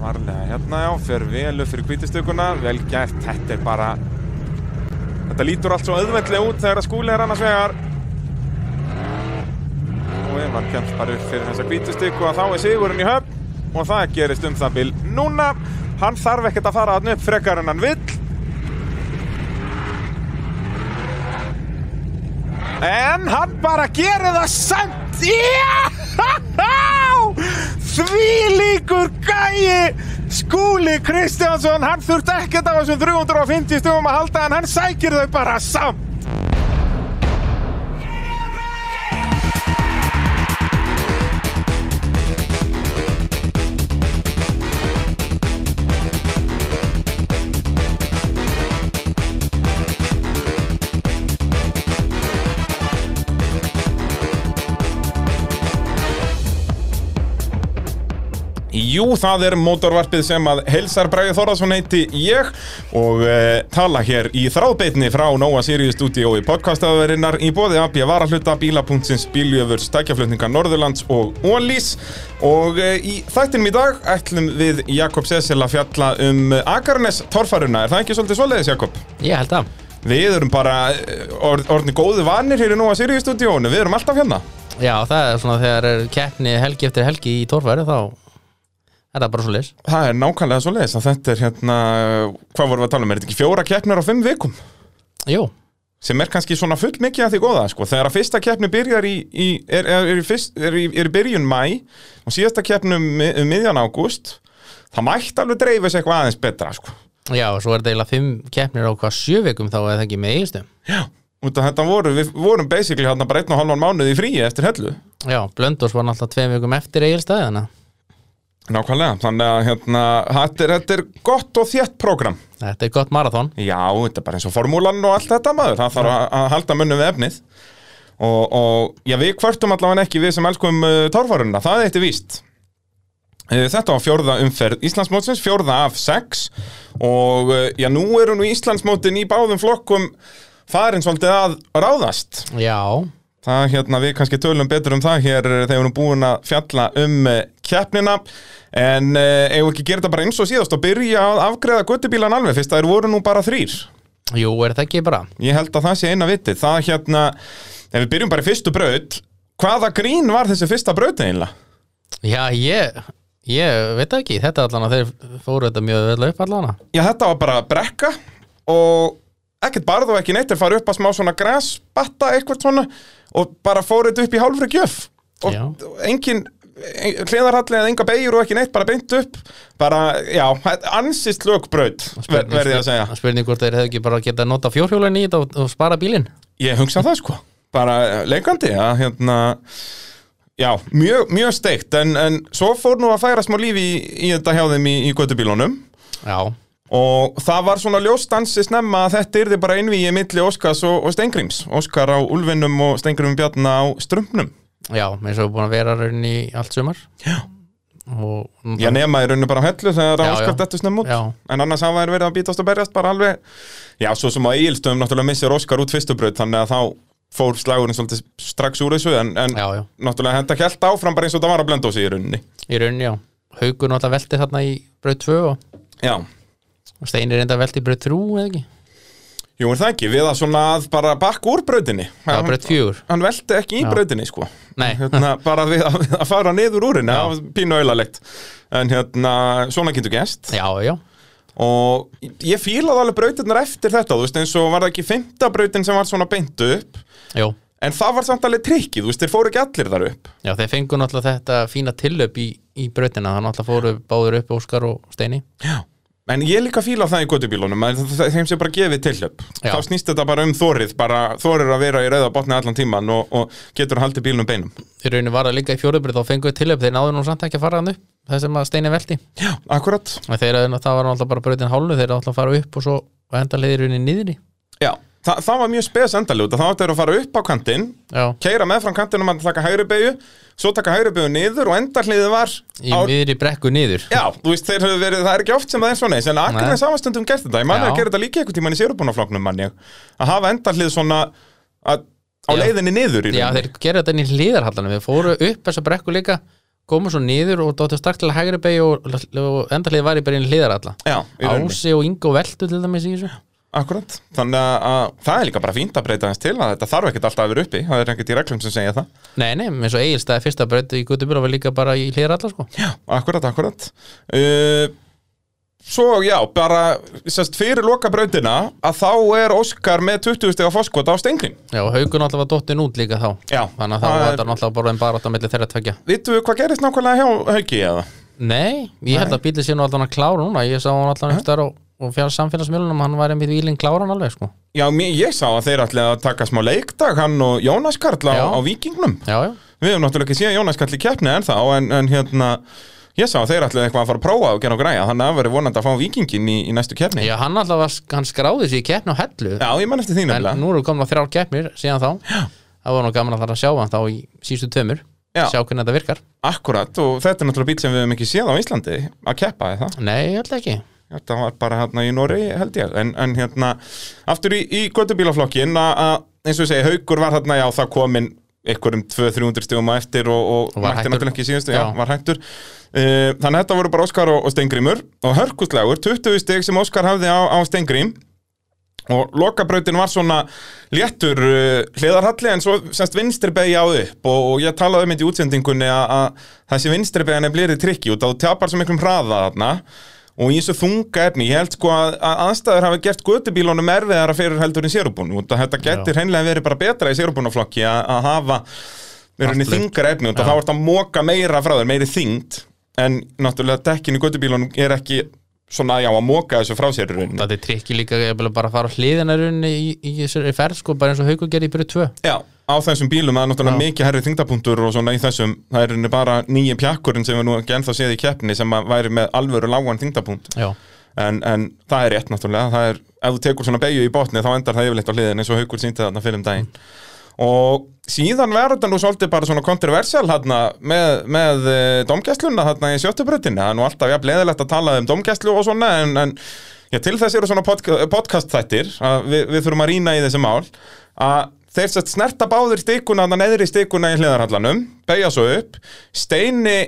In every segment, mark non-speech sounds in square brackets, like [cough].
varlega hérna já, fer vel upp fyrir kvítistökuna, vel gert, þetta er bara þetta lítur allt svo auðveldlega út þegar að skúli er annars vegar og ef hann kemst bara upp fyrir þessa kvítistöku að þá er sigurinn í höfn og það gerist um það bil núna hann þarf ekkert að fara hann upp frekar en hann vill en hann bara gerir það samt já [laughs] því líkur gæi skúli Kristjánsson hann þurft ekkert á þessum 350 stugum að halda en hann sækir þau bara samt Jú, það er mótorvarpið sem að Helsar Bragi Þorðarsson heiti ég og e, tala hér í þráðbeitni frá Nóa Sirius Studio í podcastaðverinnar í bóði AB Varahluta, Bíla.sins, Bíljöfurs, Tækjaflutninga Norðurlands og Ólís og e, í þættinum í dag ætlum við Jakob Sessel að fjalla um Akarnes torfaruna, er það ekki svolítið svoleiðis Jakob? Ég held að Við erum bara eh, orð, orðni góðu vanir hér í Nóa Sirius Studiónu, við erum alltaf hérna Já, það er svona þegar er keppni helgi eftir helgi í torfæri þá er það bara svo leys Það er nákvæmlega svo leiðis að þetta er hérna, hvað vorum við að tala um, er þetta ekki fjóra keppnir á fimm vikum? Jú, Sem er kannski svona full mikið að því góða, sko, þegar að fyrsta keppni byrjar í, í er, er, er, í fyrst, er, í, er í byrjun mæ og síðasta keppni um, mi- um miðjan ágúst, það mætti alveg dreifis eitthvað aðeins betra, sko. já, svo er það eiginlega fimm keppnir á hvað sjö vikum þá eða ekki með eiginstum Já. Út af þetta voru, við vorum basically hérna bara einn og halvan mánuð í fríi eftir hellu. Já, Blöndors var náttúrulega tveim vikum eftir eigilstæði þannig að Nákvæmlega, þannig að hérna, þetta er, þetta er gott og þétt prógram. Þetta er gott marathon Já, þetta er bara eins og formúlan og allt þetta maður, það þarf að, að halda munum við efnið og, og já, við kvartum allavega ekki við sem elskum uh, tárfaruna, það er eitt víst Eh, Þetta var fjórða umferð Íslandsmótsins, fjórða af sex og eh, já, nú eru nú Íslandsmótin í báðum flokkum farin svolítið að ráðast Já, Það hérna, við kannski tölum betur um það hér eh, þegar við erum búin að fjalla um eh, keppnina en eh, eigum við ekki að gera þetta bara eins og síðast og byrja að afgreða göttubílan alveg fyrst að þeir voru nú bara þrýr jú, er það ekki bara Ég held að það sé eina vitið. Það hérna, ef við byrjum bara í fyrstu braut, hvaða grín var þessi fyrsta braut eiginlega? Já, ég, ég veit það ekki Þetta allan að þeir fóru þetta mjög vel upp allan að Já, þetta var bara brekka og ekkert barð og ekki neitt er farið upp að smá svona grasbatta eitthvað svona og bara fór þetta upp í hálfri gjöf og Já. engin hliðarhalli eða enga beigur og ekki neitt bara beint upp bara, já, ansist lögbraut ver, verði ég að segja Spurning hvort þeir hefði ekki bara getað að nota fjórhjólinni í þetta og, og spara bílinn Ég hugsa það sko, bara eh, leikandi að hérna Já, mjög, mjög steikt en, en svo fór nú að færa smá lífi í, í þetta hjá þeim í, í göttubílunum Já, og það var svona ljóstansi snemma að þetta yrði bara einvíið milli Óskars og, og Steingríms Óskar á Ulfinum og Steingrim Bjarna á Strumpnum já, eins og við búin að vera raun í allt sumar Já, og, Ég nema í rauninu bara á hellu þegar Já, já, Óskar já. þetta snemma út Já. en annars hafa þær verið að bítast og berjast bara alveg Já, svo sem á Egilstöðum náttúrulega missir Óskar út fyrstubraut þannig að þá fór slagurinn svolítið strax úr þessu en, en já, já, náttúrulega þetta kælt áfram bara eins og það var að blenda á sig í rauninni í rauninni já Haukur náttúrulega velti þarna í braut 2 og, Já, og Steinir reynda velti í braut 3 eða ekki jú er það ekki, við að svona að bara bakka úr brautinni það var braut 4 Hann velti ekki í Já. brautinni sko Nei. hérna, [laughs] Bara við að, að fara niður úr henni, það var pínu auðalegt En hérna, svona kynntu gest já, já, Og ég fílaði alveg brautinnar eftir þetta, þú veist eins og var það ekki fymta brautin sem var svona beint upp já, En það var samt alveg trikkið, þú veist, þeir fóru ekki allir þar upp já þeir fengu náttúrulega þetta fína tillöp í, í brautina það náttúrulega fóru báður upp Óskar og Steini En ég líka fíla það í göttubílunum að þ- þeim sem bara gefið tilhjöp Já. þá snýst þetta bara um þórið bara þórið að vera í rauða botni allan tíman og, og getur haldið bílunum beinum í rauninni var það líka í fjórubrið þá fengu þeir tillöp þeir náðu nú samt ekki að fara hann upp það sem að Steini velti Já, akkurat og þeir, það var náttúrulega bara brautin hálfu þeir náttúrulega að fara upp og svo og enda leiðir rauninni niðri Já, Þa, það var mjög spes endaljóta það áttu þeir að fara upp á kantinn já, keira með fram kantinum að taka hægri beigju svo taka hægri beigju niður og endahliðið var í á, miðri brekku niður Já, þú veist, þeir höfðu verið, það er ekki oft sem það er svona eins, en akkur Nei. með samastundum gert þetta, ég manna Já. að gera þetta líka einhvern tímann í sérubunafloknum mann ég, að hafa endahlið svona að, á Já. leiðinni niður í Já, rauninni. þeir gerðu þetta inn í hlýðarhallanum Þeir fóru upp þessa brekku líka komu svo niður og dóttu stakk til hægri beig og, og endarlið var í byrjun hliðar alla Já, í rauninni. Ási og Ingo Veltu til dæmis í þessu Akkurat, þannig að, að það er líka bara fínt að breyta hans til að þetta þarf ekkert alltaf að vera uppi það er ekkert í reglum sem segja það Nei, nei, eins og Egilstaði fyrsta breytti í Gutubur var líka bara í hliðar alla sko Já, akkurat, akkurat uh, Svo já, bara sest, fyrir loka brautina að þá er Óskar með 20 steg á foskvota á stenglin Já, og Haukur náttúrulega var dottin út líka þá Já, Þannig að það var er- þetta náttúrulega bara en bara átt að milli þeirra tvekja Vitum við hvað gerist nákvæmlega hjá Hauki eða? Nei, ég held að bílið sé nú allan að klára núna Ég sá hann allan eftir og, og fjár samfélagsmiðlunum Hann var einmitt vílinn kláran alveg sko Já, mér, ég sá að þeir ætlaði að taka smá leikdag hann og Jónas Karl Já. á, á vikingnum Já, já, Við hefum náttúrulega ekki séð Jónas Karl í keppni ennþá en, en hérna, ég sá að þeir ætlaði eitthvað að fara að prófa og gera og græja þannig að það verið vonandi að fá vikingin í, í næstu keppni já hann alltaf var, hann skráði sér í keppni á hellu Já, ég man eftir því En nefnilega nú eru komin að þrjár keppnir síðan þá já. Það var nú gaman að það að sjá hann þá í sístu tömur Já. Sjá hvernig þetta virkar Akkurat, og þetta er náttúrulega bíl sem við hefum ekki séð á Íslandi að keppa eða það. Nei, ég held ekki Þetta var bara hérna í Nóri held ég, en, en hérna aftur í, í göttubílaflokkin að að eins og ég segi, haugur var hérna, já það komin einhverjum 200-300 stugum á eftir og, og Og var mætti hættur. náttúrulega ekki síðustu, já, Já. var hættur Eh, Þannig að þetta voru bara Óskar og, og Stengrimur og hörkustlegur, 20 stig sem Óskar hafði á, á Stengrím og lokabrautin var svona léttur uh, hliðarhalli en svo semst vinstribegi á upp og, og ég talaði um þetta í útsendingunni að- að þessi vinstribegan er blirið trikki út og tapar svo miklum hraða þarna og í þessu þunga efni, ég held sko að, að aðstæður hafi gert götubílunum erfiðara fyrir heldur en sérubún og þetta getur hreinlega verið bara betra í sérubúnaflokki að, að hafa verið Allt blautt. þingar efni og þá ert að móka meira frá þér, meiri þyngd en náttúrulega dekkin í götubílunum er ekki svona já að móka þessu frá sér í rauninni. Þetta er trikki líka ég vil bara að fara hliðinarunni í, í, í þessari ferð sko Bara eins og Haukur gerði í byrju tvö Já, á þessum bílum það er náttúrulega Já. mikið herri þyngdapunktur og svona í þessum, það er henni bara nýju pjakkurinn sem við nú ekki ennþá séð í keppni sem að væri með alvöru lágan þyngdapunkt Já, en, en það er rétt náttúrulega, það er ef þú tekur svona beigju í botni þá endar það yfirleitt á hliðin eins og Haukur sýndi þarna fyrir um daginn og síðan verður þetta nú svolítið bara svona kontroversial hérna með, með domgæsluna hérna í sjöttubröðinni, það er nú alltaf jafn leðilegt að tala um domgæslu og svona en, en já, til þess eru svona podca podcast þættir við, við þurfum að rýna í þessi mál að þeir sett snerta báðir stikuna þannig neðri stikuna í hliðarhallanum beigja svo upp, Steini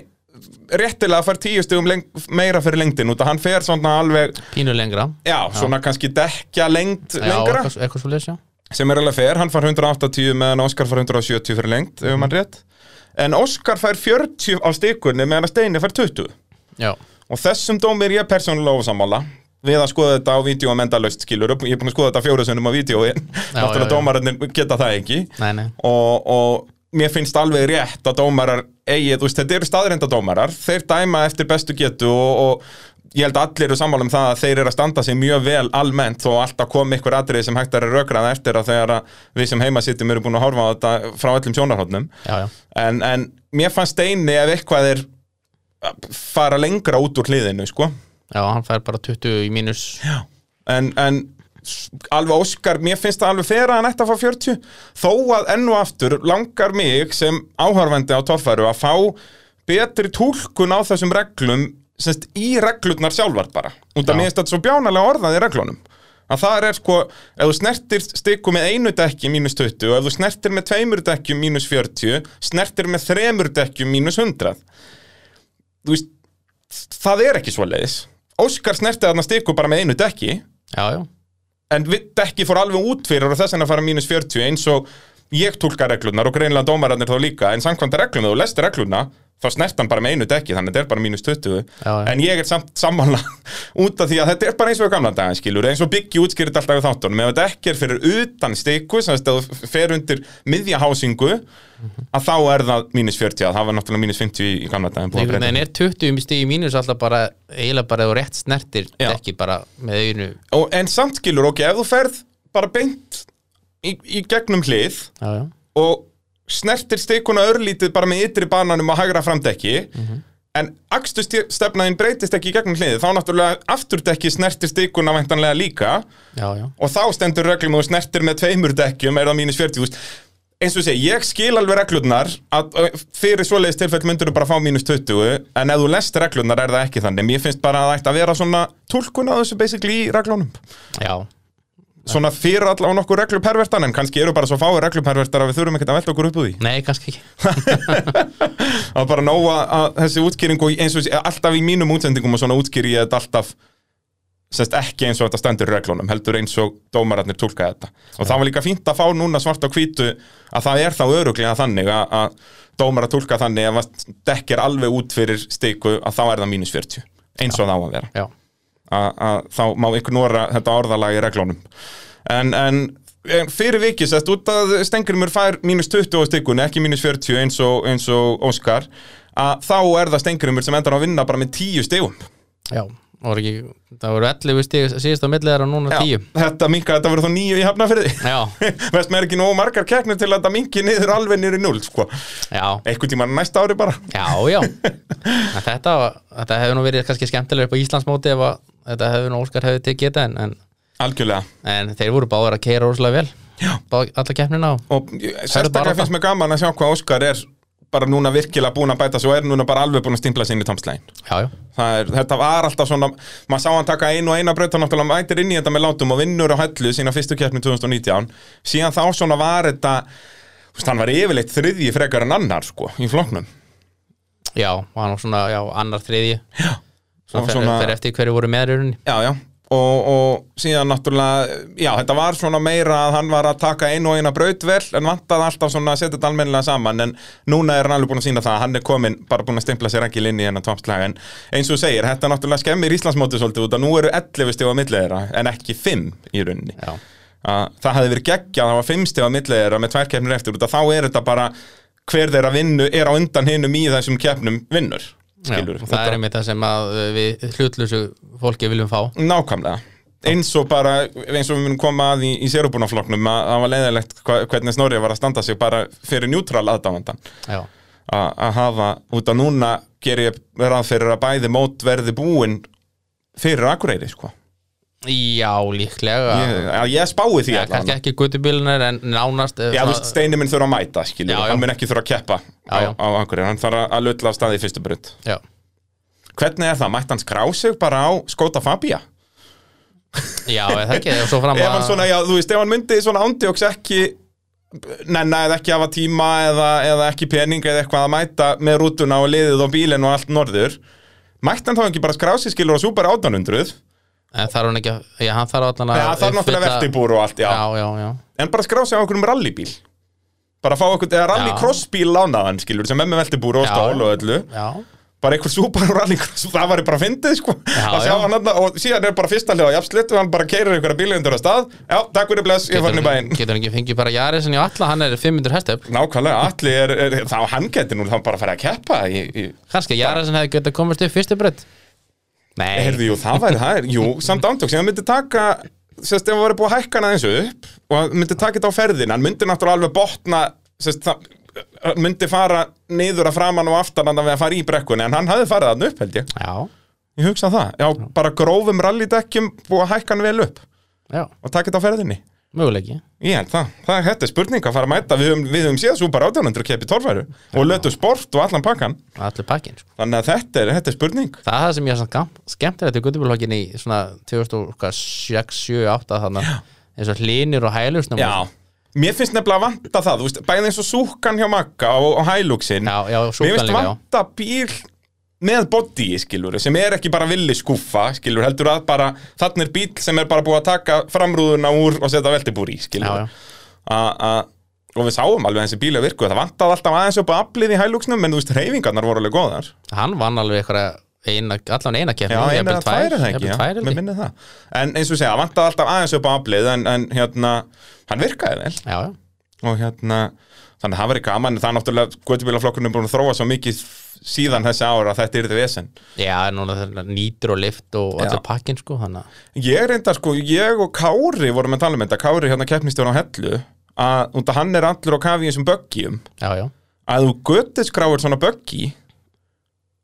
réttilega fær tíu stigum leng- meira fyrir lengdin út að hann fer svona alveg pínu lengra Já, svona kannski dekja lengt Já, lengra eitthvað, eitthvað svo já sem er alveg fer, hann far 180 meðan Óskar far 170 fyrir lengt, ef mann rétt en Óskar fær 40 á stikunni meðan að Steini fær 20 Já, og þessum dómi er ég persónulega ósammála við að skoða þetta á vídeo að mendalaust skilur upp, ég er búin að skoða þetta fjóruðsönum á vídeo náttúrulega já, já. dómararnir geta það ekki nei, nei og, og mér finnst alveg rétt að dómarar eigi, þú veist, þetta eru staðrenda dómarar þeir dæma eftir bestu getu og, og ég held að allir eru sammála um það að þeir eru að standa sig mjög vel almennt þó alltaf kom ykkur atrið sem hægt er að rökraða eftir að þegar að við sem heima sittum eru búin að horfa á þetta frá öllum sjónarhóttnum Já, já en, en mér fannst Steini ef eitthvað er að fara lengra út úr hliðinu, sko Já, hann fær bara 20 í mínus en, en s- alveg Óskar, mér finnst það alveg fyrir að hann ætti að fá 40 þó að enn og aftur langar mig sem áhörfandi á toffæru að fá betri túlkun á þessum reglum semst, í reglurnar sjálfar bara út Já. af mér finnst þetta svo bjánalega orðað í reglunum að það er sko, ef þú snertir stikku með einu dekki mínus 20 og ef þú snertir með tveimur dekkjum mínus 40 snertir með þremur dekkjum mínus 100 þú veist það er ekki svo leiðis Óskar snerti þarna stikku bara með einu dekki Já, já, en við- dekki fór alveg út fyrir og þess vegna fara mínus 40 eins og ég tólka reglunar og greinlega dómararnir þá líka en samkvæmt reglum, ef þú lest regluna þá snert hann bara með einu dekki, þannig að þetta er bara mínus 20 Já, já. en ég er samt sammála [laughs] út af því að þetta er bara eins og í gamla dagan skilur, eins og byggi útskýrit alltaf í þáttunum ef þetta ekki er fyrir utan stiku sem þess að þú fer undir miðjahásingu að þá er það mínus 40 að það var náttúrulega mínus 50 í, í gamla dagan búið að einhvern breyta veginn er 20 stig í mínus alltaf bara eiginlega bara ef þú rétt snertir Já. ekki bara með einu og, en samt skilur, ok, ef þú ferð bara beint í, í gegnum hlið já, já. og snertir stikuna örlítið bara með ytri bananum á hægra framdekki en akstu stefnaðin breytist ekki í gegnum hliðið, þá náttúrulega afturdekki snertir stikuna væntanlega líka Já, já. og þá stendur reglum og snertir með tveimur dekkjum er það mínus 40 þúsund eins og ég segi, ég skil alveg reglurnar að ö, fyrir svoleiðis tilfell myndur þú bara fá mínus 20 en ef þú lest reglurnar er það ekki þannig mér finnst bara að það ætti að vera svona tólkun á þessu basically í reglunum já. svona fyrir allavega nokkur reglupervertan en kannski eru bara svo fáið reglupervertar að við þurfum ekkert að velta okkur upp úr því Nei, kannski ekki Það er bara nóg að, að þessi útskýring og eins og þessi- alltaf í mínum útsendingum og svona útskýri ég þetta alltaf sest ekki eins og þetta stendur í reglunum heldur eins og dómararnir tólka þetta og það var líka fínt að fá núna svart á hvítu að það er þá öruglega þannig að, að dómarar tólka þannig að ef það dekkir alveg út fyrir stiku að þá er það mínus 40 eins og það á að vera Já, að, að þá má ignora þetta orðalag í reglunum en, en, en fyrir vikið sest út að Stengrimur fær mínus 20 á stikkunni ekki mínus 40 eins og, eins og Óskar að þá er það Stengrimur sem endar á að vinna bara með 10 stigum já, voru ekki, það voru 11 stig síðust á milli þeirra og núna 10 þetta minka, þetta verður þá 9 í [laughs] hafnafyrði Já, veist maður ekki nógu margar kegnir til að þetta minki niður alveg niður í 0 sko. já, einhvern tíma næsta ári bara já, já En Þetta, var- þetta hefur nú verið kannski skemmtilega upp á Íslandsmóti ef að þetta hefur nú Óskar hefði tekið þetta en, en, algjörlega en þeir voru báður að keira óslega vel Já. Báð, alla keppnina og og sérstaklega barátta. finnst mér gaman að sjá hvað Óskar er bara núna virkilega búin að bæta svo er núna bara alveg búin að stimpla sig inn í tamslægin Já, já, Það er, þetta var alltaf svona, maður sá hann taka einu og eina braut hann náttúrulega mætir inn í þetta með látum og vinnur á hellu sína fyrstu keppni 2019 síðan þá svona var þetta þú veist, hann var yfirleitt þriðji frekar en annar sko, í floknum já, og hann var svona, já, annar þriðji Já, Það var svona, svona- fer, fer eftir hverju voru með rauninni já, já. Og, og síðan náttúrulega já, þetta var svona meira að hann var að taka einu og eina braut vel en vantaði alltaf svona að setja þetta almennilega saman en núna er hann alveg búin að sína það að hann er komin bara búin að stimpla sér ekki inn í hennan toppslag en eins og þú segir, þetta náttúrulega skemmir Íslandsmóti svolítið út að nú eru 11 stig á milli þeirra en ekki 5 í rauninni Já, að það hefði verið geggjað að það var fimmstig á milli þeirra með tvær keppnir eftir út að þá er þetta bara hver þeirra vinnu er á undan hinum í þessum keppnum vinnur já skilurðu. það er einmitt það sem að uh, við hlutlösu fólki viljum fá nákvæmlega eins og bara eins og við munum koma að í, í sérubunafloknum að það var leiðilegt hva- hvernig Snorri var að standa sig bara fyrir njútral aðdámandan Já, að að hafa út að núna ger ég ráð fyrir að bæði mót verði búin fyrir akureyri sko já líklega ég, að ég spái því Já, allavega. kannski ekki gutubílunar en nánast eh, Já, þú svona- veist, Steini minn þurfa að mæta, skiljum Já, já. Hann minn ekki þurfa að keppa Já, já. á, á Akureyri Hann þarf að- að lutla af staði í fyrstu brut Já, Hvernig er það? Mætti hann skrá sig bara á skóta Fabia? já er það ekki, og svo fram Ef hann svona, já, þú veist, ef hann myndi svona ándjóks ekki Nenna eða ekki hafa tíma eða, eða ekki pening eða eitthvað að mæta með rútuna og liðið og bílinn og allt norður Mætti hann þá ekki bara skrá sig, skilur, á Super 800? En þarf hann ekki að, já, hann þarf allan að Já, það er náttúrulega uppfylla- vertibúr og allt, já. Já, já, já, En bara skrá sig á einhverjum rallybíl Bara fá einhvern, eða rallycrossbíl lánaðan, skilur, sem emmi veltibúr og Já. stál og öllu já, bara einhver Subaru Rallycross [laughs] það var bara fyndið sko Já, að sjá já. hann þarna og síðan er bara fyrsta hliða jafnslitt og hann bara keirir einhverja bílundur á stað já, takk fyrir bless, ég fann í bæinn getur hann ekki fengið bara Jarisin í alla, hann er 500 hestöfl nákvæmlega, Atli er, er þá hann getur nú þá bara að fara að keppa í, í, Kannski að Jarisin hefði getað komist upp fyrstu brödd Nei, heyrðu, jú, það væri það er, jú, samt ándjóks, ég myndi taka sérst, ef hann væri búið að hækka hann aðeins upp og hann myndi taka þetta á ferðin, hann myndi náttúrulega alveg botna, sérst, það hann myndi fara niður að framan og aftan hann að fara í brekkunni, en hann hafði farið hann upp held ég, já, ég hugsa það já, bara grófum rallydekkjum búið að hækka hann vel upp já, og taka þetta á ferðinni möguleiki Ég held það, það er þetta er spurning að fara að mæta við höfum, við höfum síðan súpar 1800 keppi torfæru og lötu sport og allan pakkan Allir pakkin, sko þannig að þetta er, þetta er spurning Það er það sem ég er samt gam- skemmtilegt í gutubílhókin í svona 2006, 7, 8 þannig eins og hlinir og hælusnum Já, mér finnst nefnilega að vanta það þú veist, bæði eins og súkan hjá Magga og, og hælúksin, já, já, mér súkan finnst líka, já vanta bíl með body, skilur, sem er ekki bara villi skúfa, skilur, heldur að bara þannig er bíl sem er bara búið að taka framrúðuna úr og setja veltibúr í, skilur Já, já, a, a, og við sáum alveg að þessi bíla virku það vantaði alltaf aðeins upp á aflið í hælúksnum en þú veist, reyfingarnar voru alveg góðar hann vann alveg eitthvað eina, allan eina keppni Já, eina jafnvel eða tvær er það jafnvel ekki, já, tvær, held mér ég. minnir það En eins og ég segja, hann vantaði alltaf aðeins upp á aflið en, en hérna, hann virkaði vel já, já, og hérna, þannig að það verið gaman en það er náttúrulega, Guðbílaflokkurinn er búin að þróa svo mikið síðan þessi ára að þetta yrði vesen Já, núna þetta nýtur og lift og Já. allir pakkin sko þannig að- Ég reynda sko, ég og Kári vorum að tala um þetta, Kári hérna keppnistjóra á Hellu að út að hann er allur á kafi í þessum böggjum Já, já, að þú göttiskráir svona böggi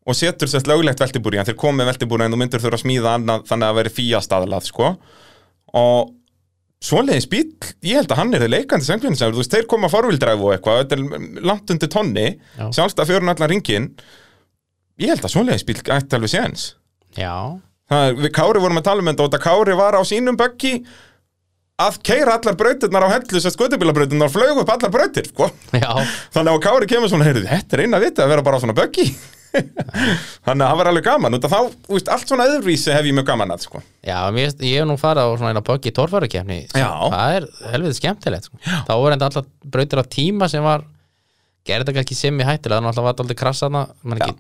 og setur sérst löglegt veltibúri en þeir komið með veltibúri en þú myndir þurfa að smíða annað þannig að það veri fíast aðlað sko. og svoleiðis bíl ég held að hann er þeir leikandi sengvinni sem þú veist, þeir koma forvildræfu og eitthvað þetta er langt undir tonni, Já. sjálfstæða fjörun allan ringin ég held að svoleiðis bíl ætti alveg séns já, Það er, við Kári vorum að tala um þetta og þetta Kári var á sínum böggi að keira allar brautirnar á hellu sem skutubílabrautirnar flög upp allar brautir sko. Já, þannig að á Kári kemur svona, heyrðu, þetta er eina viti að vera bara á svona böggi [laughs] þannig að það var alveg gaman út af þá, þú veist, allt svona öðruvísi hef ég mjög gaman að sko. Já, mér, finnst- ég hef nú farið á svona eina böggi torfærukefni Já. Það er helviti skemmtilegt sko. Þá voru enda alltaf brautir á tíma sem var gerði þetta ekki sem í hættilega þannig að alltaf var þetta aldrei krassaðna mann ekki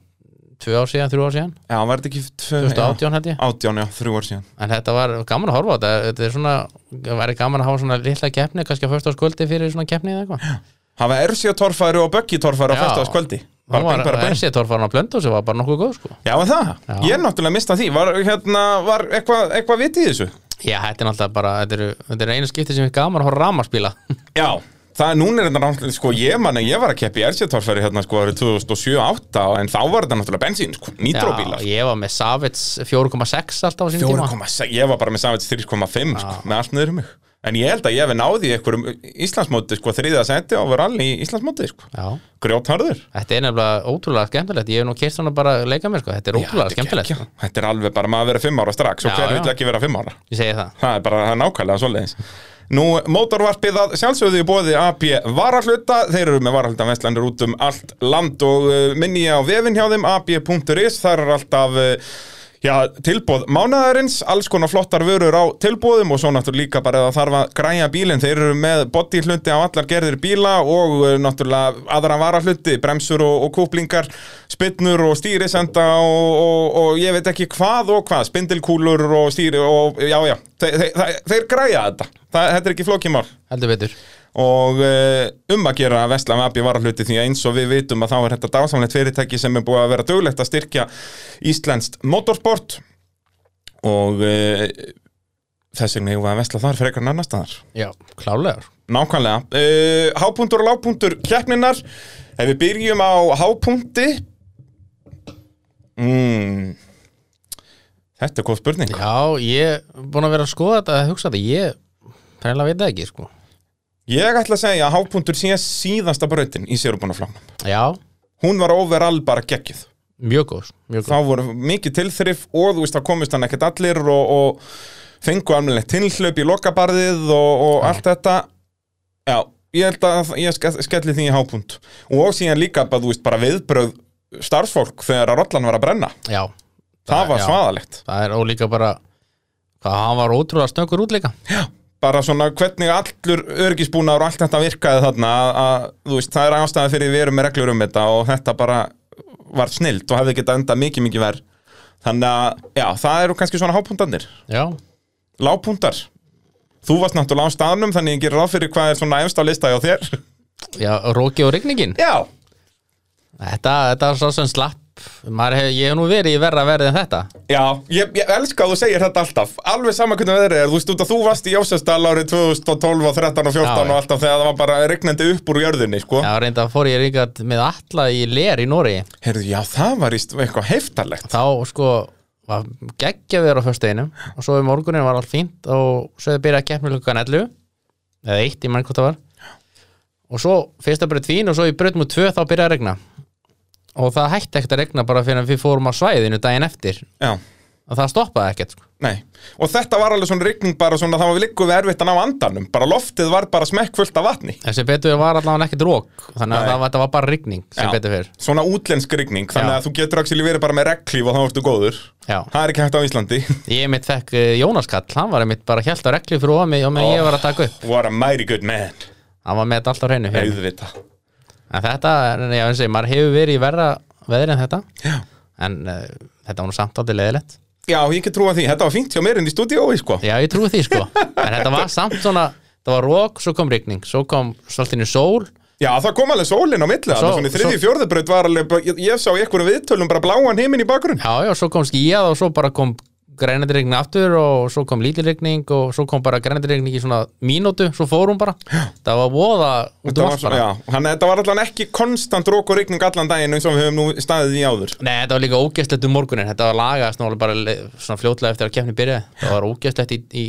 tvö ár síðan, þrjú ár síðan já, var þetta ekki tvö- 2018 held ég já, 18, já, þrjú ár síðan En þetta var gaman að horfa á þetta Þetta er svona, það væri gaman að hafa svona litla keppni kannski að fyrst á skuldi fyrir svona keppni eða eitthvað hafa Ersja-torfæru og Böggi-torfæru á Já. fyrstaðskvöldi Það var þessi torfæran á blöndu sem var bara nokkuð góð sko Já, en það, Já. ég er náttúrulega mistað því Var, hérna, var eitthvað eitthva vit í þessu? Já, þetta er náttúrulega bara, þetta eru- þetta er einu skipti sem er gaman að horfa rámaspíla Já, það er núna er þetta náttúrulega sko, ég man að ég var að keppa í Ersjötorfæri hérna sko árið 2007-08 en þá var þetta náttúrulega bensín sko, nýtróbíla Já, ég var með Savits 4,6 alltaf á sín tíma 4,6, ég var bara með samvægt 3,5 sko, með allt niður um mig en ég held að ég hef náði í einhverjum Íslandsmóti sko, þriða seti og var allir í Íslandsmóti sko, Já, grjótharður þetta er nefnilega ótrúlega skemmtilegt Ég hef nú kert svona bara að leika mér sko Þetta er þetta ótrúlega er skemmtilegt sko. geggjað. Þetta er alveg bara maður að vera 5 ára strax og Já, hver já. vill ekki vera 5 ára Ég segi það Það er bara það er nákvæmlega svoleiðis Nú, mótorvarpið að sjálfsögðu í bóði AB varahluta, þeir eru með varahluta vestlandur út um allt land og uh, minni ég á vefin hjá þeim, ab.is þar er alltaf uh, já, tilbóð mánaðarins, alls konar flottar vörur á tilbóðum og svo náttúrulega líka bara að þarf að græja bílinn, þeir eru með bodyhluti á allar gerðir bíla og uh, náttúrulega aðra varahluti, bremsur og, og kúplingar, spinnur og stýrisenda og, og, og ég veit ekki hvað og hvað, spindilkúlur og stýri og já, já, þeir, þeir, þeir græja þetta, það, þetta er ekki flókimál Heldur betur og eh, um að gera að vesla með abbi varahluti því að eins og við vitum að þá er þetta dásamlegt fyrirtæki sem er búið að vera duglegt að styrkja Íslenskt motorsport og uh, þess vegna hefur að vesla þar frekar en annar staðar Já, sko. klálega Nákvæmlega uh, Hápuntur og lágpuntur keppninar Ef við byrjum á hápunti mm. Þetta er góð spurning Já, ég er búin að vera að skoða þetta að hugsa þetta Ég fræðilega veit það ekki sko Ég ætla að segja að hápuntur sé síðasta brautin í sérubunaflánum Já, Hún var overall bara geggjuð mjög góð sko. Mjög góð þá voru mikið tilþrif og þú veist þá komist hann ekkert allir og, og fengu alveg tilhlaup í lokabarðið og, og allt þetta já, ég held að ég ske- skelli því í hápunt og síðan líka bara, þú veist, bara viðbröð starfsfólk þegar að rollan var að brenna Já það var já, svaðalegt Það er ólíka bara Hvað hann var ótrúlega snöggur útleika bara svona hvernig allur örgisbúnaður og allt þetta virkaði þarna að, að þú veist, það er ástæða fyrir við erum með reglur um þetta og þetta bara var snilt og hefði getað endað mikið mikið verð þannig að, já, það eru kannski svona hápuntarnir Já, lágpuntar Þú varst náttúrulega á staðnum þannig ég gerir ráð fyrir hvað er svona efst á lista hjá þér [laughs] já, Róki og rigningin Já Þetta, þetta er svo sem slapp Maður hef, Ég hef nú verið í verra verið en þetta Já, ég, ég elska að þú segir þetta alltaf Alveg sama hvernig veðrið er, þú veist út að þú varst í Jósefsdal árið 2012 og 13 og 14 Já, já. og alltaf þegar það var bara regnandi upp úr jörðinni, sko Já, reynda fór ég líka með alla í ler í Nóri Heyrðu, já, það var íst eitthvað heiftarlegt Þá sko var geggja við á föstudeginum og svo í morgunin var allt fínt og svo þau byrjaði að keppni klukkan 11 eða 1 í mann hvort það var og svo fyrsta braut fín og svo í braut múl 2 þá byrjaði að regna og það hætti ekkert að regna bara fyrir að við fórum á svæðinu daginn eftir Já, og það stoppaði ekkert sko. nei Og þetta var alveg svona rigning bara svona það var við liggum við erfitt að ná andanum Bara loftið var bara smekkfullt af vatni en sem betur var allavega ekkert rók þannig Nei. að það, var- þetta var bara rigning sem Já. betur fyrir Svona útlensk rigning, þannig Já. að þú getur axil verið bara með reglíf og þá ertu góður Já. Það er ekki hægt á Íslandi ég mitt fekk eh, Jónas Kall, hann var mitt bara hjælt á reglu fyrir ofan mig og meðan ég var að taka upp What a mighty good man hann var með þetta alltaf hreinu fyrir mig. Auðvita En þetta, er- já, eins og ég, maður hefur verið í verra veðri en þetta Já. En uh, þetta var nú samt aldrei leðilegt Já, ég get trúa því, þetta var fínt hjá mér inn í stúdíói sko Já, ég trúi því sko En þetta var samt svona, það var rók, svo kom rigning Svo kom svolítinu sól Já, það kom alveg sólinn á milli Það Svo- svona í þriði svo- fjórðubraut var alveg bara- Ég, ég sá í einhverjum viðtölum bara bláan heiminn í bakgrunn Já, já, svo kom skíjað og svo bara kom grænandi rigning aftur og svo kom lítil rigning og svo kom bara grænandi rigning í svona mínútu, svo fór hún bara Það var voða út Þetta um var, allt svona, bara já, hann, þetta var allan ekki konstant rók og rigning allan daginn eins og við höfum nú staðið í áður Nei, þetta var líka ógeðslegt um morgunin Þetta var lagaðast nálega bara le- svona fljótlega eftir að kefni byrjaði Það var ógeðslegt í, í,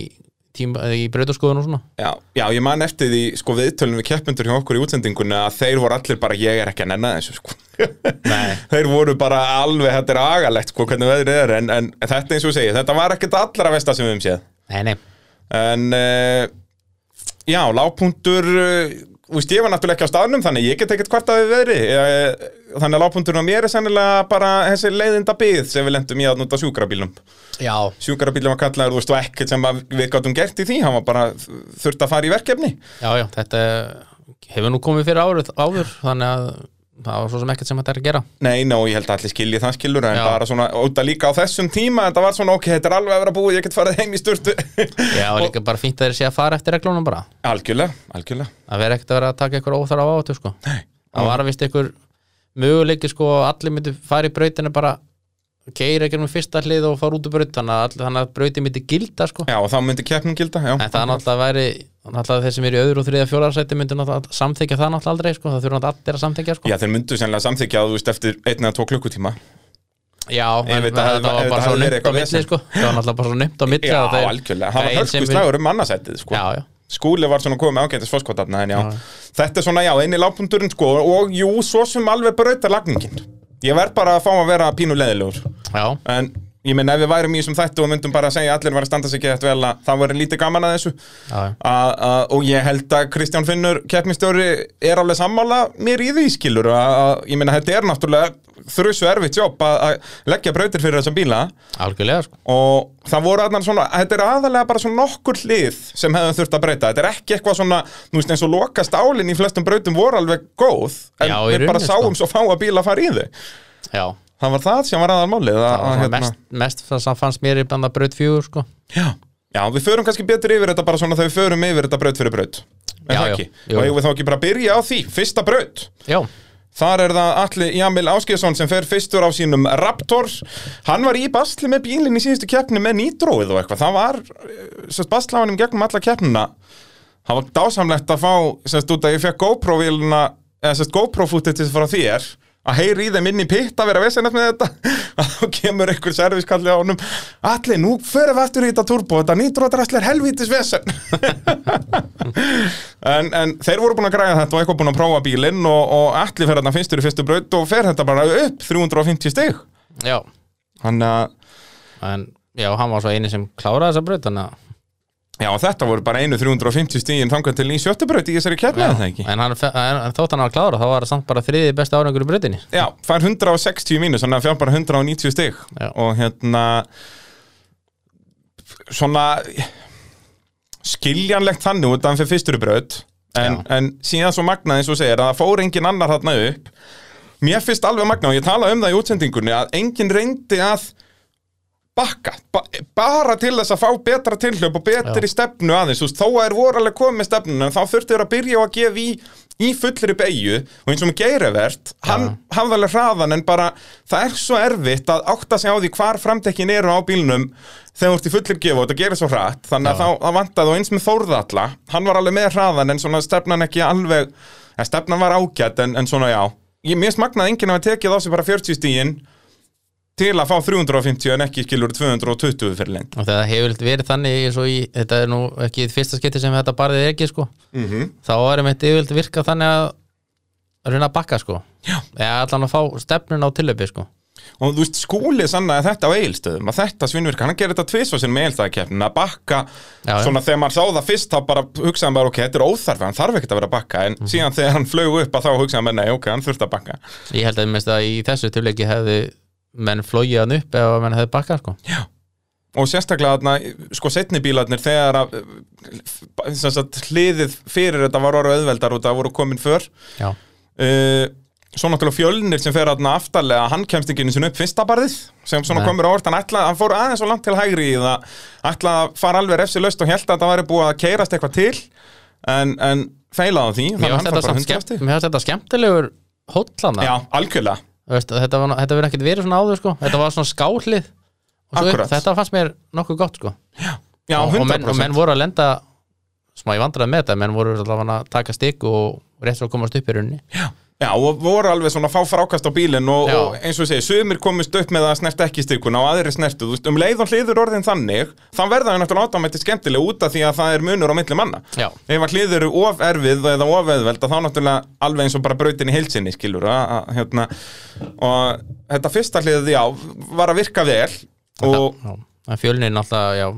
tíma, í brautaskoðun og svona Já, já ég man eftir því sko viðtölum við keppendur hjá okkur í útsendingunni að þeir voru allir bara ég er ekki að nenna þessu [laughs] sko Nei. Þeir voru bara alveg, þetta er agalegt sko hvernig veðrið er en, en þetta eins og segja, þetta var ekkert allra vesta sem við höfum séð Nei, nei En uh, já, lágpunktur uh, Úst, ég var náttúrulega ekki á staðnum þannig ég get ekkert kvartaði veðri Eh, þannig að lágpunkturinn á mér er sennilega bara þessi leiðinda byggð sem við lendum í að nota sjúkrabílum já, sjúkrabílum að kallaður, þú veist, og ekkert sem að við gáttum gert í því, hann var bara þurft að fara í verkefni. já, já, þetta hefur nú komið fyrir áður, áður þannig að það var svo sem ekkert sem þetta er að gera Nei, ná, ég held að allir skilji það skilur, en Já. bara svona, óta líka á þessum tíma, þetta var svona, ok, þetta er alveg að vera búið, ég get farið heim í sturtu. [laughs] já, og líka bara fínt að þeir sé að fara eftir reglunum bara algjörlega, algjörlega. að vera ekkert að vera að taka ykkur óþar á áhættu sko. það var vist ykkur möguleiki sko að allir myndi fara í brautinu bara keira ekki um fyrsta hlið og fara út úr braut þannig að, all- þannig að brautin myndi gilda sko. Já, og þá myndi keppnum gilda, já. en það er náttúrulega væri náttúrulega þeir sem eru í öðru og þriða fjólarsæti myndi náttúrulega samþykja það náttúrulega aldrei sko. það þurfa náttúrulega allir að samþykja sko. Já, þeir myndu sennilega samþykja að þú veist eftir einn eða tvo klukkutíma. já, Ef en þetta þetta hefði- ef þetta var bara svo hefði verið nýmt á eitthvað milli vesen. sko. það var náttúrulega bara svo nýmt á milli Já, að þeir- algjörlega. Það var einn sem- hörkuslagur um annasættið, sko. já, já, Skúli var svona komið með ágætis fórskotarna, en já, þetta er svona, já, eini lágpunturinn, sko, og jú, svo sem alveg brautarlagningin. Ég verð bara að fá að vera pínu leðilegur. já, En ég meina ef við værum í þessum þættu og myndum bara að segja að allir var að standa sig ekki eftir vel að það var lítið gaman að þessu já, já. a, a, og ég held að Kristján Finnur keppnistjóri er alveg sammála mér í því skilur að, að ég meina þetta er náttúrulega þrjusu erfitt jobb að, að leggja brautir fyrir þessa bíla algjörlega sko. og það voru aðnar svona, þetta er aðalega bara svona nokkur hlið sem hefðum þurft að breyta þetta er ekki eitthvað svona, nú veist eins og lokast álinn í flestum brautum voru alveg góð en Já, í við bara rauninni, sko. sáum svo fá að bíla fara í þau já, það var það sem var aðalmálið að, það var að, svona mest, mest það sem fannst mér í banda braut fjúr sko. Já. Já, við förum kannski betur yfir þetta bara svona þegar við förum yfir þetta braut fyrir braut. En Já, það já. ekki. Jú, Og jú. eigum við þá ekki bara að byrja á því, fyrsta braut. já, Þar er það Alli Jamil Áskjesson sem fer fyrstur á sínum Raptor. Hann var í basli með bílinn í síðustu keppni með nýtróið og eitthvað. Það var, eh, sérst, basláinum gegnum alla keppnuna. Það var dásamlegt að fá, sérst, út að ég fekk GoPro-víluna, eða sérst, GoPro-footage frá þér að heyri í þeim inn í pitt að vera vesennast með þetta [laughs] að þá kemur einhver serviskalli á honum Alli, nú förum við aftur í þetta turbo þetta nýtróðræsli er helvítis vesen en, en þeir voru búin að græða þetta og eitthvað búin að prófa bílinn og, og Alli fer þarna fyrstur í fyrstu braut og fer þetta bara upp 350 stig já Þannig að, en já, hann var svo eini sem kláraði þessa braut þannig að já, þetta voru bara einu 350 stigin þangað til í sjöttu braut í þessari kjærlega það ekki en, hann, en, en þótt hann var klára þá var það samt bara þriði besti árangur í brautinni Já, fær 160 mínus, þannig að fjár bara 190 stig Já. og hérna svona skiljanlegt þannig út að hann fyrir fyrstur í braut en, en síðan svo magnað eins og þú segir að það fór engin annar þarna upp mér finnst alveg magnað og ég tala um það í útsendingunni að enginn reyndi að bakka, ba bara til þess að fá betra tilhlaup og betri stefnu aðeins, þú veist, þó að er voralega komið með stefnuna, en þá þurftu þeir að byrja á að gefa í í fullri beigju og eins og með geirivert, hann hafði alveg hraðan en bara, það er svo erfitt að átta sig á því hvar framtekkin eru á bílnum þegar þú ert í fullri gefa og þetta gerir svo hratt þannig að Já. þá það vantaði og eins með þórðalla hann var alveg með hraðan en svona stefnan ekki alveg, eða stefnan var ágætt en, en svona já, ég mér smagnaði enginn að hafa tekið á sig bara 40 stíin til að fá 350 en ekki skilur 220 fyrir lengt og það hefur yfirleitt verið þannig eins og í, þetta er nú ekki í fyrsta skipti sem þetta barðið er ekki sko mm -hmm. þá er einmitt yfirleitt virkað þannig að reyna að bakka sko Já. eða allan að fá stefnun á tillöpi sko og þú veist skúli sannaði þetta á eigilstöðum að þetta svinvirka, hann gerir þetta tvisvar sinni með eigilstöðakeppnin að bakka, Já, já. svona þegar maður sá það fyrst þá bara hugsaði hann bara ok, þetta er óþarfi hann þarf ekkert að vera að bakka, en Mhm. síðan þegar hann flög upp að þá hugsaði hann bara nei, ok, hann þurfti að bakka ég held að minnst að í þessu tilöki hefði menn flóið hann upp ef að menn hefði bakkað sko og sérstaklega þarna, sko setni bílarnir þegar að eh, sem sagt, hliðið fyrir þetta var orðið auðveldar og það voru komin för já, uh, svo náttúrulega fjölnir sem fer aðna aftarlega, hann kemst ekki einu sinni upp fyrsta barðið, sem svona Nei. komur á orð hann, ætla, hann fór aðeins og langt til hægri í það ætla að fara alveg refsilaust og held að það væri búið að keirast eitthvað til en, en feilaði á því þannig mér að hann finnst þetta, fær bara samt 100 skemmt, stig. mér fannst þetta skemmtilegur hóllana Já, algjörlega Veist, þetta, var, þetta verið ekkert verið svona áður sko Þetta var svona skálið Og svo upp, Akkúrat. Þetta fannst mér nokkuð gott sko Já, og, 100% og, menn, og menn voru að lenda Smá ég vandraði með þetta Menn voru allavega að taka stikk og rétt svo að komast upp í runni Já, og voru alveg svona að fá frákast á bílinn og, Já. og eins og ég segi, sumir komist upp með að snert ekki stikuna og aðri snertu, þú veist, um leið og hliður orðin þannig, þá verða þau náttúrulega átamætti skemmtileg út af því að það er munur á milli manna. Já, Ef að hliður eru of erfið eða of eðveld, þá náttúrulega alveg eins og bara brautin í heilsinni, skilur, að, að, hérna, og þetta fyrsta hliðið, já, var að virka vel og, já. En fjölnin alltaf já,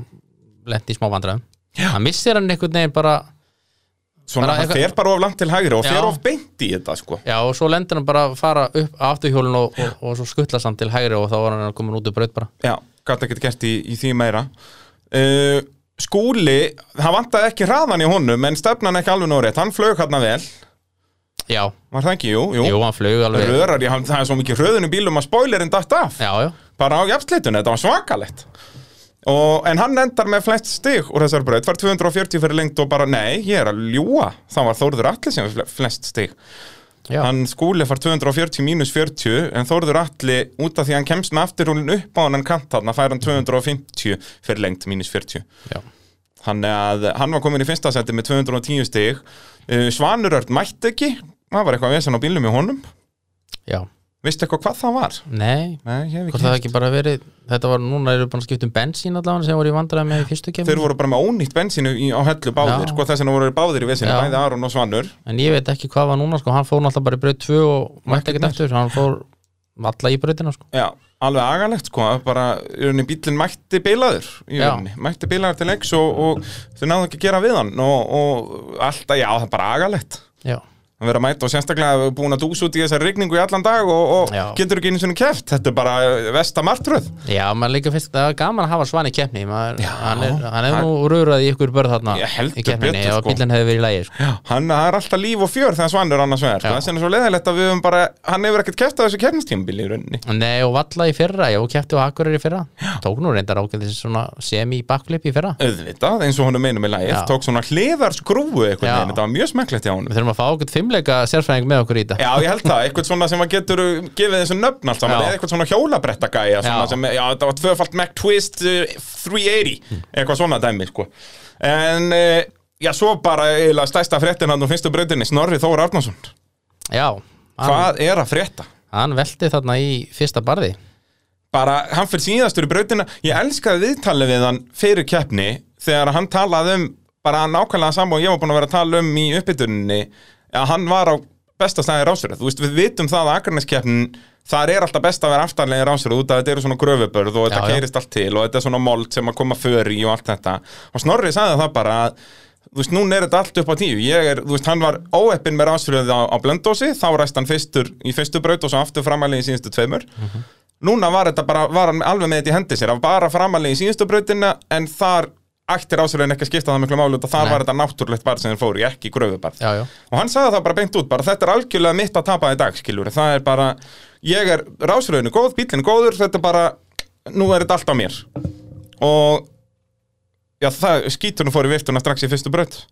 Lendi í smá vandraðum Hann missir hann einhvern veginn bara Svona, Bara hann eitthvað- fer bara of langt til hægri og fer Já. of beint í þetta, sko. Já, og svo lendir hann bara að fara upp afturhjólun og, og, og svo skutlast hann til hægri og þá var hann komin út úr braut bara Já, gæti ekkert gert í, í því meira uh, Skúli, það vantaði ekki hraðan í honum en stefnan ekki alveg nórið, hann flög hérna vel Já, var það ekki, jú, jú, jú, hann flög alveg Rörar, ég, hann, það er svo mikið hröðunum bílum að spoilerinn dætt af Já, já, bara á jafnsleitun, þetta var svakalegt og, en hann endar með flest stig úr þessar braut, var 240 fyrir lengt og bara, nei, ég er að ljúa það var Þórður Atli sem var flest stig já, hann skúli far 240 mínus 40 en Þórður Atli út af því að hann kemst með afturhjólinn upp á hann kant hann fær hann 250 fyrir lengt mínus 40 já. hann, að, hann var komin í fyrsta seti með 210 stig Uh, Svanurörn mætti ekki það var eitthvað vesen á bílum í honum já. veistu eitthvað hvað það var? Nei, Nei, ég hef hvort það ekki hafi ekki bara verið Þetta var núna eru bara skipt um bensín allavega sem voru í vandræði með í fyrstu þeir kemur voru bara með ónýtt bensínu í, á hellu báðir Já. sko, þess vegna voru þeir báðir í vesinu, Já. bæði Aron og Svanur En ég veit ekki hvað var núna, sko, hann fór náttúrulega bara í braut 2 og mætti ekkert eftir, hann fór alla í brautina, sko Já, alveg agalegt sko að bara, í rauninni bílinn mætti bilaður í Já. rauninni, mætti bilaður til leiks og, og þau náðu ekki að gera við hann og, og alltaf, já, það er bara agalegt Já, að vera mætt og sérstaklega að búin að dús út í þessari rigningu í allan dag og, og Já. getur ekki einu sinni keft, þetta er bara vesta martröð já, maður líka finnst það er gaman að hafa svan í keppni maður, Já. hann, er, hann er nú röðrað í ykkur börð þarna Ég heldur í keppninni betur, og sko. bílinn hefði verið í lægi, sko hann það er alltaf líf og fjör þegar Svanur annars vegar sko. Já. þess vegna er svo leðilegt að við höfum bara hann hefur ekkert keft á þessu kernistímbil í rauninni Nei, og valla í fyrra, já, og kæfti á Akureyri í fyrra Tók nú reyndar ákveðið svona semi-backflip í fyrra auðvitað, eins og honum einum í lagið, Já. tók svona hliðarskrúfu eitthvað, Já. þetta var mjög smekklegt hjá honum Við þurfum að fá okkur fimmleika sérfræðing með okkur í þetta Já, ég held það, eitthvað svona sem að getur uh, gefið þessu nöfn allt saman, Já. eða eitthvað svona hjólabrettakæja svona Já. sem, já, þetta var tvöfalt Mac Twist uh, 380, eitthvað svona dæmi, sko En, uh, já, svo bara eiginlega stæsta fréttin hann og fyrstu brautinni, Snorri Þór Arnason Já, hann, Hvað er að frétta? hann velti þarna í fyrsta barði Bara, hann fyrir síðastur í brautina Ég elskaði viðtalið við hann fyrir keppni þegar hann talaði um bara nákvæmlega saman og ég var búin að vera að tala um í uppbytuninni að hann var á besta staði rásverð, þú veist við vitum það að Akarneskeppnin, þar er alltaf best að vera aftarlega rásverð út af þetta eru svona gröfubörð og þetta Já, já. keyrist allt til og þetta er svona mold sem að koma fyrir í og allt þetta og Snorri sagði það bara að þú veist, núna er þetta allt upp á tíu ég er, þú veist, hann var óeppin með rásfröði á, á blöndósi, þá ræst hann fyrstur í fyrstu braut og svo aftur framalegi í síðustu tveimur Mhm. núna var þetta bara, var hann alveg með þetta í hendi sér, að bara framalegi í síðustu brautina en þar ætti rásfröðin ekki að skipta það miklu máli út og þar Nei. var þetta náttúrulegt barð sem þeir fóru, í, ekki gröfubarð Já, já, og hann sagði það bara beint út, bara þetta er algjörlega mitt að tapa í dag, skilur, það er bara ég er rásröðinu góð, bílinu góður þetta er bara, nú er þetta allt á mér og já, það, skítunum fór í viftuna strax í fyrstu braut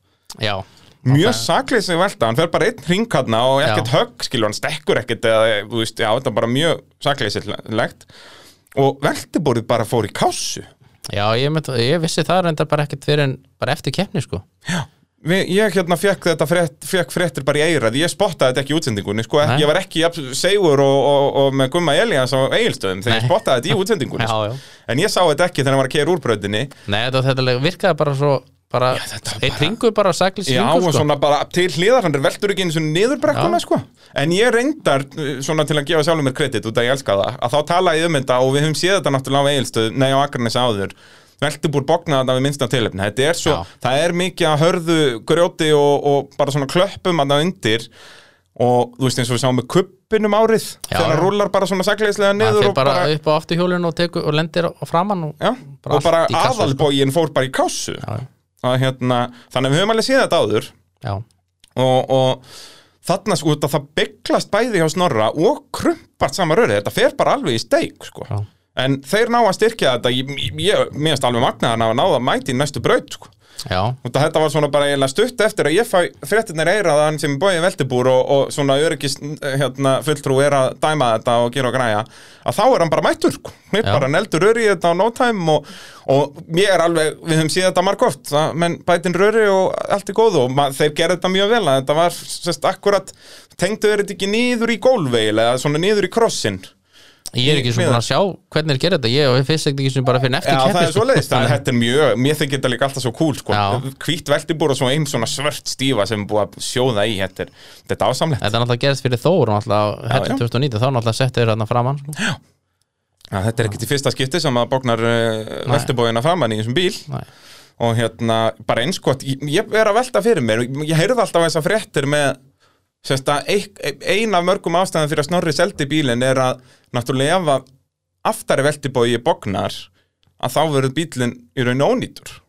já mjög saklið sem velta, hann fer bara einn hring hana og ekkert Já. högg, skilur, hann stekkur ekkert eða, þú veist, já, þetta er bara mjög sakleisilegt og veltibórið bara fór í kásu Já, ég, mynd, ég vissi það reyndar bara ekkert fyrir en bara eftir keppni, sko Við, ég hérna fekk þetta frétt, fekk fréttir bara í eirað, ég spottaði þetta ekki í útsendingunni sko, Nei. ég var ekki jafn segur og, og, og með Gumma Elias á eigilstöðum þegar ég Nei. spottaði þetta í Já, útsendingunni sko. [laughs] já en ég sá þetta ekki þegar hann var að keira úrbröðinni Nei, þetta, þetta virkaði bara svo bara, Já, þetta var eitt bara- ringur bara saglis Já, ringur, og sko svona bara til hliðar, hann er veldur ekki einu svona niður brekkuna, Já. sko. En ég reyndar, uh, svona til að gefa sjálfur mér kredit út að ég elska það, að þá tala ég um þetta og við höfum séð þetta náttúrulega á Egilstöð, nei á Akarnes áður. Veltubúr bóknaði þetta við minnsta tilefni. Þetta er svo, Já. það er mikið að hörðu grjóti og, og bara svona klöppum að það undir og þú veist eins og við sáum með kuppinum árið Já, þegar hann já. rúlar bara svona sakleislega Hann niður fyrir og bara, bara, upp á afturhjólun og, tekur, og lendir á framann og, já, bara og bara allt í kassu, sko. aðalbógin fór bara í kásu já, að, hérna, þannig að við höfum alveg séð þetta áður já, og, og þarna sko þetta það bygglast bæði hjá Snorra og krumpast sama röri, þetta fer bara alveg í steik sko. Já. en þeir ná að styrkja þetta ég, ég- ég minnst alveg magnaðan að ná að mæti í næstu braut sko. já, Og þetta var svona bara eiginlega stutt eftir að ég fæ fréttinir eiraðan sem bóið veltibúr og, og svona öryggis hérna, fulltrú er að dæma þetta og gera og græja að þá er hann bara mættur, sko. hann er Já. bara neldur öri þetta á no time og, og ég er alveg, við höfum séð þetta margóft það- menn bætin röri og allt er góð og ma- þeir gerðu þetta mjög vel að þetta var sérst akkurat, tengdu þeir þetta ekki nýður í gólveil eða svona nýður í krossin ég er ekki Miðar. svona búin að sjá hvernig er gerð þetta, ég og ég fyrst ekki svona bara fyrir en eftir Já, keppni það er sko. svoleiðist, þannig að þetta er mjög, mér þykir þetta líka alltaf svo cool, sko, Já. hvít veltibúr og svo einn svona svört stífa sem er búið að sjóða í, þetta er, þetta er ásamlegt. Þetta er náttúrulega gerðist fyrir Þór náttúrulega, Já, já. hættu 2019, þá náttúrulega settu þér þarna framann sko. Já, þetta er ekkert eh, í fyrsta skipti sem að bóknar uh, veltibúina framann í þessum bíl Nei. og hérna, bara eins gott ég, ég er að velta fyrir mér, ég heyrði alltaf þessar fréttir með sérst að eik- ein af mörgum ástæðan fyrir að Snorri seldi bílinn er að náttúrulega ef að aftari veltibói bognar að þá verður bílinn í raun ónýtur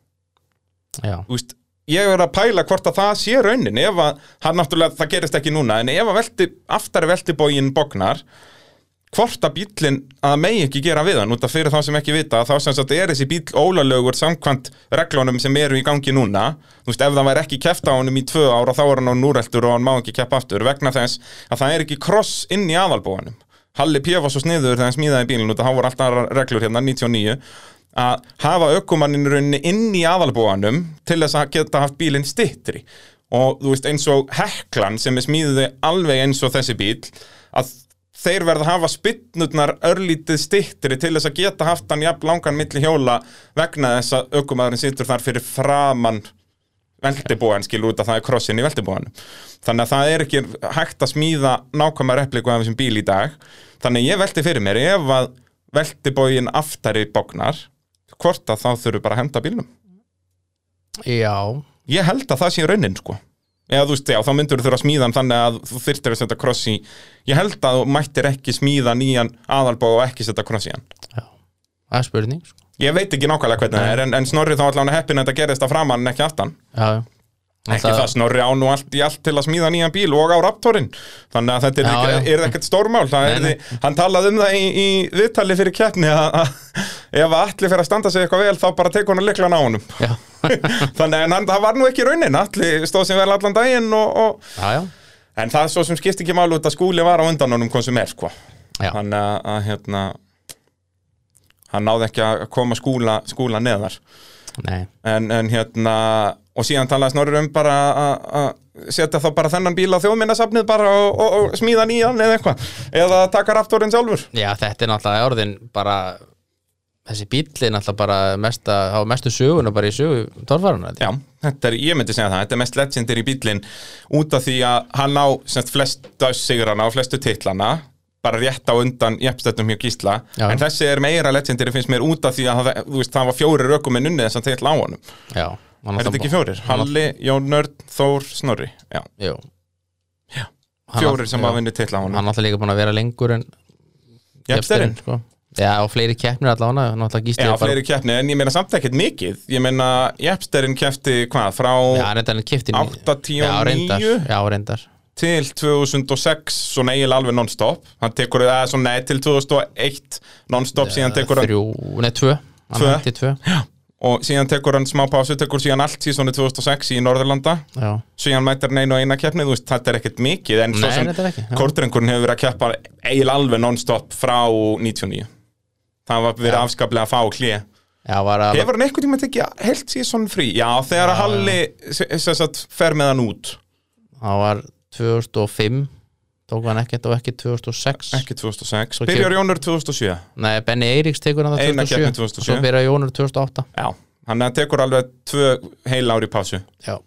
já, þú veist, ég er að pæla hvort að það sé raunin ef að, hann náttúrulega, það gerist ekki núna en ef að velti, aftari veltibógin bognar hvort að bíllinn að það megi ekki gera við hann út af fyrir þá sem ekki vita þá sem sagt er þessi bíll ólalögur samkvæmt reglunum sem eru í gangi núna þú veist, ef það væri ekki keft á honum í tvö ára þá er hann á núreltur og hann má ekki keppa aftur vegna þess að það er ekki kross inn í aðalbóanum Halli P. var svo sniður þegar hann smíðaði bílinn út að hann voru alltaf aðrar reglur hérna 99 að hafa ökumanninn í rauninni inn í aðalbóanum til þess að geta haft bílinn stittri og þú veist eins og heklan sem er smíðuði alveg eins og þessi bíl að þeir verða að hafa spynnurnar örlítið stittri til þess að geta haft hann jafn langan milli hjóla vegna þess að ökumæðurinn situr þar fyrir framann veltibóan skilur út að það er krossin í veltibóan þannig að það er ekki hægt að smíða nákvæma repliku af þessum bíl í dag þannig að ég velti fyrir mér ef að veltibóin aftari bóknar hvort að þá þurfi bara að henda bílnum já, ég held að það sé raunin sko eða þú veist, já, þá myndur þurfa að smíða hann þannig að þú þyrftir að setja kross í ég held að þú mættir ekki smíða nýjan aðalbó og ekki setja kross í hann já það er spurning sko. ég veit ekki nákvæmlega hvernig það er en, en snorri þá allan að heppin að þetta gerist að framann en ekki aftan já, já ekki það, snorri á nú allt í allt til að smíða nýjan bíl og á raptorinn þannig að þetta Já, er, já. er ekkert stórmál það Nei, er, hann talaði um það í, í viðtali fyrir keppni að að ef að allir fyrir að standa sig eitthvað vel þá bara tekur hann að likla á honum já, þannig en hann, það var nú ekki raunin allir stóð sem vel allan daginn og, og, já, já, en það er svo sem skipti ekki málu út að skúli var á undan honum hvað sem er sko Já. þannig að, að hérna hann náði ekki að koma skúla, skúla neðar nei en, en hérna og síðan talaði Snorri um bara að- að setja þá bara þennan bíl á þjóðminnasafnið bara og, og, og smíða nýjan eða eitthvað eða taka raftorinn sjálfur Já, þetta er náttúrulega orðin bara þessi bíll er náttúrulega bara mesta, á mestu söguna bara í sögu torfarana Já, þetta er, ég myndi segja það, þetta er mest legendir í bílinn út af því að hann á semst flestu sigrana og flestu titlana bara rétt á undan jefnstöttum hjá Gísla Já. en þessi er meira legendir finnst mér út af því að það, þú veist, það var fjóri rökuminn unni þess að titla á honum Já, hann Er þetta náttúrulega- ekki fjórir? Halli, Jón Nörd, Þór, Snorri Já, Jú Hann fjórir náttúrulega- sem já, hafa vinnið titla á Hann honum náttúrulega líka búin að vera lengur en Jefnstörin Jepsterinn, sko. Já, og fleiri keppnir allavega náttúrulega gísli Já, er bara- fleiri keppni, en ég meina samt ekkert mikið Ég meina, Jepsterinn keppti hvað, frá Já, reyndar hann kefti 89? Já, reyndar, já, reyndar. til 2006 svona eiginlega alveg non-stop Hann tekur það svona nei, til 2001 non-stop, síðan tekur hann Þrjú, nei, tvö Hann Tvö. hætti tvö og síðan tekur hann smá pásu, tekur síðan allt síðan 2006 í Norðurlanda Já, síðan mætir hann einu og eina keppni, þú veist, þetta er ekkert mikið en svo Nei, sem þetta er ekki, já. kortrengurinn hefur verið að keppa eiginlega alveg non-stop frá 99 Það var verið afskaplega að fá hlið já, var að Hefur hann einhvern tímann tekið heilt síðan frí? Já, þegar að Halli sem sem sagt, fer með hann út Það var 2005 Tók hann ekkert og ekki 2006 ekki 2006, Svo byrjar kemur- Jónur 2007 Nei, Benny Eiríks tekur hann það Eina 2007 keppni 2007. og Svo byrja Jónur 2008 Já, hann tekur alveg tvö heil ári pásu Já,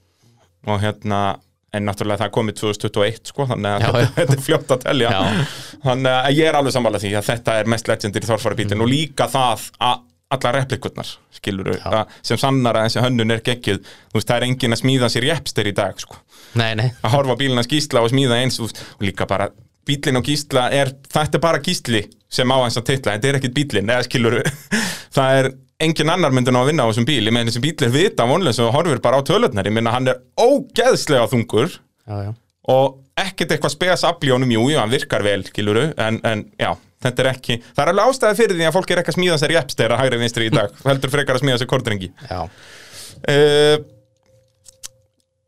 og hérna en náttúrulega það komið 2021 sko þannig að Já, þetta, já. [laughs] þetta er fljótt að telja Já. þannig að ég er alveg sammála því að þetta er mest legendir í þorfarabítin Mm. og líka það að allar replikurnar skilur sem sannar að þessi hönnun er geggjuð þú veist það er engin að smíða sér jepster í dag sko nei, nei að horfa á bílinn hans gísla og smíða eins úst, og líka bara bílinn á gísla er, þetta er bara gísli sem á hans að titla þetta er ekkit bílinn, eða skilur [laughs] það er engin annar myndin á að vinna á þessum bíl ég meina þessum bíl er vita vonlega sem horfir bara á tölutnar ég meina hann er ógeðslega þungur Já, já, og ekkert eitthvað spes afl í honum, jú, jú, hann virkar vel skilur, en, en já, þetta er ekki það er alveg ástæði fyrir því að fólk er ekki að smíða sér jepsteira hægri vinstri í dag, heldur frekar að smíða sér kortrengi já uh,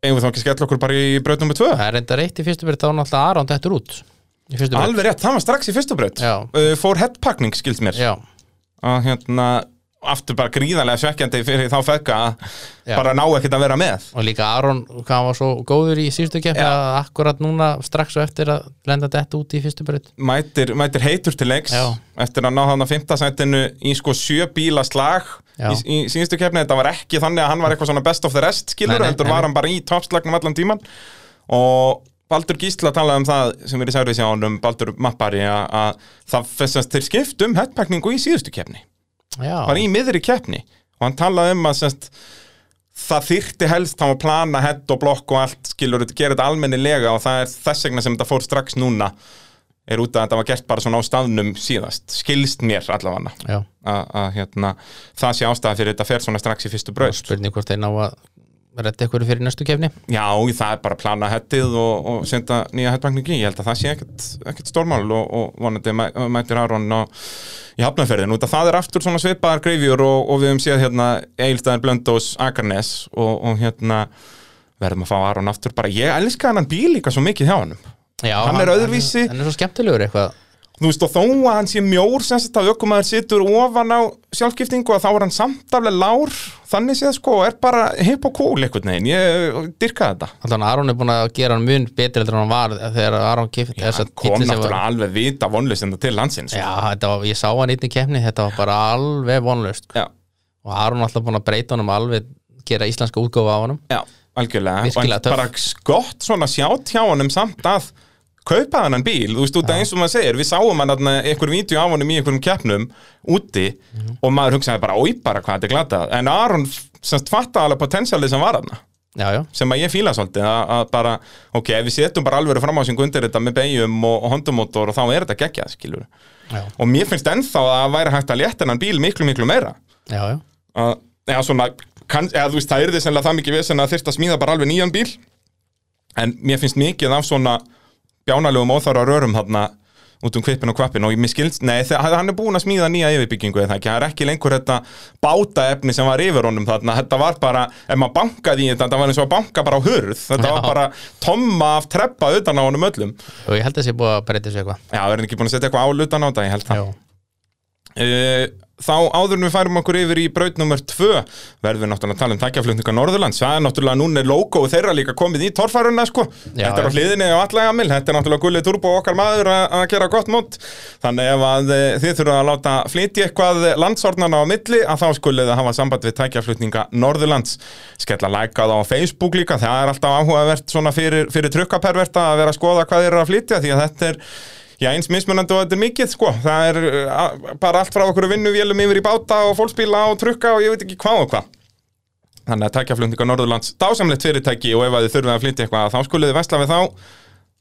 eigum við þá ekki að skella okkur bara í braut nummer tvö Það er reyndar eitt í fyrstu byrð þá er náttúrulega Aron dættur út Í fyrstu byrð Alveg rétt, það var strax í fyrstu braut Já. uh, Fór headpakning, skilst mér Já, að hérna, aftur bara gríðarlega svekkjandi fyrir þá fekka að Já. bara ná ekkert að vera með og líka Aron, hvað hann var svo góður í síðustu keppni Já. að akkurat núna strax og eftir að lenda dætt út í fyrstu byrð Mætir, mætir heitur til leiks Já. eftir að ná þannig að fymta sætinu í sko sjö bíla slag Já. í, í síðustu keppni, þetta var ekki þannig að hann var eitthvað svona best of the rest skilur, Nei, nei, heldur nei, var nei. hann bara í toppslagnum allan tíman og Baldur Gísla talaði um það sem við erum særfið sér honum Baldur Mappari að að það fessast til um skiptum headpakningu í síðustu keppni Já, bara í miðri keppni og hann talaði um að semst, það þyrfti helst þá að plana hett og blokk og allt skilur, gera þetta almennilega og það er þess vegna sem þetta fór strax núna er út að þetta var gert bara svona á staðnum síðast, skilst mér allavega já, að að, hérna, það sé ástæða fyrir þetta fer svona strax í fyrstu braut spurning hvort þeir ná að redda ykkur fyrir næstu kefni Já, það er bara að plana hettið og, og senda nýja hettbankningi, ég held að það sé ekkert, ekkert stórmál og, og vonandi mæ- mætir Aron á, í hafnaferðin út að það er aftur svona svipaðar greifjur og, og við höfum séð hérna Egilstaðar Blöndós Akarnes og, og hérna verðum að fá Aron aftur bara, ég elska hann bíl líka svo mikið hjá honum já, Hann er öðruvísi. hann, hann er svo skemmtilegur eitthvað þú veist og þó að hann sé mjór sem þetta aukumæður situr ofan á sjálfgiftingu að þá er hann samt alveg lár þannig séð sko og er bara hip og cool einhvern veginn, ég dyrka þetta Þannig að Aron er búin að gera hann mun betri heldur en hann var þegar Aron kifti þess hann að kom bíllinn sem var- náttúrulega alveg vita vonleysinda til landsins Já, þetta var, ég sá hann einnig kefni, þetta var bara alveg vonlaust já, og Aron alltaf búin að breyta honum alveg gera íslenska útgáfa á honum já algjörlega Virkilega og en bara gott svona sjátt hjá honum samt að kaupa hann bíl, þú veist, út af eins og maður segir við sáum hann þarna einhver vídeo af honum í einhverjum keppnum úti Mhm. og maður hugsaði bara, oi bara hvað þetta er glatað en Aron semst fattaði alveg potensialið sem var hann Já, já, sem að ég fíla svolítið að, að bara, ok, ef við setjum bara alveg framhásingu undir þetta með beigjum og, og hondumótor og þá er þetta geggjað, skilur já, og mér finnst ennþá að það væri hægt að létta hennan bíl miklu, miklu meira já, já. að, eða svona, kann, eða þú veist, það er því sennilega það mikið vesen að þyrfti að smíða bara alveg nýjan bíl en mér finnst mikið af svona bjánalegum óþára rörum þarna út um kvipin og kvapin og mér skilst, nei, þegar hann er búin að smíða nýja yfirbyggingu eða ekki, það er ekki lengur þetta bátaefni sem var yfir honum þarna, þetta var bara, ef maður bankaði í þetta, þetta var eins og að banka bara á hurð, þetta var Já. bara tomma af treppa utan á honum öllum. og ég held að sé búið að breyta þessu eitthvað Já, það er ekki búin að setja eitthvað ál utan á þetta, ég held það. Já, Eh, Þá áður en við færum okkur yfir í braut nummer 2 verðum við náttúrulega að tala um takkjaflutninga Norðurlands það er náttúrulega núna er logo þeirra líka komið í torfærunna sko, Já, þetta er á já. hliðinni á allega mil, þetta er náttúrulega gullið turbo okkar maður að að gera gott mót þannig ef að eh, þið þurfa að láta flytja eitthvað landsornana á milli að þá skulið að hafa samband við takkjaflutninga Norðurlands, skella læka það á Facebook líka, það er alltaf áhugavert svona fyrir, fyrir trukkaperverta að vera að skoða hvað þeir eru að flytja því að þetta er Já, eins mismunandi og þetta er mikið, sko. Það er uh, a- bara allt frá okkur vinnuvélum yfir í báta og fólksbíla og trukka og ég veit ekki hvað og hvað. Þannig að tækjaflutningar Norðurlands dásamlegt fyrirtæki og ef að þið þurfið að flytja eitthvað þá skuliði vesla við þá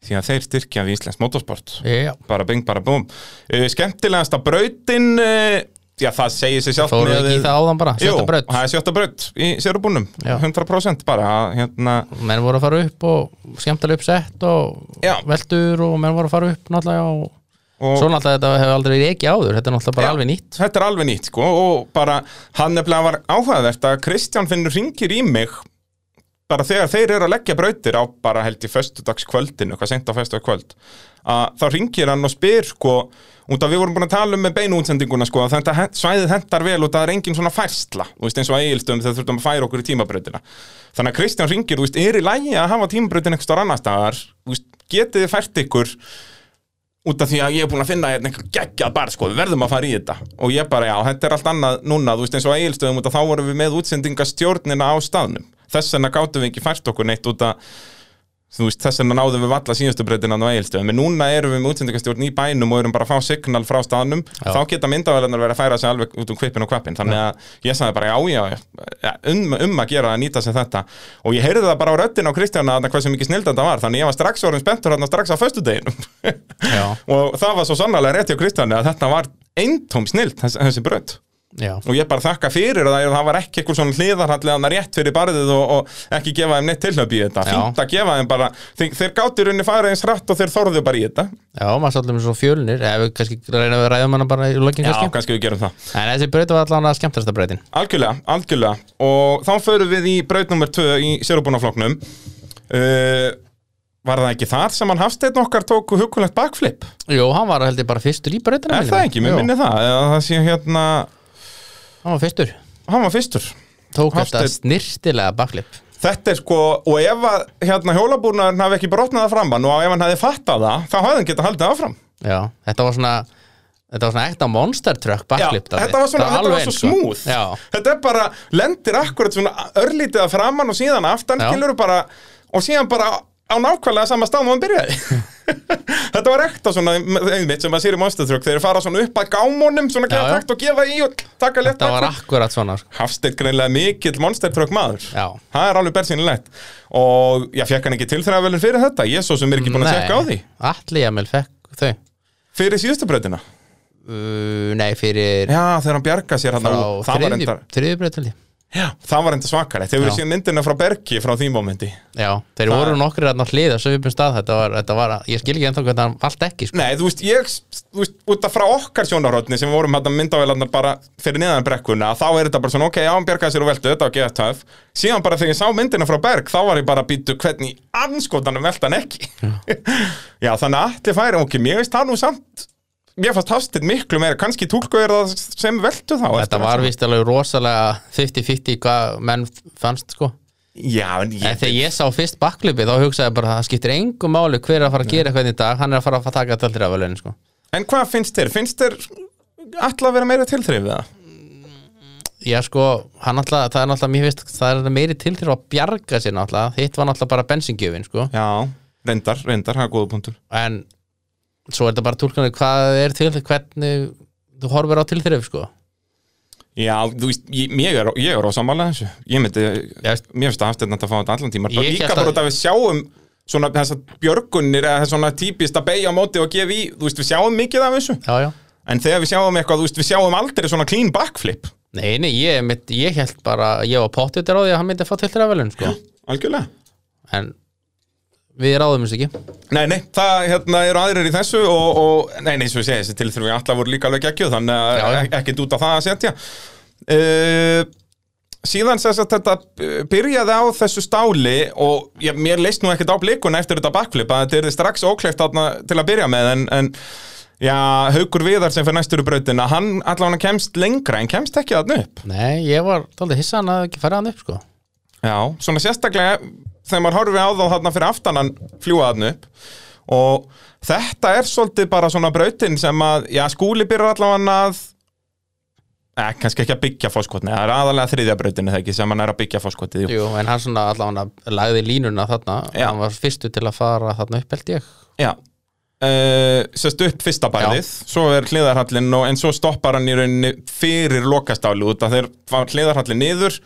því að þeir styrkja við Íslands motorsport. já, Bara bing, bara búm. Uh, skemmtilegasta brautin, uh, já það segir sig sjálf. fóruðu ekki í það áðan bara, Jú, sjötta braut það er sjötta braut í sérubúnum, Já. 100% bara, að, hérna, menn voru að fara upp og skemmtilega uppsett og Já. veldur og menn voru að fara upp náttúrulega og og svo náttúrulega þetta hefur aldrei verið ekki áður þetta er náttúrulega bara alveg nýtt þetta er alveg nýtt sko og bara hann nefnilega var áhugavert að Kristján finnur ringir í mig bara þegar þeir eru að leggja brautir á bara held í föstudagskvöldinu, hvað sent á föstudagskvöld að þá ringir hann og spyr sko, út að við vorum búin að tala um með beinu útsendinguna sko, að þetta hent- svæðið hendar vel og það er engin svona færsla, þú veist eins og að eigilstöðum þegar þurftum að færa okkur í tímabrautina þannig að Kristján ringir, þú veist, er í lægi að hafa tímabrautin einhver stór annar staðar, þú veist, getið þið fært ykkur út af því að ég er búin að finna hérna einhver geggjað bar sko, við verðum að fara í þetta og ég bara, já, þetta er allt annað núna, þú veist eins og að eigilstöðum út af þá vorum við með útsendingastjórnina á staðnum, þess vegna gátum við ekki fært okkur neitt út af þú veist, þess vegna náðum við valla síðustu breytina á eigilstöðum, en núna erum við með útsendingastjórn í bænum og erum bara að fá signal frá staðnum Já. þá geta myndavælarnar verið að færa sig alveg út um kvipin og kvapin, þannig að ég sagði bara já, já, já, um, um að gera að nýta sér þetta og ég heyrði það bara á röddin á Kristjana að hvað sem mikið snildan það var, þannig ég var strax orðin spenntur hérna strax á föstudeginum [laughs] já, og það var svo sannlega rétt hjá Kristjáni að þetta var eintóm snilt þessi, þessi brönd já, og ég bara þakka fyrir að það var ekki eitthvað svona hliðarhallega rétt fyrir barðið og, og ekki gefa þeim neitt tilhjöp í þetta Já. fínt að gefa þeim bara, þeir, þeir gátu í rauninni farið eins rætt og þeir þorðu bara í þetta já, maður sá allir með svo fjölnir eða við kannski reyna við ræðum um hana bara í lokin já, kannski kannski við gerum það en þessi braut var allan að skemmtasta brautin Algjörlega, algjörlega og þá förum við í braut nummer 2 í sérubunafloknum uh, Var það ekki þar sem hann hafsteinn okkar tóku hugulegt bakflip? Jú, hann var held ég bara fyrstur í brautina Er minnir það mig. ekki, mér Jú, minni það eða það sé hérna, Hann var fyrstur hann var fyrstur Tók Hafsteinn. þetta snirtilega bakflip Þetta er sko, og ef að hérna hjólabúnaðurinn hafi ekki brotnað það framann og ef hann hafi fattað það, þá hafði hann getað haldið áfram. Já, þetta var svona Þetta var svona ekta monster truck bakflip Já, Daði. þetta var svona, Það þetta var svo alveg eins, sko. smúð. Já, Þetta er bara, lendir akkurat svona örlítið að framann og síðan aftan, Já. skilur bara, og síðan bara á nákvæmlega sama stað og hann byrjaði [laughs] þetta var ekta svona einmitt sem maður sér í Monster Truck þeir fara svona upp að gámunum svona Já, gefa já. takt og gefa í og taka létt þetta var vagn. akkurat svona sko. Hafsteinn greinlega mikill Monster Truck maður Já. það er alveg bersinlegt og ég fekk hann ekki tilþræðavelin fyrir þetta ég svo sem er ekki búin að Nei, tjekka á því Atli Emil fekk þau fyrir síðustu breytina uh, Nei, fyrir já þegar hann bjarga sér hann frá það var enda, þriðjubreytaldi það var enda svakalegt hefur Já. séð myndina frá Bergi frá því mómenti Já, þeir Það- voru nokkrir að hliða sem við byrjum stað þetta var, þetta var, ég skil ekki ennþá hvernig hann allt ekki sko. Nei, þú veist, ég, þú veist, út af frá okkar sjónarhóttni sem vorum hérna myndavélarnar bara fyrir neðan brekkuna, þá er þetta bara svona, ok, já, hann bjargaði sér og veltu, þetta var geðað töf. Síðan bara þegar ég sá myndina frá Berg, þá var ég bara að býtu hvernig í anskotanum velta hann ekki. [laughs] já, þannig að allir færi, ok, mér veist það nú samt, mér fannst hafstitt miklu meira, kannski túlku er það sem veltu þá. Þetta eftir var allt saman. vist alveg rosalega 50-50 hvað menn fannst sko Já, en En ég, þegar ég sá fyrst bakklipi þá hugsaði ég bara það skiptir engum máli hver er að fara að gera eitthvað í dag hann er að fara að fara að taka þetta aldrei af alveg sko. en hvað finnst þér? Finnst þér allar að vera meira tilþrifið það? Já sko, hann alltaf, það er náttúrulega mér finnst, það er meiri til til að bjarga sér náttúrulega hitt var náttúrulega bara bensingjöfin sko. Já, reyndar, reyndar, það er góða punktur. en svo er þetta bara tólkanir hvað er til hvernig þú horfir á til þeirra sko. Já, þú veist, ég, ég er, ég er ósamálega þessu Ég myndi, Já, veist- mér finnst að hafstegna að fá þetta allan tíma Ég Líka hélt bara að- út að við sjáum svona þessar björgunir eða þessar svona típist að beigja á móti og gefa í Þú veist, við sjáum mikið af þessu Já, já En þegar við sjáum eitthvað, þú veist, við sjáum aldrei svona clean backflip Nei, nei, ég, mitt, ég held bara ég var pottið á því að hann myndi að fá til þeirra velun sko. Algjörlega en við ráðum þess ekki Nei, nei, það hérna, eru aðrir í þessu og, og nei, nei, svo ég segi, þessi tilþrifin allar voru líka alveg geggjöð þannig Já, að já. ek- ekkert út á það að setja uh, Síðan sess að þetta uh, byrjaði á þessu stáli og ég, mér leist nú ekkert á blikuna eftir þetta backflip að þetta er strax ókleift þarna til að byrja með en, en já, Haukur Viðar sem fyrir næstur í brautina, hann allan kemst lengra en kemst ekki þarna upp Nei, ég var tóldið hissa hann að ekki fara hann upp sko. Já, svona sérstaklega þegar maður horfi á þá þarna fyrir aftanan fljúa þarna upp og þetta er svolítið bara svona brautin sem að, já, skúli byrjar allavega að eh, kannski ekki að byggja fóskotni, það er aðalega þriðja brautinu þegar ekki sem hann er að byggja fóskotið jú. Jú, en hann svona allavega lagði línuna þarna Já. hann var fyrstu til að fara þarna upp held ég Já Uh, sérst upp fyrsta bærið, svo er hliðarhallin og, en svo stoppar hann í rauninni fyrir lokastáli út að þeir var hliðarhallin niður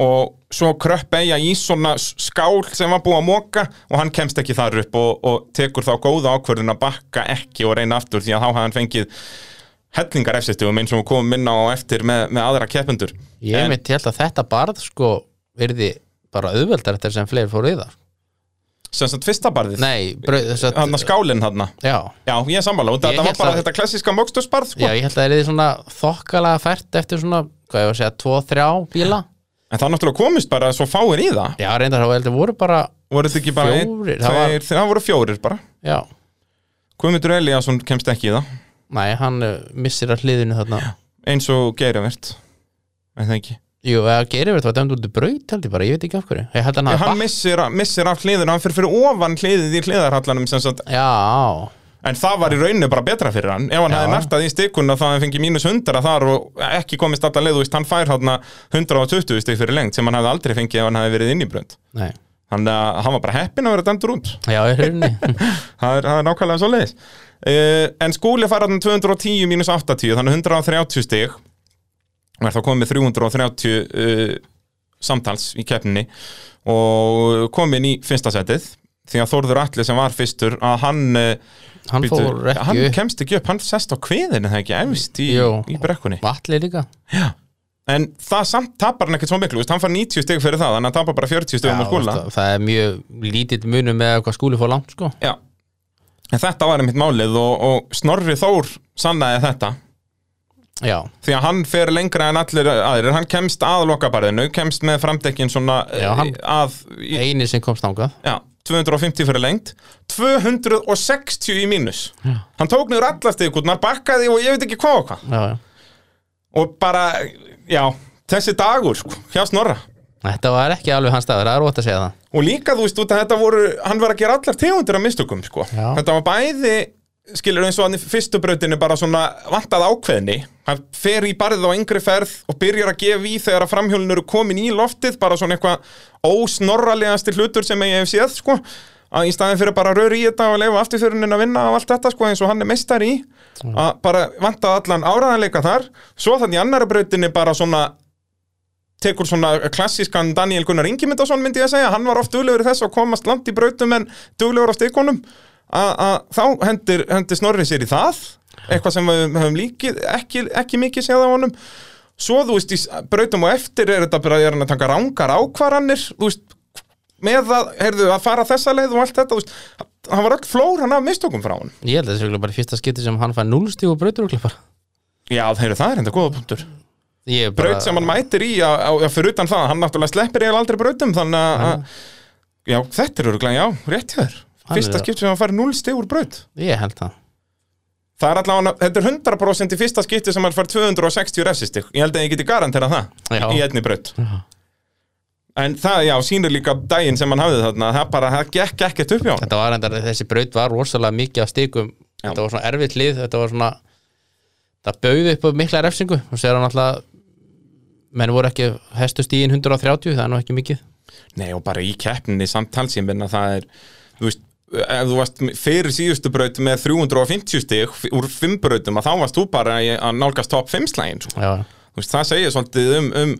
og svo kröpp eiga í svona s- skál sem var búið að móka og hann kemst ekki þar upp og, og tekur þá góða ákvörðun að bakka ekki og reyna aftur því að þá hafði hann fengið hellingar efstistum eins og við komum inn á á eftir með, með aðra keppendur Ég en... mitt held að þetta barð sko verði bara auðveldar eftir sem fleiri fóru í það sem sagt fyrsta barðið, Nei, brauð, þess að hann að skálinn hann Já, Já, ég er sammála, og Ég þetta var hélt bara að- þetta klassíska mókstusbarð sko. já, ég held að það er svona þokkalega fært eftir svona, hvað ég var að segja, tvo, þrjá bíla en það náttúrulega komist bara svo fáir í það Já, reyndar þá heldur voru bara voru þetta ekki bara einn, Fjórir, tveir, það var- þeir- það voru fjórir bara Já, Guðmundur Eliasson kemst ekki í það nei, hann uh, missir að hliðinu þarna eins og Geirivert en það ekki Jú, eða gerir við þetta var dæmd út í braut held ég bara, ég veit ekki af hverju Ég held Ég, að hann hann hafi missir, missir af hliðinu, hann fyrir fyrir ofan hliðið í hliðarhallanum sem sagt, bakk- Já, en það var í rauninu bara betra fyrir hann ef hann Já. hefði nartað í stikuna þá hefði hann fengið mínus 100 þar og ekki komist alltaf leið þú veist, hann fær hana 120 stik fyrir lengt sem hann hefði aldrei fengið ef hann hefði verið inn í brönd nei þannig að hann var bara heppin að vera dæmdur út Já, ég hrunni [laughs] það er, það er nákvæmlega svo leiðis Eh, en skúli fara hann 210 mínus 80 þannig 130 stig og er þá komið með 330 uh, samtals í keppninni og komin í fyrsta setið því að Þórður Atli sem var fyrstur að hann, uh, hann býtu, fór ekki hann upp kemst ekki upp hann sest á kviðinu það ekki efst í, Jú. í brekkunni Vatli líka en það samt tapar hann ekkert svo miklu þú veist, hann far 90 stig fyrir það þannig að hann tapar bara 40 stig um að skúla það, það er mjög lítill munum með hvað skúli fór langt sko. Já, en þetta var einmitt málið og, og Snorri Þór sannaði þetta já, því að hann fer lengra en allir aðrir hann kemst að lokabarðinu, kemst með framdekkin svona Já, hann- eh, að í, eini sem komst ángað já, 250 fyrir lengt 260 í mínus Já. hann tók niður allast ykkurnar, bakkaði og ég veit ekki hvað og hvað já, já. og bara, já, þessi dagur sko, hjá Snorra þetta var ekki alveg hans staður, það er ótt að segja það og líka þú veist út að þetta voru hann var að gera allar tegundir af mistökum sko. Já. þetta var bæði skilur eins og hann í fyrstu brautinu bara svona vantað ákveðni hann fer í barðið á yngri ferð og byrjar að gefa í þegar að framhjólin eru komin í loftið bara svona eitthvað ósnorralegasti hlutur sem ég hef séð sko. að í staðin fyrir bara að röra í þetta og leifa afturfyrunin að vinna og allt þetta sko eins og hann er meistar í að bara vanta allan áraðanleika þar svo þannig í annara brautinni bara svona tekur svona klassískan Daniel Gunnar Ingimundason myndi ég að segja, hann var oft duglegur í þess að komast langt í brautum en duglegur á stikunum að að þá hendir, hendir Snorri sér í það eitthvað sem við höfum líkið ekki, ekki mikið séð á honum svo þú veist, í s- brautum og eftir er þetta bara, er hann að taka rangar ákvarðanir þú veist, með að, heyrðu, að fara þessa leið og allt þetta, þú veist hann var öll flór hann af mistökum frá hann Ég held að þessu bara í fyrsta skipti sem hann fær 0 stíg og brautur og bara já, heyrðu, það er enda góða punktur Ég er bara- braut sem hann mætir í að, að, að fyrir utan það, hann náttúrulega sleppir ég aldrei brautum þannig að, að já, þetta er öruglega, já, rétt hjá þér Hann er fyrsta það. skipti sem hann fær 0 stig úr braut Ég held það það er allavega, þetta er 100% í fyrsta skipti sem hann fær 260 refsistig ég held að ég geti garantera það Já. í einni braut en það, já, sýnir líka daginn sem hann hafði þarna það bara, það gekk ekkert upp hjá hann Þetta var endar, þessi braut var rosalega mikið af stíkum Þetta var svona erfitt lið, þetta var svona Það bauði upp á mikla refsingu og sér hann alltaf menn voru ekki hestu stíðin 130 það er nú ekki mikið Nei og bara í keppninni samtals ég minna það er þú veist, ef þú varst fyrir síðustu braut með 350 stig f- úr 5 brautum að þá varst þú bara í- að nálgast top 5 slægin sko. Já, Þú veist, það segir svolítið um, um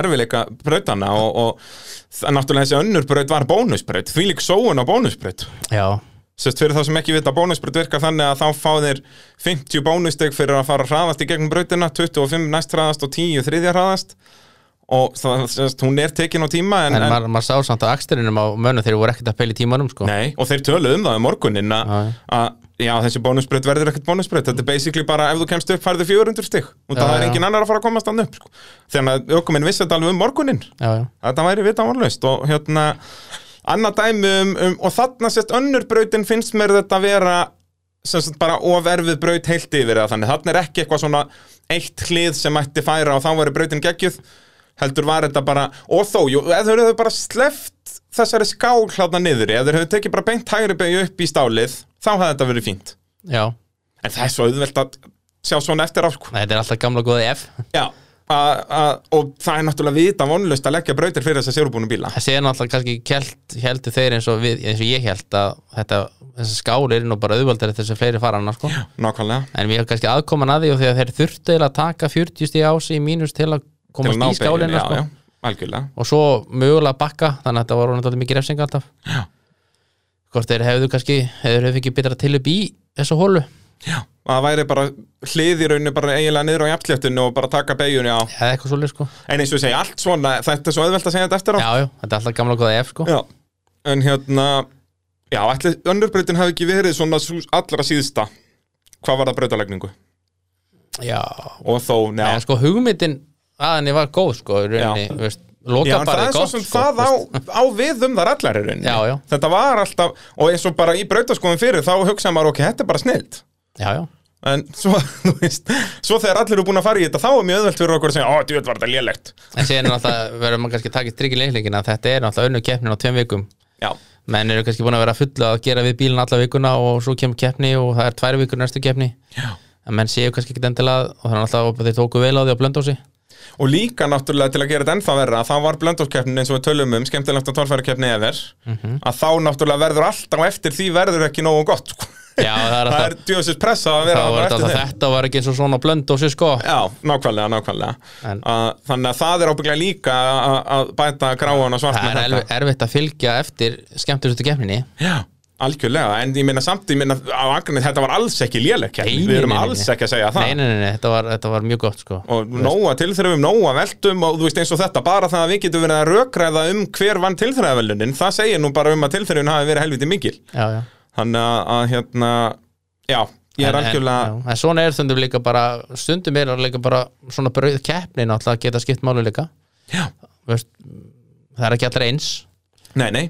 erfileika brautana og, og það- náttúrulega þessi önnur braut var bónusbraut því lík sóun á bónusbraut já, Sest fyrir þá sem ekki vita bónusbraut virkar þannig að þá fá þér 50 bónusteg fyrir að fara hraðast í gegnum brautina 25 næst hraðast og 10 þriðja hraðast og það, sest, hún er tekin á tíma en, en, maður, maður sá samt að aksturinnum á mönnum þeir voru ekkert að pæla í tímanum sko. Nei, og þeir töluðu um það um morgunin að Já, já. að, já, þessi bónusbreyt verður ekkert bónusbreyt þetta er basically bara ef þú kemst upp færðu 400 stig og Já, það er já. engin annar að fara að komast þannig upp sko. þannig að ökuminn vissi þetta alveg um morgunin Já, já, þetta væri vita vonlaust og hérna annað dæmi um, um og þarna sérst önnur brautin finnst mér þetta vera sem sagt bara oferfið braut heilt yfir eða þannig, þarna er ekki eitthvað svona eitt hlið sem ætti færa og þá væri brautin geggjuð heldur var þetta bara, og þó, jú, eða þeir höfðu bara sleft þessari skál hlána niður eða þeir höfðu tekið bara beint hægri beigju upp í stálið þá hefði þetta verið fínt já. en það er svo auðvelt að sjá svona eftir á sko. Nei, Þetta er alltaf gamla góði F Já, a, a, og það er náttúrulega vita vonlust að leggja brautir fyrir þess að sérubúnum bíla Það séðan alltaf kannski kelt, heldur þeir eins og, við, eins og ég held að þetta, þessi skál er nú bara auðvaldari þess að fleiri fara hana sko. Nákvæmlega en við erum kannski aðkoman að því og þegar þeir þurftu eiginlega að taka 40 stíð á sig í mínus til til að að ná komast í beigjunni, skálina já, sko. já, algjörlega og svo mögulega bakka þannig að þetta var náttúrulega mikið refsing alltaf Já. hvort þeir hefðu kannski hefur hefðu ekki betra til upp í þessu hólu já. Og það væri bara hlið í rauninu bara eiginlega niður á jafnsléttinu og bara taka beigjunni á eða eitthvað svolítið sko en eins og ég segi, allt svona, þetta er svo auðvelt að segja þetta eftir á já, já, þetta er alltaf gamla góða ef sko Já. en hérna já, ætli önnurbreytin hafi ekki verið svona sú allra síðsta hvað var það brautalegningu já, og þó, en neða sko hugmyndin að henni var góð sko í rauninni, þú veist, Já, en það lokabarið er svo gott sem sko, það þú á, veist. á við um þar allar er unni Já, já. Þetta var alltaf, og eins og bara í brautaskoðum fyrir þá hugsaði maður, ok, þetta er bara snilt já, já, En svo, [laughs] þú veist, svo þegar allir eru búin að fara í þetta þá er mjög auðvelt fyrir okkur að segja, ó, djúið var þetta lélegt en síðan er náttúrulega verður maður kannski að taka strikki leiklingina þetta er náttúrulega önnu keppnin á tveim vikum Já, menn eru kannski búin að vera fulla að gera við bílinn alla vikuna og svo kemur keppni og það er tvær vikur næstu keppni Já. en menn séu kannski ekkert endilega og það er alltaf að þeir tóku vel á því að blönda á sig og líka náttúrulega til að gera þetta ennþá verra þá var blöndóskeppnin eins og við tölum um skemmtilegt að torfærakeppni efer Mhm. að þá náttúrulega verður alltaf á eftir því verður ekki nógu gott sko. Já, það [laughs] er það alltaf, er djóðsins pressa að vera það bara var eftir alltaf þeim þetta var ekki eins og svona blönda á sig sko Já, nákvæmlega, nákvæmlega En- uh, Þannig að það er ábygglega líka að- að bæta gráan og svart það er elvi- erfitt að fylgja eftir skemmturistu keppninni Já, algjörlega, en ég minna samt ég minna á agrinni þetta var alls ekki léleg Nei, við erum nei, nei, alls nei. ekki að segja það nei, nei, nei, nei, þetta var, þetta var mjög gott sko og nóga tilþrefum, nóga veltum og þú veist eins og þetta, bara það að við getum verið að rökræða um hver vann tilþrefavelunin það segir nú bara um að tilþrefun hafi verið helviti mikil já, já. þannig að, að hérna já, ég er En- en- algjörlega já, en svona er stundum líka bara stundum er líka bara svona brauð keppnin alltaf geta skipt máli líka Já. Veist, það er ekki allra eins nei, nei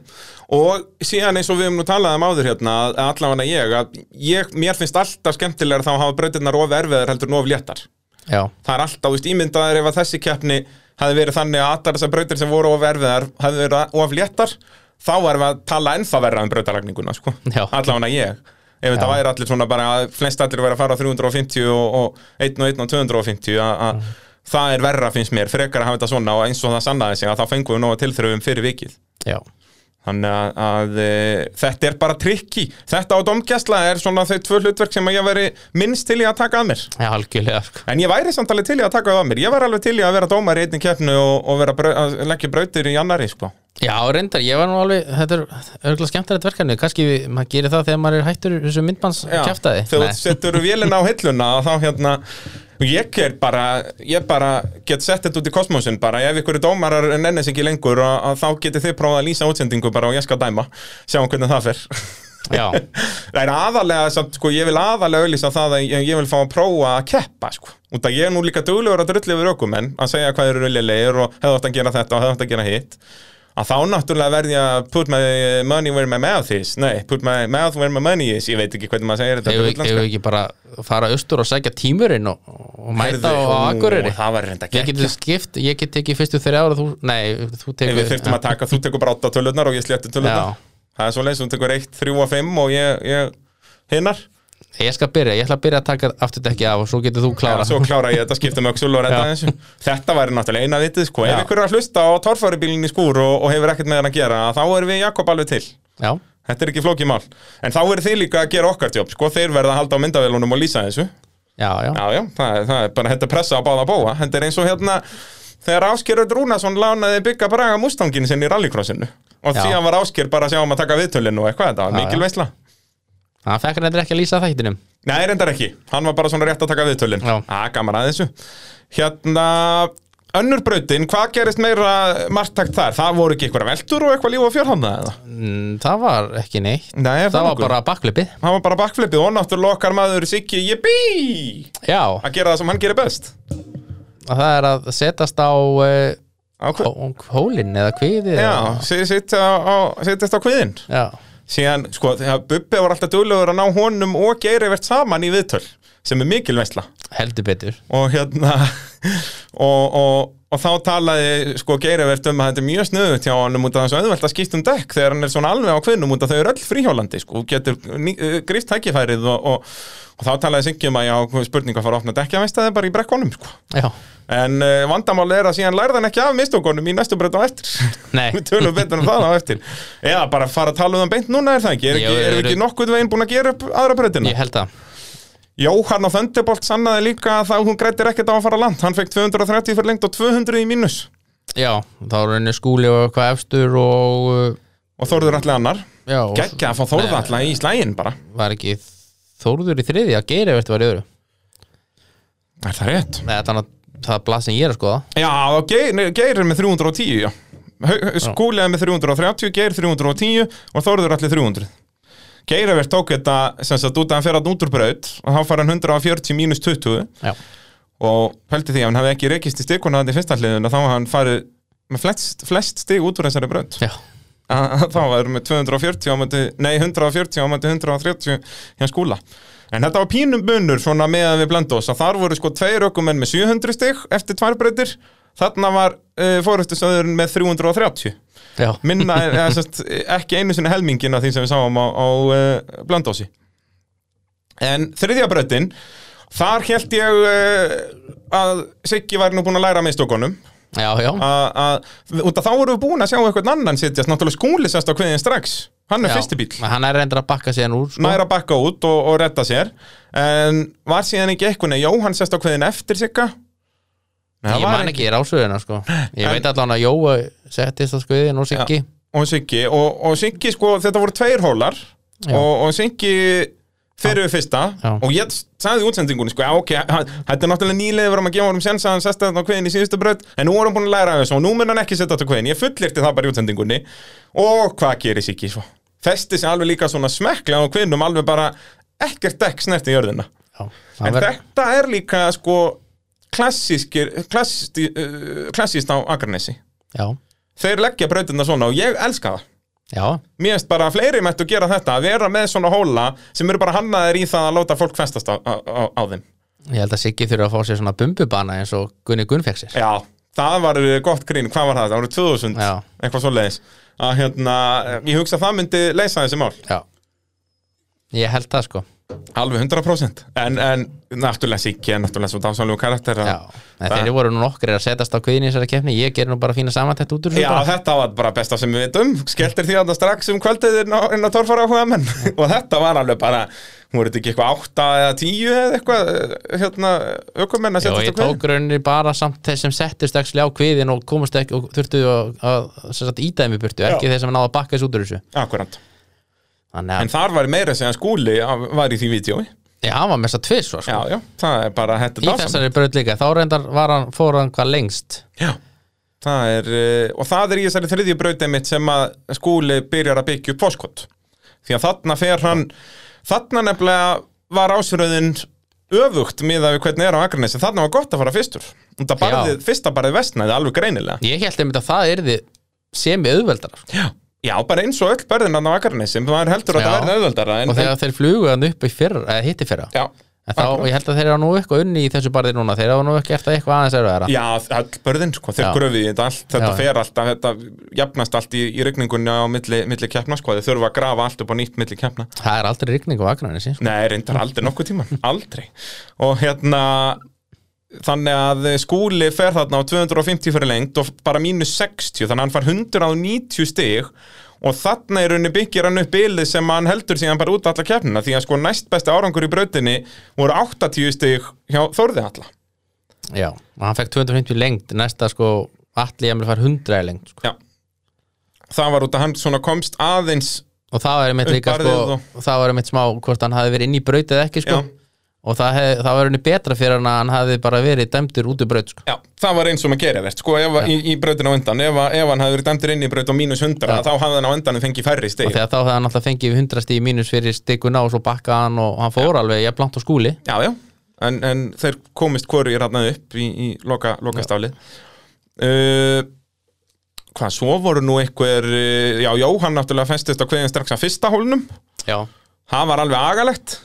og síðan eins og við höfum nú talað um áður hérna að að allavega ég, að ég mér finnst alltaf skemmtilegar þá að hafa brautirnar of erfiðar heldur en of léttar já, það er alltaf, þú veist, ímyndaður ef að þessi keppni hefði verið þannig að allar þessar brautir sem voru of erfiðar hefði verið of léttar þá erum við að tala ennþá verra um brautalagninguna sko. Já. allavega ég ef þetta Já. væri allir svona bara að flest allir verið að fara á 350 og, og 1 og 1 og 250 að Mhm. að það er verra finnst mér, frekar að hafa þetta svona og eins og það sannaði sig að þá fengum við nóga tilþröfum fyrir vikið já Þannig að, að e, þetta er bara trikki. Þetta á domgæsla er svona þau tvö hlutverk sem ég veri minnst til í að taka að mér. Já, algjörlega sko. En ég væri samt alveg til í að taka það að mér. Ég væri alveg til í að vera dómar í einni keppnu og, og vera brau, að leggja brautir í annari, sko. Já, reyndar, ég var nú alveg Þetta er örgulega skemmtilegt verkefni Kannski við- maður gerir það þegar maður er hættur þessu myndmanns Já, kjaftaði þegar þú setur vélina á hilluna og þá hérna og ég er bara, ég bara get sett þetta út í kosmosin bara, ef ykkur dómarar nennis ekki lengur að, að þá geti þið prófað að lýsa útsendingu bara og ég skal dæma, sjáum hvernig það fer Já, það er aðalega, samt, sko, ég vil aðalega auðlýsa það að ég, ég vil fá að prófa að keppa sko, út að ég er nú líka duglegur að drulli við ökumenn, að segja hvað eru rullilegir og hefðu átt að gera þetta og hefðu átt að gera hitt að þá náttúrulega verði ég að put my money where my mouth is nei, put my mouth where my money is ég veit ekki hvernig maður segir þetta hefur á við útlensku. hefur við ekki bara fara austur og sækja tímurinn og, og mæta sko. Heyrðu, á ó, Akureyri Það var reynda Ég gegn get skipt, ég get tekið fyrstu þrjá ára þú, Nei, þú tekur Við þurftum að taka, þú tekur bara 8 tölunar og ég slétti tölunar Já. Það er svo leins, þú tekur 1, 3 og 5 og ég, ég hinnar Ég skal byrja, ég ætla að byrja að taka afturdekki af og svo getur þú Já, klára Svo klára ég þetta, skipta um öxul og redda Já. þessu Þetta væri náttúrulega eina vitið sko Ef Já. ykkur er að hlusta á torfæribílinni skúr og, og hefur ekkert með hann að gera Þá erum við Jakob alveg til Já, Þetta er ekki flókið mál En þá eru þeir líka að gera okkar tjóp sko Þeir verða að halda á myndavélunum og lýsa þessu já, já, Já, já, það, er- það er bara þetta pressa á báða bóa Þetta er eins og hérna Þegar Ásker Öld Rúnason lánaði bygga braga Mustangin sinni í rallycrossinu Og Já. síðan var Ásker bara að sjá um að taka viðtölinu og eitthvað Þetta var Já, já. mikil veisla það fekk hann eitthvað ekki að lýsa þættinum Nei, reyndar ekki, hann var bara svona rétt að taka viðtölin Já. Á, gaman að þessu Hérna, önnur brautin, hvað gerist meira margtakt þar? Það voru ekki eitthvað veldur og eitthvað líf og fjörhanda eða? Mm, Það var ekki neitt Nei, er Það var nokkuð? bara baklipið Það var bara bakflipið og náttúrulega okkar maður Siggi Jibbi Já, Að gera það sem hann gerir best að það er að setjast á uh, á, hve- hólinn eða kviðið Já, eða- sit- sitja á- sittast á kviðin já, síðan, sko, þegar Bubbi var alltaf duglegur að ná honum og Geiri verðt saman í viðtöl sem er mikil veistla heldur betur og hérna og, og, og þá talaði sko Geiri verðt um að þetta er mjög snuðut hjá honum út af þessu auðvelt að skipta um dekk þegar hann er svona alveg á kvinnum út af þau eru öll fríhjólandi sko, og getur ný- eh, gríft tækifærið og, og, og þá talaði Siggi um að já, spurninga fara að opna dekkja meistæði bara í brekkunum sko Já, En uh, vandamál er að síðan lærði hann ekki af mistókonum í næstu breyta á eftir Nei. [laughs] Við tölum betur um það á eftir Eða bara fara að tala um það beint núna er það ekki Er Jú, ekki, er eru- ekki nokkuð veginn búin að gera upp aðra breytina ég held að Jóhann á Thunderbolt sannaði líka að það hún grættir ekkert á að fara á land Hann fekk 230 fyrir lengt og 200 í mínus Já, þá er henni skúli og eitthvað efstur og uh, Og Þórður allir annar já, og Gekka að fá Þórður allir í slægin bara var ekki Þórður í þriði að geira eftir var í öðru Er það rétt? Nei, þannig að það er blað sem ég er að skoða Já, og Geir, nei, geir er með 310 já. Skúlega með 330, Geir 310 og Þórður allir 300 Geiravert tók þetta sem sagt út að hann fer að núturbraut og þá fær hann 140 mínus 20 Já, og pælti því að hann hefði ekki rekist í stikuna þannig í fyrsta hliðun þá hafði hann farið með flest, flest stig út úr þessari braut já, að að þá var með 240 á mæti, nei 140 á mæti 130 hjá skúla en þetta var pínum munur svona með að við blenda oss að þar voru sko tveir ökumenn með 700 stig eftir tvær breytir þarna var uh, fóruðstöðurinn með 330 já, minna er, er sest, ekki einu sinni helmingin af því sem við sáum á, á uh, Blöndósi en þriðja bröttin þar held ég uh, að Siggi var nú búin að læra með stókonum já, já, út að þá vorum við búin að sjá eitthvað annan sitjast náttúrulega skúli sérst á kveðin strax hann er já. fyrsti bíl Hann er reyndar að bakka síðan úr sko. nær að bakka út og, og redda sér en var síðan ekki eitthvað nei, Jóhann sérst á kveðin eftir Sigga Nei, það Ég var man ekki rásöðuna sko Ég En- veit allan að Jóa settist að skoðið og Siggi og Siggi og, og Siggi sko, þetta voru tveir hólar Já. og, og Siggi fyrir við fyrsta Já. og ég sagði í útsendingunni sko, já, ok, hann- þetta er náttúrulega nýlega við erum að gefa honum sens að hann sesta þetta á kveðin í síðustu braut en nú erum búin að læra af þessu og nú mun hann ekki setja þetta á kveðin ég fullirti það bara í útsendingunni og hvað gerir Siggi svo festi sig alveg líka svona smekkla á kveðinum alveg bara ekkert dekk snert í jörðina Já, en það verður- þetta er líka sko klassískir klassist, uh, klassist á Akranesi já, þeir leggja brautirna svona og ég elska það já, Mér finnst bara að fleiri mættu gera þetta að vera með svona hóla sem eru bara hannaðir í það að láta fólk festast á, á, á, á þeim ég held að Siggi þurfa að fá sér svona bumbubana eins og Gunni Gunn fekk sér Já, það var uh, gott grín, hvað var það? Það voru 2000, Já. eitthvað svo leiðis eh, að hérna, ég hugsa að það myndi leysa þessi mál Já, ég held það sko alveg 100% en, en náttúrulega Siggi er náttúrulega svo dásanlegu karakter að- Já, en þeir voru nú nokkrir að setjast á kviðin í þessari keppni Ég ger nú bara fína samantætt út úr þessu Já, bara. þetta var bara besta sem við veitum Skeltir því að það strax um kvöldið inn á, inn á torfara áhuga menn Og þetta var alveg bara Hún voru þetta ekki eitthvað átta eða tíu eða eitthvað Hérna, aukumenn að Já, setja ég tók rauninni bara samt þeir sem settust ekki á kviðin og komast ekki og þurftu að, að, að íta þeim í burtu, ekki Já. þeir sem náðu að bakka þessu út úr þessu Akkurant Þannig að, En þar var meira sem skúli að- var í því vídjói já, hann var mest að tvið svo sko. Já, já, það er bara hættu Í þessari braut líka, þá reyndar var hann, fór hann hvað lengst Já Það er, eh, og það er í þessari þriðju brautið mitt sem að skúli byrjar að byggja upp fóskot því að þarna fer hann þarna nefnilega var ásröðin öfugt miðað við hvernig er á Akranesi þarna var gott að fara fyrstur og það barðið, fyrsta barðið vestnaði alveg greinilega Ég held einmitt að það yrði semi auðveldar Já, bara eins og öll barðin hann á Akranesi maður heldur að Já. það verði auðveldara en, og þegar þeir flugu hann upp í fyrra, eða hitti fyrra já, en þá, akkurat. ég held að þeir eru nú eitthvað unni í þessu barði núna þeir eru nú ekki eftir eitthvað aðeins erfiðara Já, all börðin, sko, þeir Já. gröfið í þetta allt, þetta Já, já. fer alltaf, þetta jafnast allt í, í rigningunni á milli, milli keppna, sko, þeir þurfa að grafa allt upp á nýtt milli keppna. það er aldrei rigning á Akranesi sko. Nei, reyndar aldrei nokkuð tíma, [laughs] aldrei Og hérna Þannig að skúli fer þarna á 250 fyrir lengt og bara mínus 60 þannig að hann far 190 stig og þarna í rauninni byggir hann upp bilið sem hann heldur síðan bara út alla keppnina því að sko næst besti árangur í brautinni voru 80 stig hjá Þórði alla já, og hann fekk 250 lengt næsta sko, allir ég fær 100 í lengt sko. Já Það var út að hann svona komst aðeins og það var einmitt Upp líka sko, barðið það var einmitt smá hvort hann hafi verið inn í braut eða ekki sko. Já. og það, hef, það var einnig betra fyrir hann að hann hafi bara verið dæmdur út í braut sko. Já, það var eins og maður gerir verð, sko, ef, í, í brautin á undan, ef, að- ef hann hafði verið dæmdur inn í braut á mínus 100, Já. þá hafði hann á endanum fengið færri og stig. þegar þá hefði hann alltaf fengið 100 stíð mínus fyrir stikuna og svo bakka hann og hann fór alveg, ég á skúli Já, já, en, en þeir komist hvoru í rannan upp í, í loka, loka stálið uh, Hvað, svo voru nú einhver uh, Já, Jóhann náttúrulega festist á kveðin strax að fyrsta hólnum já. Það var alveg agalegt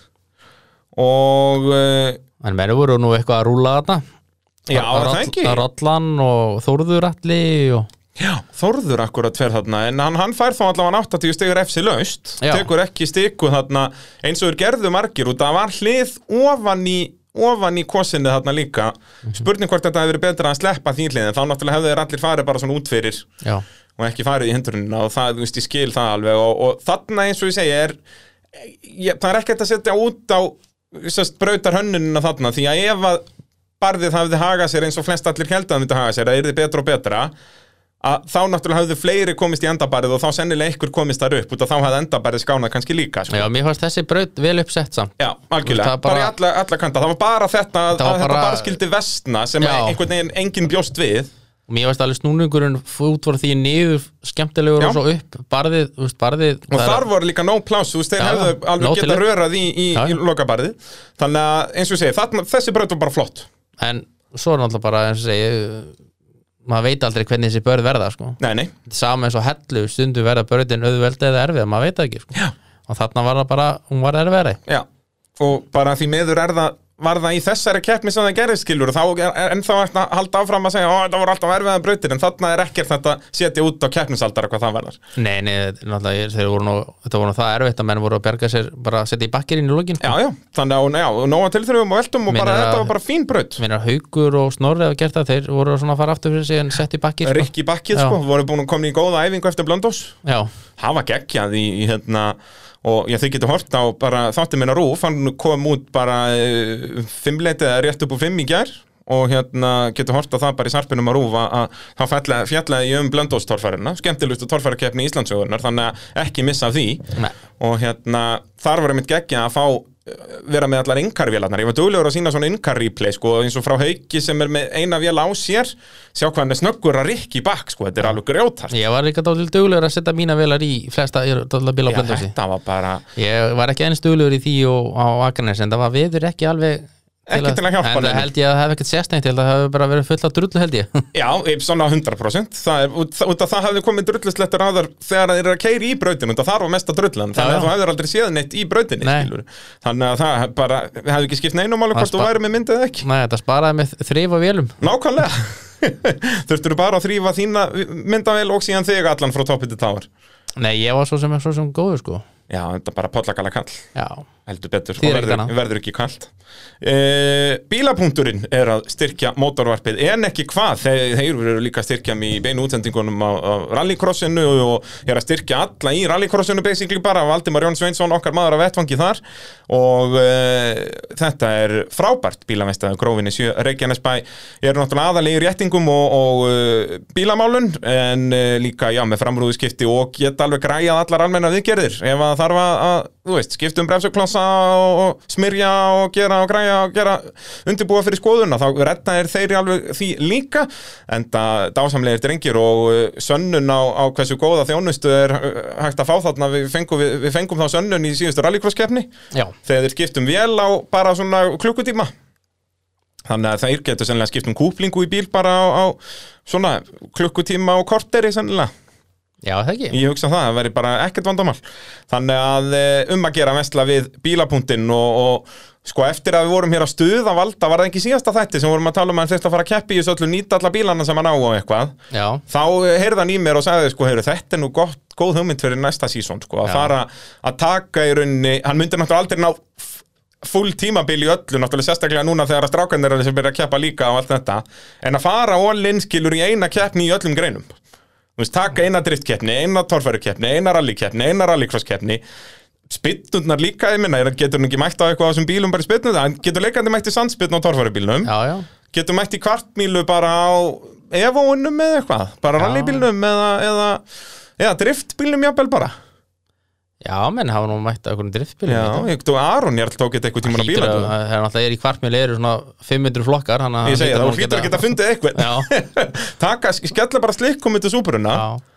Og uh, en menn voru nú eitthvað að rúla þarna Já, var það Roll- ekki? Rollan og Þórður Alli og... Já, Þórður akkurat fer þarna En hann, hann fær þá allavega 80 stigur FC laust Já. Tekur ekki stiku þarna Eins og þeir gerðu margir út að var hlið ofan í ofan í kosinu þarna líka spurning hvort þetta hefur verið betra að sleppa því hliðin þá náttúrulega hefðu þeir allir farið bara svona út fyrir Já, og ekki farið í hindrunina og það, þú veist, ég skil það alveg og, og þarna eins og ég segi er ég, það er ekkert að setja út á sest, brautar hönnunina þarna því að ef að barðið hafði hagað sér eins og flest allir held að það myndi haga sér, það yrði betra og betra að þá náttúrulega hafðu fleiri komist í endabarið og þá sennilega einhver komist þar upp út að þá hafði endabarið skánað kannski líka sko. já mér fannst þessi braut vel uppsett samt Já, algjörlega, bara, Það var í bara- alla, alla kanta Það var bara þetta að, Það var að þetta bara- bara skildi vestna sem Já. einhvern veginn enginn bjóst við og mér fannst alveg snúningurinn út var því niður skemmtilegur Já. og svo upp barðið, þú veist, barðið Og það er- þar voru líka nóg pláss, þú veist, þeir Já, hefðu já, alveg nóg geta til leik. rörað í, í, Já, í já. lokabarðið. Þannig að, eins og ég segi, þarna, þessi braut var bara flott. En svo er náttúrulega bara eins og segja maður veit aldrei hvernig þessi börð verða sko. Nei, nei, sama eins og hellu stundu verða börðin auðveld eða erfið, maður veit það ekki sko. og þarna var það bara, hún var erfiðari já. Og bara því meður er það, var það í þessari keppni sem það gerðist skilur, þá er er ennþá hægt að halda áfram að segja, ó, þetta voru alltaf erfiðan brautir, en þarna er ekkert þetta setja út á keppnisaldara hvað það verðar. Nei, nei, þetta er náttúrulega ég- þeir voru nú, þetta voru nú það erfitt að menn voru að berga sér bara að setja í bakkirinn í lokin sko. Já, já, þannig að, og- já, og nóga tilþrifum og veltum og Meinar bara, að- þetta var bara fín braut. meina haugur og snorri hafa gert það þeir voru svona að fara aftur fyrir sig en sett í bakkir sko. Rikki bakkið, Já. sko, voru búin að koma í góða æfingu eftir Blöndós. já, hafa geggjað í, í hérna og já, þið getur hort á bara þáttir minna rúf, hann kom út bara eh, fimmleiti eða rétt upp úr fimm í gær og hérna getur hort á það bara í sarpinum að rúf að- að þá fjallaði, fjallaði ég um blöndóstorfærarna, skemmtilegustu torfærakeppni í Íslandsögurnar, þannig að ekki missa af því Nei. og hérna þar var einmitt geggjað að fá eh, vera með allar innkarvélarnar, ég var duglegur að sína svona innkarreplay sko, eins og frá Hauki sem er með eina vél á sér, sjá hvað hann er snöggur að rikki bakk sko, þetta er alveg grjótart ég var líka dálítið duglegur að setja mína velar í flesta, ég er dálítið að bila á Já, blöndósi þetta var bara ég var ekki eins duglegur í því og á Akranes en það var viður ekki alveg Ekki til að hjálpa en neinum. það held ég að það hef ekkert sérstænt ég held að það hef bara verið fullt af drullu held [laughs] ég Já, eh, svona 100% það er, út, út að það hafði komið drulluslettur áður þegar þeir eru að keiri í brautinu það þar var mesta drullan, þannig að já. þú hefur aldrei séð neitt í brautinu, Nei. skilur þannig að það bara, við hefði ekki skipt neinum alveg Það hvort þú spa- væri með myndið ekki Nei, þetta sparaði með þrif og vélum Nákvæmlega, [laughs] þurftur bara að þrýfa þína myndavél og síðan þig allan frá toppið til táar nei, ég var svo sem, svo sem góður sko Já, þetta er bara pollakala kall já, heldur betur og Þýðir ekkert verður, annað. verður ekki kalt e, Bílapunkturinn er að styrkja mótorvarpið en ekki hvað, þeir, þeir eru líka að styrkja mig í beinu útsendingunum á, á rallycrossinu og er að styrkja alla í rallycrossinu basically bara, Valdimar Jón Sveinsson okkar maður að vettfangi þar og e, þetta er frábært bílamestaðu grófinni sjö Reykjanesbæ er náttúrulega aðalegi réttingum og, og e, bílamálun en e, líka já, með framrúðuskipti og geta alveg græjað allar almenna viðgerðir ef að þarf að, að þú veist, skipta um bremsuklassa og, og smyrja og gera og græja og gera undirbúa fyrir skoðuna þá retta er þeir alveg því líka enda dásamlegir drengir og uh, sönnun á, á hversu góða þjónustu er uh, hægt að fá þarna við fengum, við, við fengum þá sönnun í síðustu rallycross-keppni Já, þegar þeir skiptum vel á bara svona klukkutíma þannig að þeir getur sennilega skipt um kúplingu í bíl bara á, á svona klukkutíma og korteri sennilega já það ekki Ég hugsa það, það væri bara ekkert vandamál Þannig að eh, um að gera mestla við bílapunktinn og, og sko eftir að við vorum hér að stuða valda var það ekki síðasta þætti sem vorum að tala um að hann þurfti að fara að keppi í þessu öllu nýta alla bílana sem hann á og eitthvað Já, þá eh, heyrði hann í mér og sagði sko heyrðu, þetta er nú gott, góð hugmynd fyrir næsta sísón sko, að Já. fara að taka í rauninni hann myndi náttúrulega aldrei ná f- full tímabil í öllu, náttúrulega sérstaklega núna þegar að strákanir sem byrja að keppa líka og allt þetta en að fara all-in skilur í eina keppni í öllum greinum Þú veist, taka eina driftkeppni, eina torfærukeppni, eina rallykeppni, eina rallycrosskeppni spytnurnar líka, ég minna, getur hann ekki mætt á eitthvað á þessum bílum bara í spytnurnar, hann getur leikandi mætt í sandspytn á torfærubílnum já, já getum mætt í kvartmílu bara á evóunum eða eitthvað, bara Já. rallybílnum eða, eða, eða driftbílnum jafnvel bara. Já, menn hafa nú mætt að einhvern driftbíl Já, ég tók Aron Jarl tók þetta eitthvað tíma á Hlýtur að bíla. það er náttúrulega er í kvartmjöli eru svona 500 flokkar þannig að Ég hann segi það, hlýtur nú hún hlýtur að geta fundið eitthvað. Já, [laughs] Taka, skella bara slikkum út úr súpuruna. já,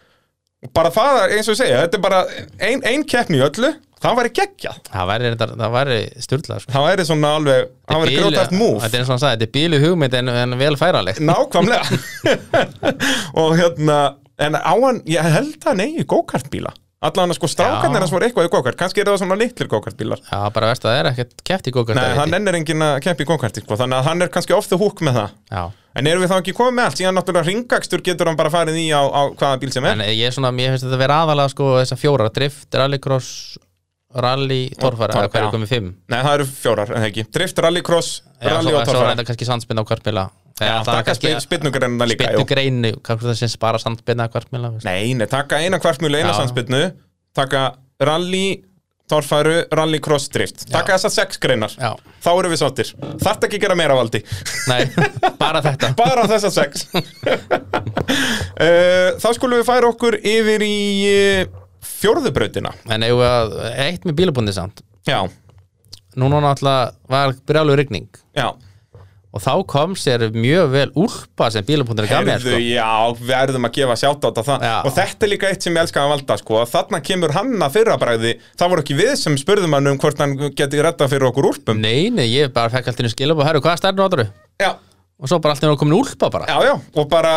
Bara það, er, eins og ég segja, þetta er bara ein, ein keppni í öllu, það væri geggjað. það væri, reyndar- það væri styrla sko. Það væri svona alveg, það væri Bíl- grótast múf. Þetta er eins og hann sagði, þetta er bílu hugmynd en, en vel færanlegt [laughs] Nákvæmlega. og hérna, en á hann, ég held að nei, go-kartbíla. Allan að sko strákarnir Já. hans voru eitthvað í go-kart, kannski eru það svona litlir go-kartbílar. Já, bara verst að það er ekkert keft í gókart Nei, hann ennir enginn að keppa í konkarti sko, þannig að hann er kannski off the hook með það Já, En erum við þá ekki komið með allt, síðan náttúrulega ringakstur getur hann bara farið í á, á hvaða bíl sem er en ég er svona, mér finnst þetta að vera aðalega sko þessar fjórar, drift, rallycross rally, torfara, torf, eða hverju já. komið fimm Nei, það eru fjórar, en það ekki Drift, rallycross, Já, rally og svo- svo var torfara þetta kannski sandspinna og kvartmjöla Já, taka spynnugreina líka, Spinnu jú greinu, kannski það syns bara sandspinna og kvartmjöla Nei, nei, taka eina kvartmjölu, eina Já. sannspinnu Taka rally, torfæru, rallycross, drift Taka þessar sex greinar Já, Þá erum við sáttir Þarft ekki að gera meira [laughs] valdi nei, bara þetta bara þessar [laughs] sex Eh, Þá skulum við færa okkur yfir í eh, fjórðubrautina En eigum við að, eitt með bílabúndi samt Já, Núna náttúrulega var brjálug rigning já Og þá kom sér mjög vel úlpa sem bílabúndin gaf mér Herðu, sko. já, verðum að gefa sjátt á það Já. Og þetta er líka eitt sem ég elska að valda sko. að Þarna kemur hann að fyrra bræði Það voru ekki við sem spurðum hann um hvort hann geti rettað fyrir okkur úlpum sko. Nei, nei, ég bara fekk allt í henni skilabú Herru, hvaða stærn notaru? Já, Og svo bara allt í henni komin úlpa bara já, já, og bara,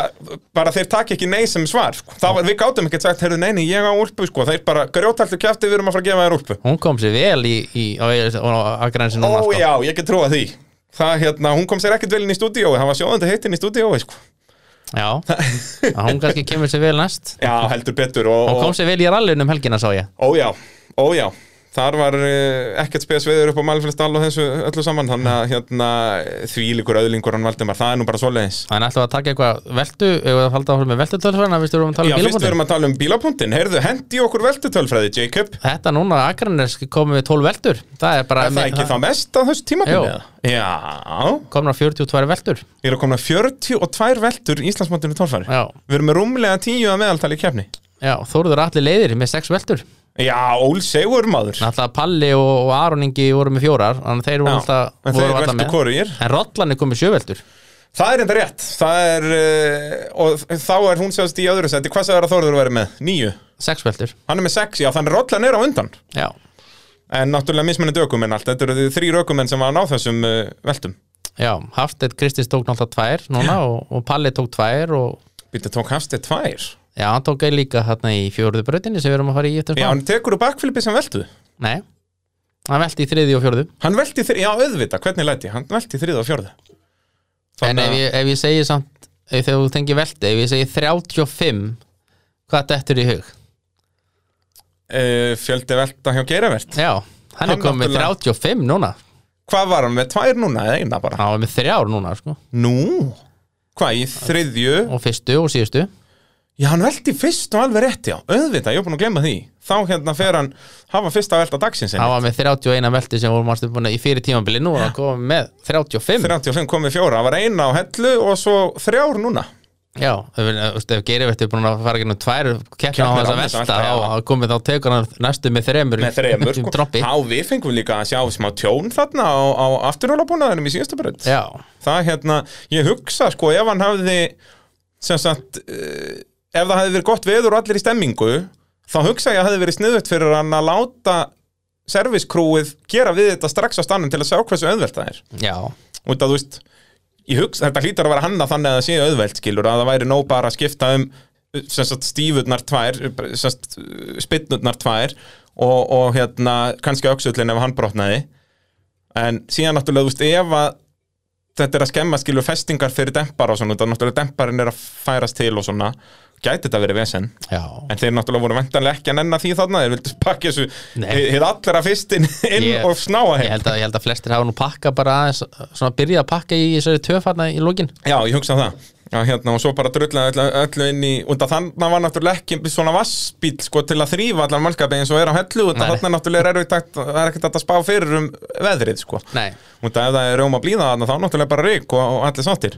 bara þeir taki ekki nei sem svar sko. Það var, Við gátum ekkert sagt, heyrðu, nei, nei, ég á úlpu sko. Þeir bara grjótaltu kjafti, við erum að fara að gefa þér úlpu Hún kom sér vel í, í á, á, á grænsi núna Ó sko. já, ég get trúa því Það, hérna, hún kom sér ekkert vel inn í stúdíói Það var sjóðandi heitinn í stúdíói sko. Já, Að hún kannski kemur sér vel næst Já, [laughs] heldur betur og, og, Hún kom sér vel í rallinu um helgina sá ég Ó já, ó já Þar var uh, ekkert spes veður upp á Malfjörnsdal og þessu öllu saman þannig að hérna því líkur öðlingur hann Valdimar, það er nú bara svoleiðis Þannig ætlum við að taka eitthvað veltu Eða að halda áfram með veltutölfræna Vistu við erum að tala Já, fyrst við um bílabúndin erum að tala um bílapunktin Heyrðu, hendi okkur veltutölfræði, Jacob Þetta núna, Akranes komið við 12 veltur Það er bara Er það ekki það mest á þessu tímabili? Jú. eða? Já, komnar 42 veltur ég er að komna 42 veltur í Íslandsmótinu tólfæri Já, Við erum með rúmlega 10 að meðaltali í kefni já Þóruður allir leiðir með 6 veltur Já, ól segur maður Alltaf Palli og, og Aron Ingi voru með fjórar Þannig að þeir voru Já, alltaf en voru þeir alltaf veltu með. hvorugir. En Rollan er komið 7 veltur Það er enda rétt, það er uh, og þá er hún sjást í öðru seti Hvað sagði að Þórður verið með? Níu? 6 veltur Hann er með sex, já, þannig rollan er á undan Já, En náttúrulega mismunandi ökumenn allt Þetta eru þrýr ökumenn sem var að ná þessum uh, veltum já Hafstedt Kristins tók náttúrulega 2 núna og, og Palli tók 2 og Býttu tók hafstið tvær já, hann tók eða líka þarna í fjóruðu brautinni sem við erum að fara í eftir Já, smá hann tekur úr bakflipi sem veltu Nei, hann velti í þriði og fjóruðu Hann velti þrið, já auðvita, hvernig læti ég? Hann velti þrið og fjörðu En ef ég, ef ég segi samt ef þegar þú tengir velti, ef ég segi 35 hvað dettur í hug? uh, Fjöldi eh, velta hjá Geiravert Já, Hann er Hann komið með 35 núna Hvað var hann með? Tvær núna eða eina bara? Hann var með þrjár núna sko Nú? Hvað, í þriðju? Og fyrstu og síðustu Já, hann velti fyrst og alveg rétt, já Auðvitað, ég er búin að glemma því Þá hérna fer hann hafa fyrst að velta dagsins Hann sinni var með 31 velti sem vorum ástu búin í fyrir tímambili Nú er hann komið með 35 35 komið fjóra, það var eina á hellu og svo þrjár núna Já, ef, ef, ef Geirivert er búin að fara gennum tvær keppna á Keppnir þess án að þess að velta velta, já. þá þá komið þá tekur hann næstu með þremur Með þremur, sko. droppi Há, við fengum líka að sjá smá tjón þarna á, á afturhjólabúnaðinum í síðustu brönd Já, Það hérna, ég hugsa sko ef hann hafði sem sagt, eh, ef það hafði verið gott veður og allir í stemmingu, þá hugsa ég að hafði verið sniðut fyrir hann að láta serviskrúið gera við þetta strax á stannum til að sjá hversu auðvelt það er já, út að þú veist ég hugsa, þetta hlýtur að vera hanna þannig að það sé auðvelt skilur að það væri nóg bara að skipta um sem sagt stífurnar tvær sem sagt spinnurnar tvær og, og hérna kannski öxullin ef hann brotnaði en síðan náttúrulega þú veist ef að þetta er að skemma skilur festingar fyrir dempar og svona þannig að náttúrulega demparinn er að færast til og svona gæti þetta verið vesen já en þeir náttúrulega voru vendanlega ekki að nenna því þarna þeir vildu pakka þessu Nei. hið hið allra fyrst inn, inn Ég- og snáa Ég heim held, að, ég held að flestir hafa nú pakka bara aðeins svona byrjað að pakka í þessari töfarna í lokin Já, ég hugsa það Já, hérna, og svo bara drullaði öllu, öllu inn í og þannig var náttúrulega ekki svona vassbíl sko, til að þrýfa allan mannskapi eins og er á hellu og Nei. þannig er náttúrulega er, takt, það er ekkert hægt að spá fyrir um veðrið sko. Nei, og það ef það er rjóma blíða þarna, þá náttúrulega bara rík og, og allir sáttir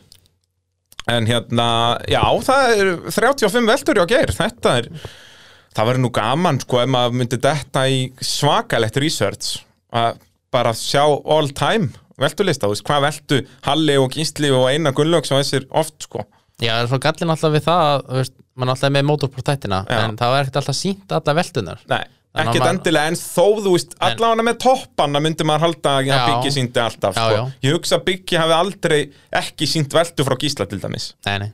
en hérna, já, það er 35 veldur hjá geir, þetta er það verður nú gaman sko ef maður myndi detta í svakalegt research að bara sjá all time veltulista, þú veist, hvað veltu Halli og Gísli og Einar Gunnlaugs og þessir oft sko, já, það er svona gallin alltaf við það að, þú veist, mann alltaf er með motorportættina Já. en það er ekkert alltaf sínt alla veltunar nei, Þannig að ekkert maður- endilega en þó, þú veist, allavega með toppanna myndi maður halda að Já. Byggi síndi alltaf Já, sko, já. ég hugsa að Byggi hafi aldrei ekki sínt veltu frá Gísla til dæmis Nei, nei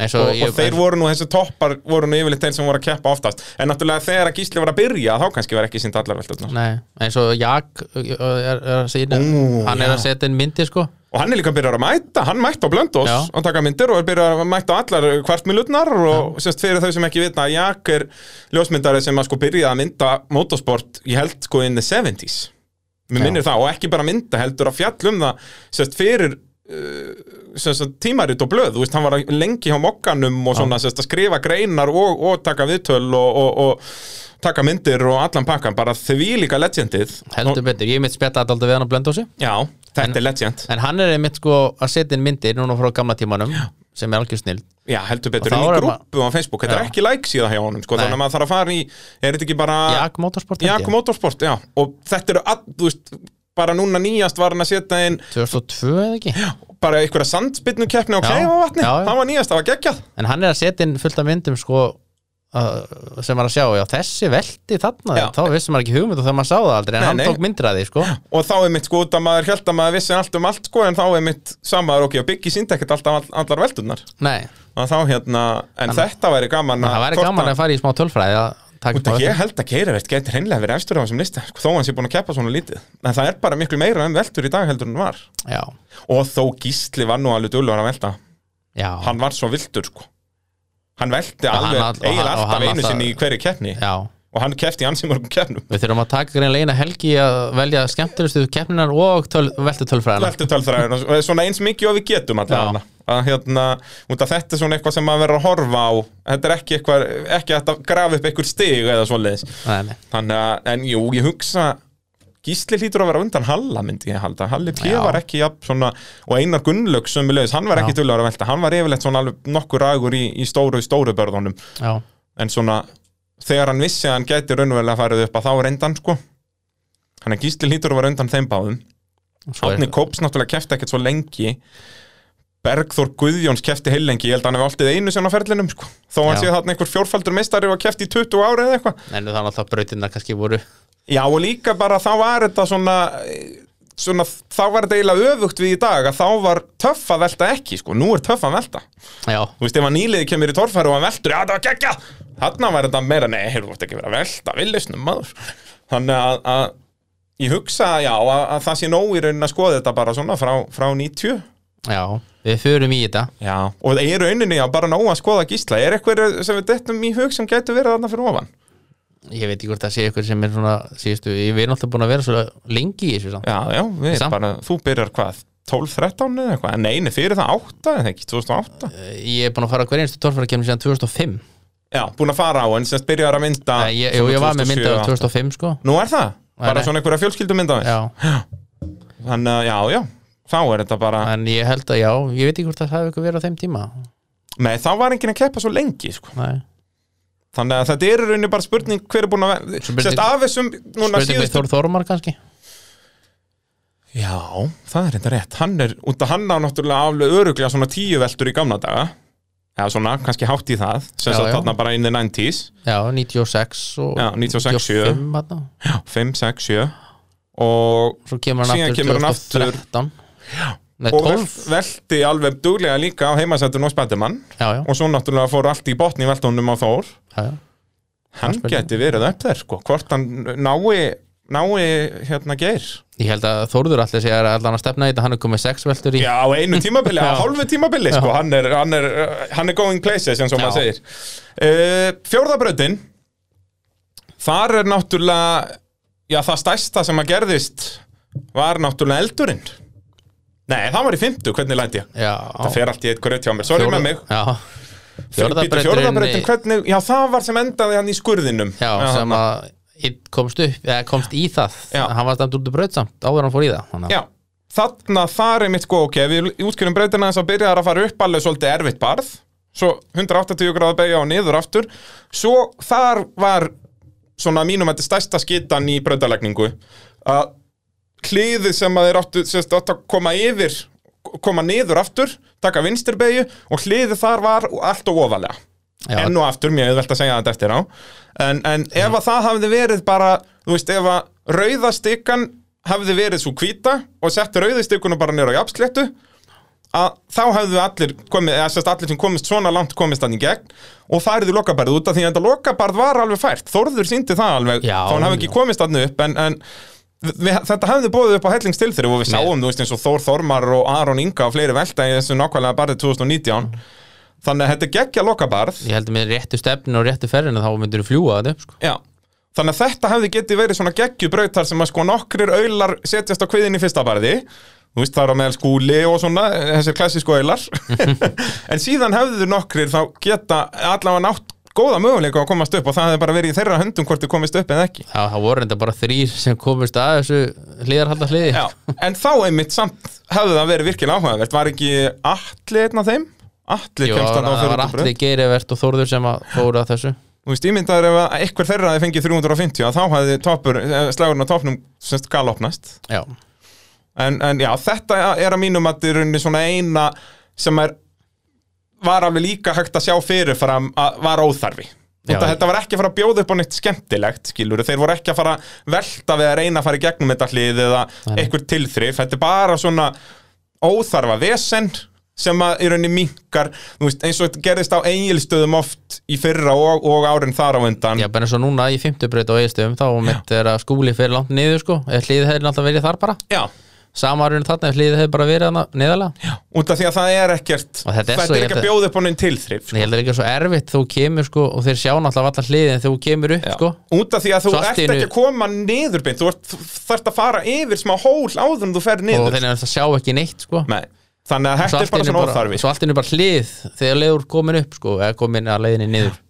Eins og, og, og þeir voru nú, þessi toppar voru nú yfirleitt þeir sem voru að keppa oftast en náttúrulega þegar að Gísli var að byrja þá kannski var ekki sínd allar veltöðnar Nei, eins og Jak er, er, er, sína, Ú, hann er já. að setja inn myndi sko og hann er líka að byrja að mæta, hann mætti á Blöndós Já. og taka myndir og er byrja að mæta á allar kvartmilutnar og semst fyrir þau sem ekki vitna að Jak er ljósmyndari sem að sko byrja að mynda motorsport ég held sko in the 70s mér Já. minnir það og ekki bara mynda heldur að fjallum það semst fyrir semst, tímarit og blöð, þú veist, hann var lengi hjá mokkanum og svona, semst, að skrifa greinar og, og taka viðtöl og, og, og taka myndir og allan pakkan bara því líka legendið heldur og, betur, ég mitt spjalla alltaf við hann á blöndósi Já, þetta er legend en hann er einmitt sko að setja inn myndir núna frá gamla tímanum sem er algjör snill Já, heldur betur, Og þá í er grúpu á Facebook Þetta er Já. ekki like síða hjá honum, sko, Nei. þannig að maður þarf að fara í er þetta ekki bara Jak Motorsport held ég. Jak Motorsport, já, og þetta eru all, þú veist, bara núna nýjast var hann að setja inn 2002 eða ekki bara einhverja sandspinnu keppni á Já. kleifavatni, Já, já. það var nýjast, það var geggjað en hann er að setja inn fullt af myndum sko uh, sem maður að sjá, já þessi velti þarna Já. þá vissum maður ekki hugmynd og það maður sá það aldrei en Nei, hann nei. tók myndir að því sko og þá er mitt sko út að maður held að maður vissi allt um allt sko en þá er mitt samaður ok og byggi síndi ekkert alltaf all, allar veldunar nei, að þá hérna, en þetta væri gaman það væri gaman að fara í smá tölfræði að taka Út upp á að þetta. ég held að Keirivert geti hreinlega verið efstur á þessum lista sko, þó hann sé búin að keppa svona lítið en það er bara miklu meira um veldur í dag heldur en var já, og þó Gísli var nú alveg dullur að velta já, hann var svo vildur sko hann velti hann alveg all- og hann- eiginlega og hann alltaf einu alltaf- sinni í hverju keppni já og hann keppti í ansi mörgum keppnum við þurfum að taka greinlega eina helgi að velja skemmtilegustu keppninar og töl, veltu tölfræðina veltu tölfræðin og svona eins mikið og við getum allavega að hérna, út að þetta er svona eitthvað sem maður verður að horfa á þetta er ekki eitthvað, ekki hægt að grafa upp einhver stig eða svoleiðis, nei, nei. þannig að en jú, ég hugsa Gísli hlýtur að vera undan Halla myndi ég halda Halli P Já. var ekki jafn svona og Einar Gunnlaugs sömulegis, hann var ekki Já. tullar að velta hann var yfirleitt svona alveg nokkur rægur í, í stóru, stóru börðunum, já, en svona þegar hann vissi að hann gæti raunverulega farið upp að þá reyndan sko hann að Gísli hlýtur að vera undan þeim báðum svo er- Átni Kóps náttúrulega kefti ekkert svo lengi Bergþór Guðjóns kefti heilengi ég held að hann hef alltið einu sem á ferlinum sko. þó hann Já. séð þarna einhver fjórfaldur meistari og kefti í 20 ári eða eitthvað en það er alltaf brautinnar kannski voru já og líka bara þá var þetta svona eh, svona þá var þetta eiginlega öfugt við í dag að þá var töff að velta ekki sko. nú er töff að velta já, þú veist ef hann nýliði kemur í torfæru og hann veltur já þetta var geggja þarna var þetta meira nei hefur þetta ekki verið að velta villisnum maður þannig að, að ég hugsa já að, að það sé nóg í raunin að skoða þetta bara svona frá, frá 90 já, við förum í þetta Já, og það er rauninni að bara nóg að skoða gísla Er eitthvað sem við dettum í hug sem getur verið þarna fyrir ofan? ég veit ekki hvort það sé ykkur sem er svona síðustu, ég verið náttúrulega búin að vera svo lengi í þessu samt Já, já, við Samt- bara, þú byrjar hvað 12-13 eða eitthvað, nei, nei, fyrir það 8 eða ekki, 2008 ég er búin að fara á hverja einstu torfærakefni síðan 2005 Já, búin að fara á, en semst byrjar að mynda Nei, ég, jú, ég var með myndað 2005 sko Nú er það, bara nei. svona einhverja fjölskyldumynda já, Þannig að, já, já, þá er þetta bara en ég held að já ég veit ekki hvort það hafi ykkur verið á þeim tíma Nei, þá var enginn að keppa svo lengi, sko Nei. Þannig að þetta er í rauninni bara spurning hver er búin að vera Spurning- Sérst af þessum núna spurning við síðustu Þór Þormar kannski Já, það er þetta rétt Hann er, út af hann á náttúrulega aflega öruglega svona tíu veltur í gamla daga Já, svona, kannski hátt í það sem Já, sagt já. þarna bara in the 90s já, 96 og Já, 96, 95 þarna. 5, 6, 7 og, svo kemur hann Síðan aftur kemur hann aftur. 2013 Nei, og 12 vel- velti alveg duglega líka á heimasættun og spættumann já, já, og svo náttúrulega fór allt í botni veltónum á Þór já, já. hann spurning. geti verið upp þær sko hvort hann nái, nái hérna geir ég held að Þórður allir sé að allan að stefna í þetta hann er komið 6 veltur í já á einu [laughs] tímabili, á Já. hálfu tímabili sko, hann er, hann, er, uh, hann er going places eins og Já. maður segir uh, fjórðabrautin þar er náttúrulega já það stærsta sem að gerðist var náttúrulega eldurinn nei það var í fymtu, hvernig læti ég já, Það fer allt í eitt gröt hjá mér, sorry með mig já, Fjórðabrautin, fjórðabrautin, fjórðabreyturinn hvernig, já það var sem endaði hann í skurðinum já, sem þarna. að Einn komst upp, eða komst í það Já. hann var stand út úr braut samt, áður en hann fór í það þannig að- Já, þarna þar er mitt sko, ok, við útskjörum brautina þess að byrja að fara upp alveg svolítið erfitt barð Svo 180 gráða beigja og niður aftur Svo þar var svona mínum þetta stærsta skitan í brautalegningu Að hliðið sem að þeir áttu, sérst, áttu að koma yfir, koma niður aftur, taka vinstirbeigju og hliðið þar var allt og ofalega Já, enn og aftur, mér auðvelt að segja þetta eftir á en, en ef að það hafði verið bara þú veist, ef að rauða stikkan hafði verið svo hvíta og sett rauði stikkuna bara nýra á jafnsléttu að þá hefðu allir komið, eða sérst allir sem komist svona langt komist þannig gegn og það erðu lokabarð út af því að þetta lokabarð var alveg fært Þórður síndi það alveg, Já, þá hann hafði ekki já. komist þannig upp en, en við, þetta hefði bóðið upp á hellingstilþrif og við Nei. sáum, þú veist, eins og Þór Þormar og Aron Inga og fleiri velta í þessu nákvæmlega barðið 2019 þannig að þetta geggja lokabarð ég held að með réttu stefnin og réttu ferðinu þá myndir þú fljúa þetta upp sko. Já, þannig að þetta hefði getið verið svona geggjubrautar sem að sko nokkrir aular setjast á kviðin í fyrsta barði Þú veist, það er á meðal skúli og svona, þessir klassísku aular En síðan hefðu nokkrir þá geta allavega nátt góða möguleika á að komast upp og það hefði bara verið í þeirra höndum hvort þið komist upp eða ekki Já, það voru enda bara þrýr sem komist að þessu hlýðarhalda hliði Já, en þá einmitt samt hefði það verið virkilega áhugavert Var ekki Atli einn af þeim? Atli Jú, kemst það þarna á 400 var allir braut geirivert og Þórður sem að fóru að þessu Þú veist, ímyndaður ef að einhver þeirra hefði fengið 350 að þá hefði topur, eh, slagurinn á topnum semst galopnast Já, en, en já, þetta er að mínum að þetta er rauninni svona eina sem er var alveg líka hægt að sjá fyrirfram að var óþarfi Já, þetta, ég- þetta var ekki að fara að bjóða upp á neitt skemmtilegt skilur, þeir voru ekki að fara að velta við að reyna að fara í gegnum þetta hlið eða Nei. einhver tilþrif, þetta er bara svona óþarfa vesen sem að í rauninni minkar veist, eins og þetta gerðist á eigilstöðum oft í fyrra og, og árin þar á undan já bara eins og núna í 50 breyt á eðstöðum þá mitt er að skúli fyrir langt niður sko eða hliðið hefði alltaf verið þar bara já, Sama árinu þarna ef hliðið hefði bara verið hana neðalega út af því að það er ekkert Og þetta er svo- er ekki ég held að að- bjóða upp á neitt tilþrif sko. Ég held að það er ekki svo erfitt þú kemur sko og þeir sjá náttúrulega allar hliðið en þú kemur upp Já. sko Út af því að þú Svo allt ert í ekki einu- að koma niður beint, þú ert- þú þarft að fara yfir smá hól áður en þú fer og niður þeir eru að sjá ekki neitt sko Nei, Þannig að Svo þetta allt er bara í einu svona óþarfi Svo allt er bara hlið þegar leiður komin upp sko eða komin að leiðinni niður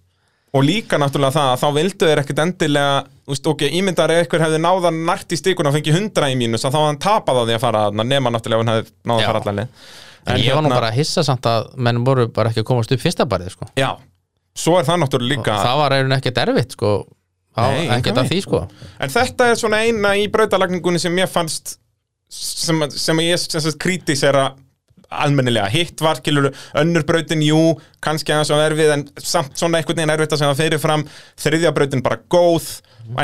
Og líka náttúrulega það að þá vildu þeir ekkit endilega þú veist, ok, ímyndar ef eitthvað hefði náðan nært í stikun og fengið hundra í mínus að þá hafði hann tapað á því að fara þarna nema náttúrulega ef hann hefði náða Já. að fara allan leið hérna- En ég var nú bara að hissa samt að menn voru bara ekki að komast upp fyrsta barðið sko Já, svo er það náttúrulega líka það var einhvern ekkert erfitt sko Það Nei, var ekkert engan að því sko En þetta er svona eina í brautalagningunni sem ég fannst sem, sem ég sem sagt, krítisera almennilega. Hitt var, kilur, önnur brautin, jú, kannski aðeins og erfið en samt svona einhvern veginn erfitt að sem það fyrir fram þriðja brautin bara góð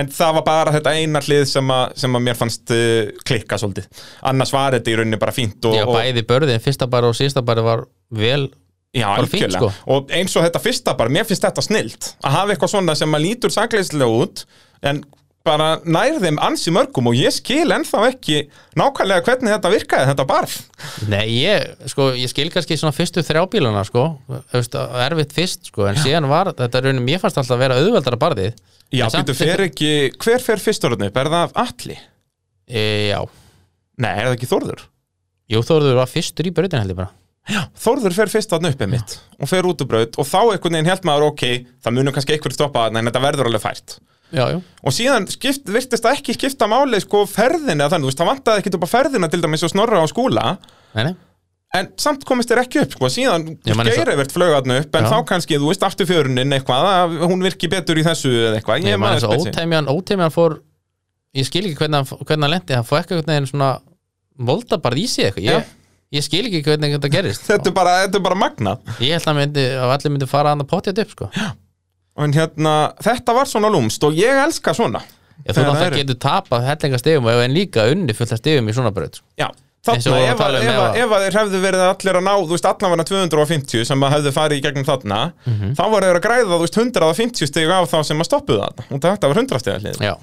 en það var bara þetta eina hlið sem að, sem að mér fannst uh, klikka svolítið annars var þetta í rauninni bara fínt og, Já, og, bæði börðin, fyrsta barði og síðasta barði var vel Já, Bara fínt, algjörlega, sko. og eins og þetta fyrsta bara, mér finnst þetta snilt að hafa eitthvað svona sem að lítur sakleyslega út en bara nær þeim ansi mörgum og ég skil ennþá ekki nákvæmlega hvernig þetta virkaði, þetta barð Nei, ég, sko, ég skil kannski svona fyrstu þrjábílana, sko þú veist, erfitt fyrst, sko, en síðan var þetta raunum, mér fannst alltaf að vera auðveldara barðið Já, En samt- býtu, fer ekki, hver fer fyrstorðinu upp, er það af alli? e, Já, Nei, er það ekki Þórður? jú, Þórður var fyrstur í brautin held ég bara Þórður fer fyrst þarna uppið mitt og fer út úr braut og þá einhvern veginn held maður ok, það munum kannski einhver stoppa þarna en þetta verður alveg fært Já, jú, og síðan skipt, virtist það ekki skipta máli sko ferðina þannig, þú veist, það vantaði ekkit upp á ferðina til dæmis og snorra á skúla nei, nei en samt komist þér ekki upp sko. síðan Ég man eins og- geirivert flögarnu upp en Já. þá kannski, þú veist, aftur fjörunin eitthvað að hún virki betur í þessu eða eitthvað Ég man man þess að eftir þessu. ótemjan, ótemjan fór Ég skil ekki hvernig hann, hvernig hann lendi Hann fór ekki einhvern veginn svona Volda bara í sig Já. eitthvað ég, ég skil ekki hvernig þetta gerist [laughs] þetta er bara, þetta er bara magnað Ég held að, myndi, að allir myndi fara hann að potja upp sko. en hérna, þetta var svona lúmst og ég elska svona Ég þú Þegar það náttúrulega eru- getur tapað hellinga stegum En líka unni fullt af stegum í svona braut sko. Já, Eins og þarna, við vorum að ef, að, tala um, ef, að, ef að- ef að þeir hefðu verið allir að ná, þú veist, allan 250 sem að hefðu farið í gegnum þarna Mhm. þá voru þeir að græða, þú veist, 150 stig á þá sem að stoppuðu þarna og þetta var 100 stiga hlið Já,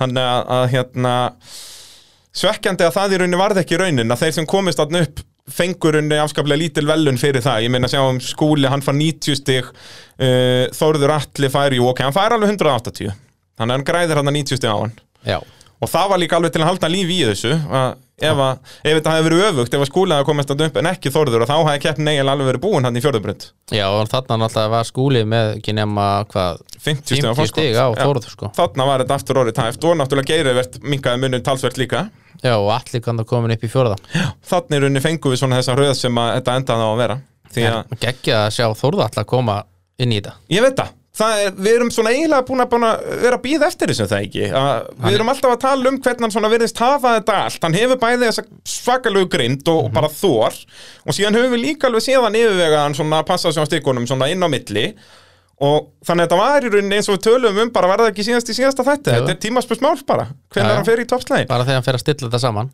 þannig að, að hérna svekkjandi að það í rauninni varð ekki raunin að þeir sem komist þarna upp fengur rauninni afskaplega lítil velun fyrir það ég meina að sjá um skúli, hann fær 90 stig uh, Þórður Atli fær jú, ok, hann fær alveg 180 þannig að hann græðir hann 90 stig á hann já, og það var líka alveg til að halda lífi í þessu að ef, að, ef þetta hefði verið öfugt ef að skúli hefði komist þarna upp en ekki Þórður og þá hefði keppin eiginlega alveg verið búin hann í fjörðubrönd já og þarna náttúrulega var skúlið með ekki nema hvað 50 stig á 50 stig á Þórður sko. þarna var þetta aftur orðið tæft og náttúrulega geirivert minkaði munum talsvert líka Já, og allir kannar komin upp í fjórða þannig rauninni fengum við svona þessa röð sem að þetta endaði á að vera því að, Gekkja að sjá Þórður allar koma inn í þetta ég veit það, það er, við erum svona eiginlega búin að, búin að vera að býða eftir þessu er það ekki að, við erum alltaf að tala um hvernig hann svona virðist hafa þetta allt, hann hefur bæði þessa svakalegu grind Mhm. og, og bara þor og síðan höfum við líka alveg séðan yfirvegaðan svona að passa sig á stikunum svona inn á milli og þannig að þetta var í rauninni eins og við tölum um bara var það ekki síðast í síðasta þetta, Jú. þetta er tímaspörsmál bara Já, hvernig já. hann fer í toppslægin Bara þegar hann fer að stilla þetta saman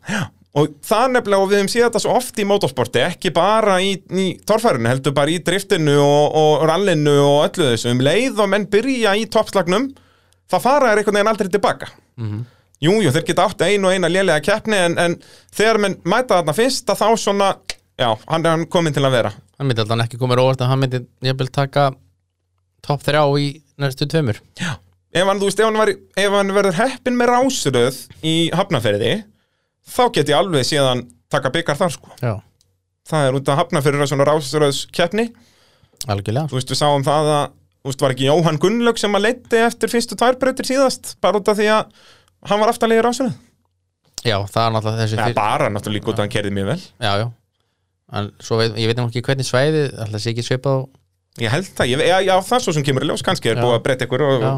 og það nefnilega og við höfum séð þetta svo oft í motorsporti ekki bara í, í torfærinu heldur bara í driftinu og, og rallinu og öllu þessu um leið og menn byrja í toppslagnum það fara er einhvern veginn aldrei tilbaka jújú jú, þeir geta átt einu og eina lélega keppni en, en þegar menn mæta þarna fyrst að þá svona já hann er hann kominn til að vera hann myndi alltaf ekki koma mér á óvart að hann myndi ég vil taka topp þrjá í næstu tveimur ef hann, þú veist, ef hann, var, ef hann verður heppin með rásröð í hafnaferði þá get ég alveg síðan taka byggar þar sko já, það er út að hafnaferður svona rásröðs algjörlega þú veist, við sáum það að þú veist, var ekki Jóhann Gunnlaug sem að leiti eftir fyrstu tværbreytir síðast, bara út af því að hann var aftalegir ásöðu já, það er náttúrulega þessi ja, fyrr bara náttúrulega líka út að hann kerði mjög vel já, já en svo veit, ég veit nú ekki hvernig svæði alltaf sé ekki svipað á ég held það, ég, já, já, það er svo sem kemur í ljós kannski er Já. búið að breyta ykkur og, Já.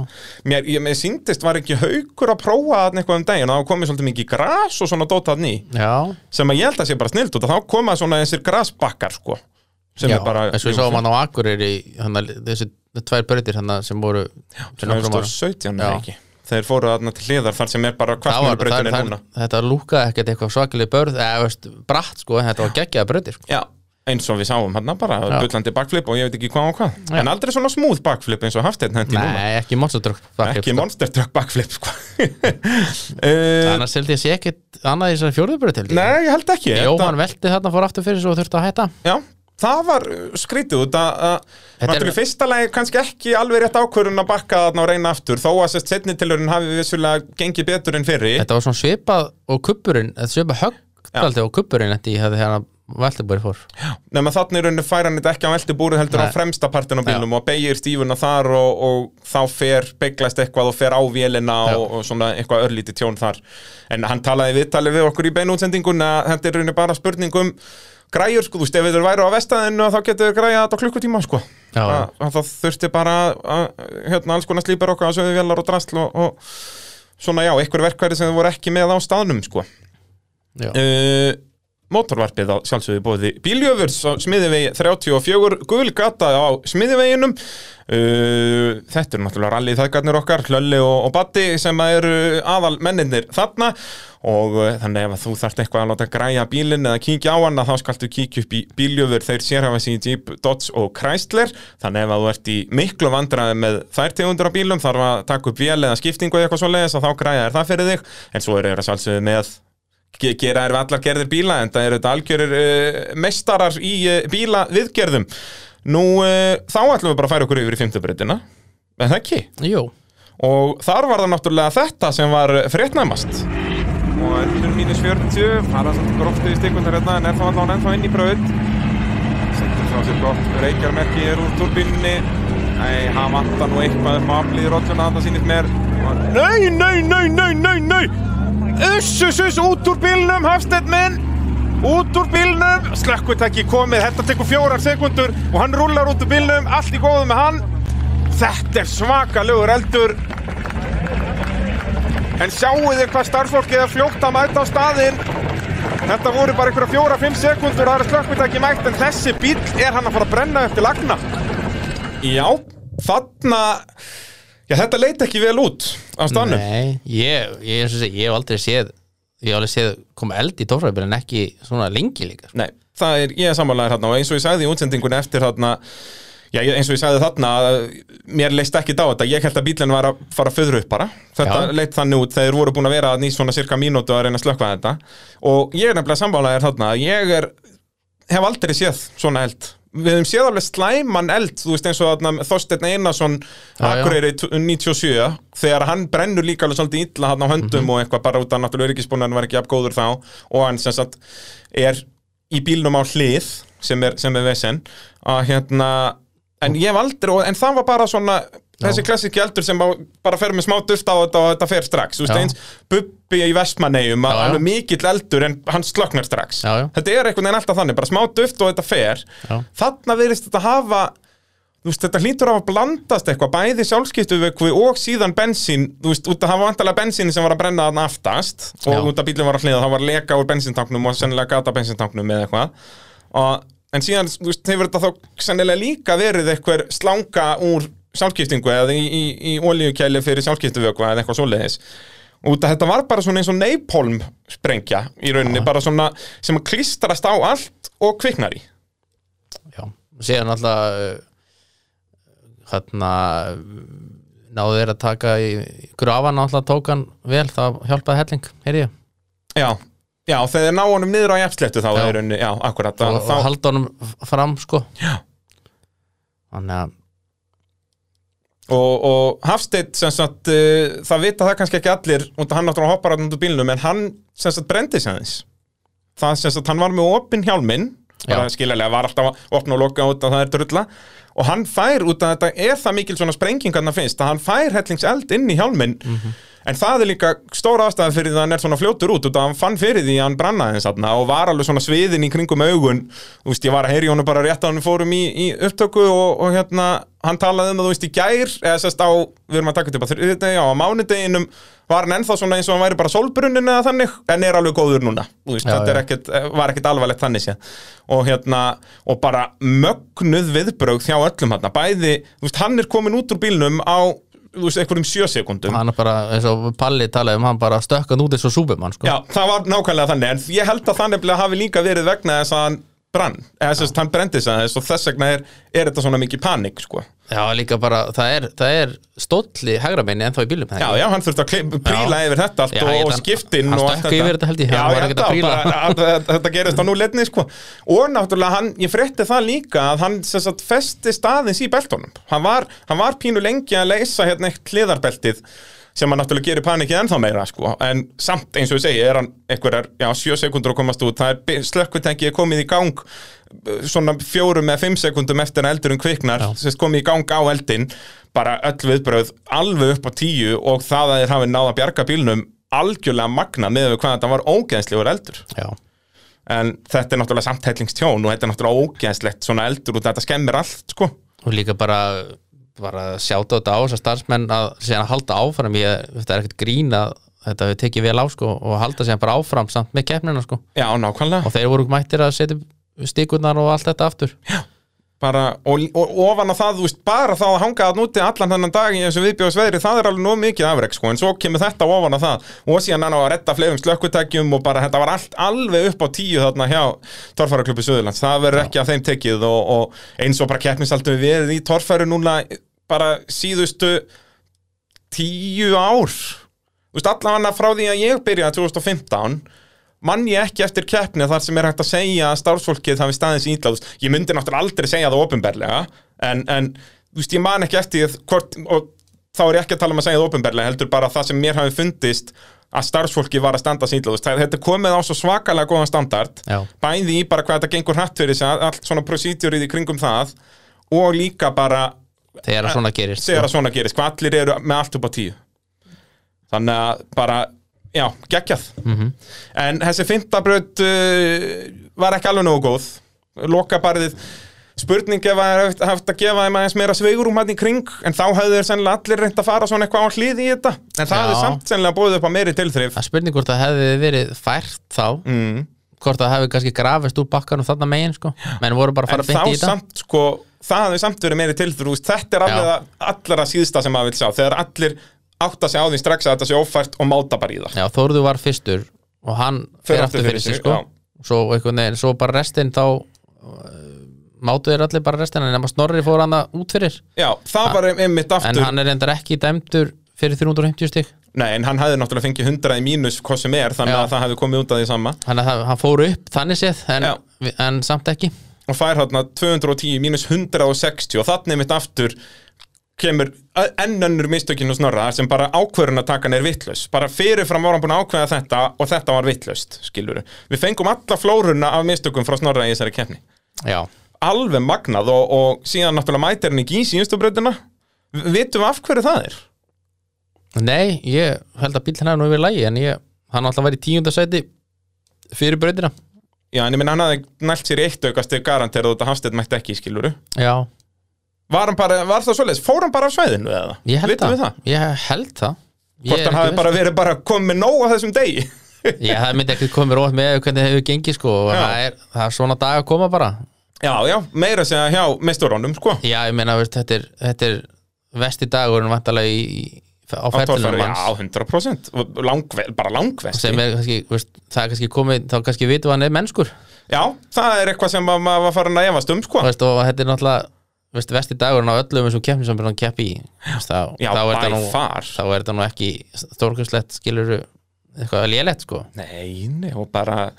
mér, ég, mér síndist var ekki haukur að prófa þarna eitthvað um daginn og þá komið svolítið mikið gras og svona dótaðn í já, sem að ég held að sé bara snilt út að þá koma svona þessir grasbakkar sko sem já, er bara eins og við sáum hann á Akureyri hana, þessi tvær bröðir hann sem voru fyrir nokkrum árum. 2017 eða Já. ekki þeir fóru þarna til hliðar þar sem er bara Það var- kvartmjölubrautin það- er það- núna þetta lúkaði ekkert eitthvað svakalega börð eða veist, bratt sko, en þetta var geggjaða bröðir sko. Já, eins og við sáum hérna bara Já. bullandi backflip og ég veit ekki hvað og hvað Já. En aldrei svona smooth backflip eins og Hafsteinn hendi núna nei, ekki monsterdrökk Ekki monster truck backflip sko. [laughs] uh, annars held ég sé ekkert annað í þessari fjórðubröð Nei, ég held ekki Jóhann velti þarna fór aftur fyrir sig og þurfti að hætta Þetta- Já, það var uh, skrítið út að að- Þetta er- Náttúrulega í fyrsta lagi kannski ekki alveg rétt ákvörun að bakka þarna og reyna aftur Þó að sérst setni tilurinn hafi vissulega gengið betur en fyrri Þetta var svona svipað og kubburinn þetta svipað Já. höggaldi og kubburinn þetta í hefði hérna Valtibur fór Nefn að þannig rauninu fær hann þetta ekki á veltibúrið heldur Nei. á fremsta partin á bílnum og beigir stífuna þar og, og þá fer, beiglast eitthvað og fer á vélina Já. og, og svona eitthvað örlítið tjón þar. En hann talaði viðtalið við okkur í beinútsendingun að þetta er rauninu bara spurningum græjur sko, þú veist, ef þeir væru á vestaðinu þá getur þeir græja þetta á klukkutíma sko. Já. Að- að Það þurfti bara að, hérna, alls konar slípar okkar að sögðu vélar og drasl og, og svona já, einhver verkværi sem þeir voru ekki með á staðnum sko. Já. Uh, Mótorvarpið á sjálfsögðu bóði Bíljöfurs á smiðivegi 34 Guðlgata á smiðiveginum uh, Þetta eru náttúrulega rallið þægarnir okkar, Hlölli og, og Batti sem að eru aðal menninir þarna og uh, þannig ef að þú þarft eitthvað að láta græja bílinn eða kíkja á hann að þá skaltu kíkja upp í Bíljöfur þeir sérhafa sig í Jeep, Dodge og Chrysler þannig ef að þú ert í miklu vandræði með þær tegundur á bílum þarf að taka upp vél eða skiptingu eða eitthvað svoleiðis og þá græja er það fyrir þig en svo eru þeir að sjálfsögðu með ge- gera þær við allar gerðir bíla en það eru þetta algjörir uh, mestarar í uh, bíla viðgerðum Nú, uh, þá ætlum við bara að færa okkur yfir í fimmtubreytina en það ekki Jú, og þar var það náttúrulega þetta sem var fréttnæmast og öllur mínus 40 fara svolítið gróftu í stikundar hérna en er þá allan ennþá inn í braut setur frá sér gott reykjarmerki er úr turbinni nei, hann vantar nú eitthvað upp á aflið rótluna þetta sýnist mér nei, nei, nei, nei, nei, nei uss, uss, uss, út úr bílnum Hafsteinn minn Út úr bílnum, slökkutæki komið, þetta tekur fjórar sekundur og hann rullar út úr bílnum, allt í góðu með hann. Þetta er svakalegur eldur, En sjáu þið hvað starffólkið er fljótt að mæta á staðinn. Þetta voru bara einhverja fjóra-fimm sekundur, það er slökkvitæki mætt, en þessi bíl er hann að fara að brenna eftir lagna. Já, þarna... Já, þetta leit ekki vel út á staðnum. nei Ég, ég, ég, ég, ég hef aldrei séð Ég hef aldrei séð koma eld í tófræðbyrð en ekki svona lengi líka sko. Nei, það er, ég er samanlegaður þarna og eins og ég sagði í útsendingunni eftir þarna Já, ég- eins og ég sagði þarna að mér leist ekki á þetta, ég held að bílinn var að fara að föðra upp bara, þetta Já. leitt þannig út þeir voru búin að vera að nýst svona cirka mínútu að reyna að slökva þetta og ég er nefnilega sammálaðir þarna að ég er, hef aldrei séð svona eld við hefum séð alveg slæman eld þú veist eins og þarna Þorsteinn Einarsson Já, já. Akureyri t- 97 þegar hann brennur líka alveg svolítið illa hann á höndum Mhm. og eitthvað bara út af náttúrulega öryggisbúnaðan var ekki apgóður þá og hann sem sagt er í bílnum á hlið sem er, sem er vesen að hérna en ég hef aldrei, og- en það var bara svona þessi klassiki eldur sem á, bara fer með smá duft á þetta og þetta fer strax þú veist Já. eins, bubbi í Vestmanneigum Já, já. alveg mikill eldur en hann slöknar strax Já, já. þetta er einhvern veginn alltaf þannig, bara smá duft og þetta fer Já. þarna verðist þetta hafa þú veist, þetta hlýtur að hafa blandast eitthvað bæði sjálfskiptuvökvi og síðan bensín þú veist, út að hafa vantarlega bensín sem var að brenna þarna aftast og Já. út að bílum var að hliða, það var leka úr bensíntanknum og sennilega gata bensíntanknum eða eitthvað og, en síðan, þú veist, hefur þetta þá sennilega líka verið eitthvað slanga úr sjálfskiptingu eða í, í, í olíukæli fyrir sjálfskiptuvökva eða eitthvað svoleiðis út að þetta var bara svona eins og neipolm sprengja í rauninni, bara svona sem klistrast á allt og kviknar í Já, síðan alltaf hérna náðu þeir að taka í grafan alltaf tók hann vel, það hjálpaði helling heyrði ég, Já, já þegar þeir ná honum niður á jafnsléttu þá Já. er henni, já, akkurat og, þá, og þá, halda honum fram sko Já. Þannig að, og, og Hafsteinn sem sagt, uh, það vita það kannski ekki allir út að hann náttúrulega hoppar hann út úr bílnum en hann sem sagt brendi sig aðeins það sem sagt, hann var með opinn hjálminn bara Já. skiljalega var alltaf að opna og loka út að það er drulla og hann fær út að þetta er það mikil svona sprenging hann finnst að hann fær hellings eld inn í hjálminn Mhm. en það er líka stóra ástæða fyrir því að hann er svona fljótur út út að hann fann fyrir því að hann brannaði hans þarna og var alveg svona sviðin í kringum augun þú veist, ég var að heyri honum bara rétt að hann fórum í, í upptöku og, og hérna hann talaði um að þú veist í gær eða sérst á, við erum að taka upp á þriðdegi á mánudeginum var hann ennþá svona eins og hann væri bara sólbrunnin eða þannig en er alveg góður núna þú veist, Já, þetta er já. ekkit, eh, var ekkit alvarlegt þannig sé og hérna, og bara mögnuð viðbrögð hjá öllum hérna bæði, þú veist, hann er komin út úr bílnum á, þú veist, einhverjum sjö sekundum hann er bara, eins og Palli talaði um hann bara stökkan út eins og Superman sko Já, það var nákvæmlega þannig En ég held að það nefnilega hafi líka verið vegna þess að hann brann eða þess að hann brendi sig aðeins og þess vegna er, er þetta svona mikið panik sko. Já, líka bara, það er, það er stólli hægra meini ennþá í bílum Já, já, hann þurfti að klip- príla yfir þetta allt Já, og, ég held og hann- skiptin hann og allt stökk yfir þetta held ég, Já, hann var ég ekkert held að að príla. bara- að- að- Þetta gerist á nú letni sko. og náttúrulega hann, ég frétti það líka að hann sem sagt, festi staðins í beltunum hann var, hann var pínu lengi að leysa hérna eitt hliðarbeltið sem hann náttúrulega gerir panikið ennþá meira sko. en samt eins og ég segi, er hann einhverjar, já, sjö sekundur að komast út það er slökkutæki komið í gang uh, svona fjórum eða fimm sekundum eftir að eldurinn kviknar, Já. sem sagt, komið í gang á eldinn bara öll viðbröð alveg upp á tíu og það að þeir hafi náða að bjarga bílnum algjörlega magna með við hvað þetta var ógeðslegur eldur já. en þetta er náttúrulega samtællingstjón og þetta er náttúrulega ógeðslegt svona eldur og þetta skemmir allt sko og líka bara bara sjáta þetta á þess að starfsmenn að síðan að halda áfram ég, þetta er ekkert grín að þetta hefur tekið vel á sko og halda sér bara áfram samt með keppnina sko Já, nákvæmlega og þeir voru mættir að setja upp stikurnar og allt þetta aftur bara, og, og ofan á það, þú veist, bara það að hanga að núti allan þennan dag í þessu viðbjóðsveðri það er alveg nóg mikið afrek, sko, en svo kemur þetta ofan á það, og síðan hann á að redda fleirum slökkutækjum og bara þetta var allt alveg upp á tíu þarna hjá Torfæraklubbi Suðurlands, það verður ekki að þeim tekið og, og eins og bara keppnisaldum við erum í Torfæru núna bara síðustu tíu ár Þú veist, allavega frá því að ég byrjaði 2015 mann ég ekki eftir keppni þar sem er hægt að segja að starfsfólkið hafi staðins ítla Þú veist, ég myndi náttúrulega aldrei segja það ofinberlega en, en þú veist, ég man ekki eftir því hvort, og þá er ég ekki að tala um að segja það ofinberlega heldur bara það sem mér hafi fundist að starfsfólkið var að standa sín ítla Þú veist, það- þetta er komið á svo svakalega góðan standard Já. bæði í bara hvað þetta gengur hratt fyrir sig allt svona procedurið í kringum það og líka bara þegar að svona gerist sko. segir að svona gerist, hvað allir eru með allt upp á tíu þannig að bara, já, geggjað Mhm. en þessi fintabraut uh, var ekki alveg nógu góð lokabarðið spurning ef að er haft- haft að gefa þeim aðeins meira sveigurum hann í kring, en þá hefðu þeir sennilega allir reynd að fara svona eitthvað á hlið í þetta en það Já. hefði samt sennilega búið upp á meiri tilþrif það er spurning hvort það hefði verið fært þá mm. hvort það hefði kannski grafist úr bakkanum þarna megin sko menn voru bara að en fara að þá bynda í þetta samt sko það hefði samt verið meiri tilþrif þú veist, þetta er alveg Já. að- allra síðsta sem maður vil sjá þegar allir átta sig á því strax að þetta sé ófært og máta bara í það Já, Þórðu var fyrstur og hann fer aftur fyrir sig sko já. svo, einhvern veginn, svo bara restinn þá uh, mátu þeir allir bara restina nema Snorri fór hann að út fyrir Já, það var einmitt Ah, en aftur hann er reyndar ekki dæmdur fyrir 350 stík Nei, en hann hefði náttúrulega fengið 100 í mínus hvað sem er, þannig Já. að það hefði komið út af því sama hann, hann fór upp þannig séð en, Já. vi- en samt ekki og fær hérna 210 í mínus 160 og þannig einmitt aftur kemur ö- enn önnur mistökinn og snorra þar sem bara ákvörðun að taka hann er vittlaus bara fyrirfram var hann búin að ákveða þetta og þetta var vittlaust, skilur við fengum alla flórunna af mistökum frá snorra í þessari keppni já, alveg magnað og, og síðan náttúrulega mætir hann ekki í síðustu breytina vitum við af hverju það er? nei, ég held að bíl hann hefði nú yfir lægi en ég, hann alltaf var í tíunda sæti fyrir brautina Já, en ég minn hann hafði nælt sér í eitt aukast eða garanterað út að Hafsteinn mætti ekki, skiluru já, Var, hann bara, var það svoleiðis? Fór hann bara af svæðinu eða? ég held Vitum við það? ég held það Ég Hvort er hann ekki hafi viss. bara verið bara komið nóg á þessum degi? Já, það myndi ekkert komið rótt með hvernig það hefur gengið sko og Já. það er, það er svona dag að koma bara Já, já, meira að segja hjá mesturónum, sko Já, ég meina, veist, þetta er, þetta er vesti dagurinn vantarlega í, í, á Á ferðinum torfæri, manns Já, 100% Og Langve, Bara langvesti sem er kannski, veist, það er kannski komið þá kannski vitum við hann er mennskur Já, það er eitthvað sem að maður var farin að efast um, sko veist, og þetta er náttúrulega veist, vesti dagurinn á öllum þessum keppnum sem hann keppi í veist, þá, Já, þá, er by það nú, far þá er það nú ekki stórkurslegt skiluru eitthvað lélegt sko Nei, nei, og bara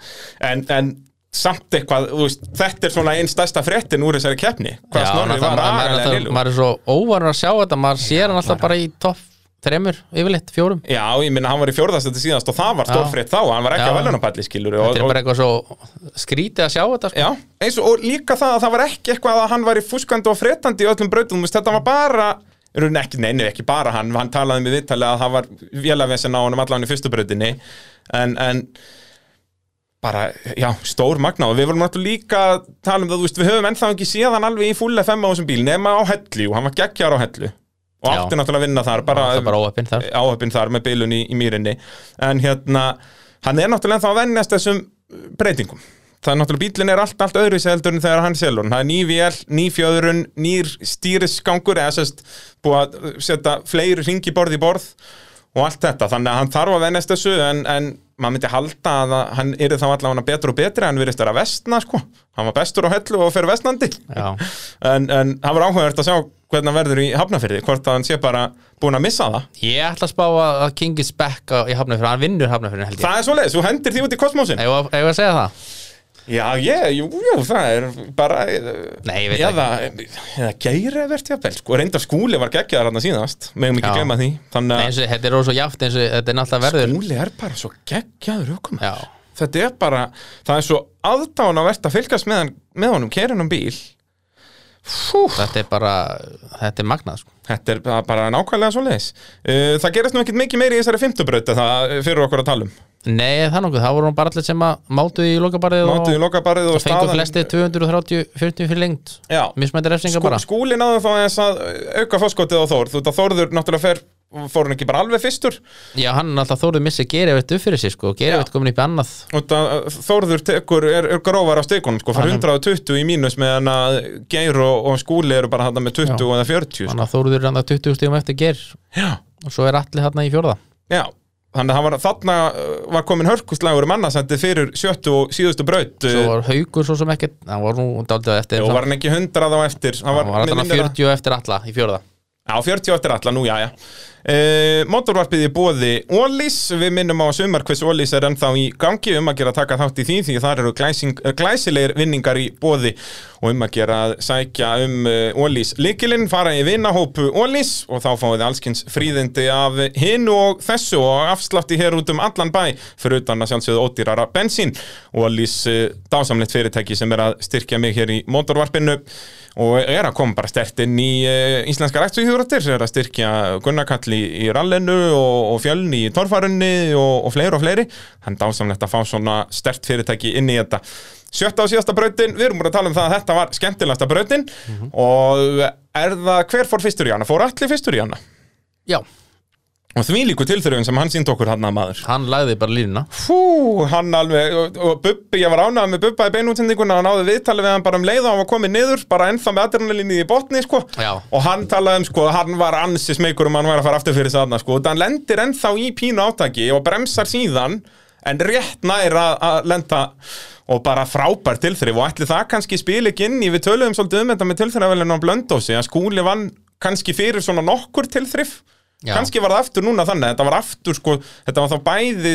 En, en samt eitthvað, þú veist, þetta er svona einn stærsta fréttin úr þessari keppni Hvað Já, snorri náttúrulega, var maður- maður er agalega alltaf- liðlegur. maður er svo óvarur að sjá þetta maður sér hann alltaf bara í topp þremur, yfirleitt, fjórum Já, ég minna, hann var í fjórðastætti síðast og það var Já. stórfrétt þá, hann var ekki Já. að velunapalli skilur þetta er bara eitthvað svo skrítið að sjá þetta sko. Já, eins og, og líka það að það var ekki eitthvað að hann var í fúskandi og fretandi í öllum brautum, þú veist, þetta var bara í rauninni ekki, nei, nei, ekki bara hann, hann talaði með viðtalið að það var vélavesen á honum allan í fyrstu brautinni, en, en bara, já, stór magna og við vorum náttúrulega líka að tala um það, þú veist, við höfum ennþá ekki séð hann alveg í full FM á þessum bíl, nema á hellu og hann var geggjar á hellu og Já. átti náttúrulega að vinna þar, bara, það er bara óöppin þar áhöfn Eh, þar með bílun í, í mýrinni en hérna, hann er náttúrulega þá að vennjast þessum eh, breytingum það er náttúrulega bílinn er allt, allt öðru í seldur en þegar hann selur, hann. það er ný vél, ný fjöðrun nýr stýrisgangur eða sérst búið að eh, setja fleiri ringi borð í borð og allt þetta þannig að hann þarf að vennjast þessu en, en maður myndi halda að að hann yrði þá allavega betur og betri, hann virðist vera að vestna sko hann var bestur á hellu og fer vestnandi Já. [laughs] en, en það var áhugavert að sjá hvernig hann verður í hafnafyrði, hvort að hann sé bara búin að missa það Ég ætla að spá að að King is back á, í Hafnarfjörn, hann vinnur Hafnarfjörn held ég Það er svoleiðis, þú hendir því út í kosmósin Eigum við að- eigum við að segja það? Já, ég, jú, jú, það er bara eh, Nei, ég veit eða, eða geirivert jafnvel, sko, reyndar skúli var geggjaðar hann síðast, megum ekki Já. glemma því Nei, Þannig eins og þetta er rosa jáft eins og þetta er náttúrulega að verður skúli er bara svo geggjaður ökum Já, Þetta er bara, það er svo aðdánavert að fylgjast með, hann, með honum keirinum bíl Fú, þetta er bara þetta er magnað sko þetta er bara- bara nákvæmlega svoleiðis Uh, Það gerist nú ekkit mikið meiri í þessari fimmtubraut það fyrir okkur að tala um Nei, það nokkuð, það voru nú bara allir sem að mátu í lokabarið og Mátuðu lokabarið og og fengu staðan flesti 230, 40 fyrir lengt Já, mismættir refsingar Skú, bara skúli náðu þá aðeins að auka fórskotið á Þór þú veit að Þórður náttúrulega fer fór hann ekki bara alveg fyrstur Já, hann er alltaf þórið missi Gerevett upp fyrir sig sko, Gerevett komin upp í annað og það, Þórður tekur er, er grófar á stikun sko, fær Hann- 120 í mínus meðan að Geir og, og Skúli eru bara hann með 20 Já. eða 40 sko. Þannig að Þóruður er hann 20 stíðum eftir Ger já, og svo er allir hann í fjórða já þannig að hann var, þarna uh, var komin hörkuslagur mannasendið fyrir sjöttu og síðustu braut Svo uh, var Haugur svo sem ekkert hann var nú daldið eftir og var hann ekki 100 á eftir hann hann var mig alltaf minnir að- 40 eftir alla í fjórða Já, 40 eftir alla, nú já, já. Uh, Mótorvarpið í bóði Ólís, við minnum á sumar hvers Ólís er ennþá í gangi um að gera að taka þátt í því því þar eru glæsing, eh, glæsilegir vinningar í bóði og um að gera að sækja um uh, Ólís líkilinn, fara í vinahópu Ólís og þá fáið þið allskins fríðindi af hinn og þessu og afslafti hér út um allan bæ fyrir utan að sjálfsögðu ódýrara bensín Ólís uh, dásamlegt fyrirtæki sem er að styrkja mig hér í mótorvarpinu og er að koma bara stert inn í uh, íslenska rætsuhjúratir er að styrkja Gunnarkalli í rallinu og, og fjölni í torfarunni og, og fleiri og fleiri hann dásamlegt að fá svona stert fyrirtæki inn í þetta sjötta og síðasta brautin, við erum búin að tala um það að þetta var skemmtilegasta brautin og er það, hver fór fyrstur í hana? fór allir fyrstur í hana? Já, og því líku tilþröfum sem hann sínd okkur hann að maður hann lagði bara línuna Fú, hann alveg, og, og Bubbi, ég var ánægð með Bubba í beinútsendinguna, hann áði viðtalið við hann bara um leið og hann var komið niður, bara ennþá með adrenalinnið í botni, sko, Já. og hann talaði um, sko, að hann var ansi smeykur um að hann var að fara aftur fyrir þarna, sko, og hann lendir ennþá í pínu átaki og bremsar síðan, en rétt nær að, að lenda og bara frábær tilþrif og ætli það kannski spil ekki inn í, við töluðum svolítið um þetta með tilþrifavelinu á blöndósi, að skúli vann kannski fyrir svona nokkur tilþrif, Já. kannski var það aftur núna þannig þetta var aftur sko, þetta var þá bæði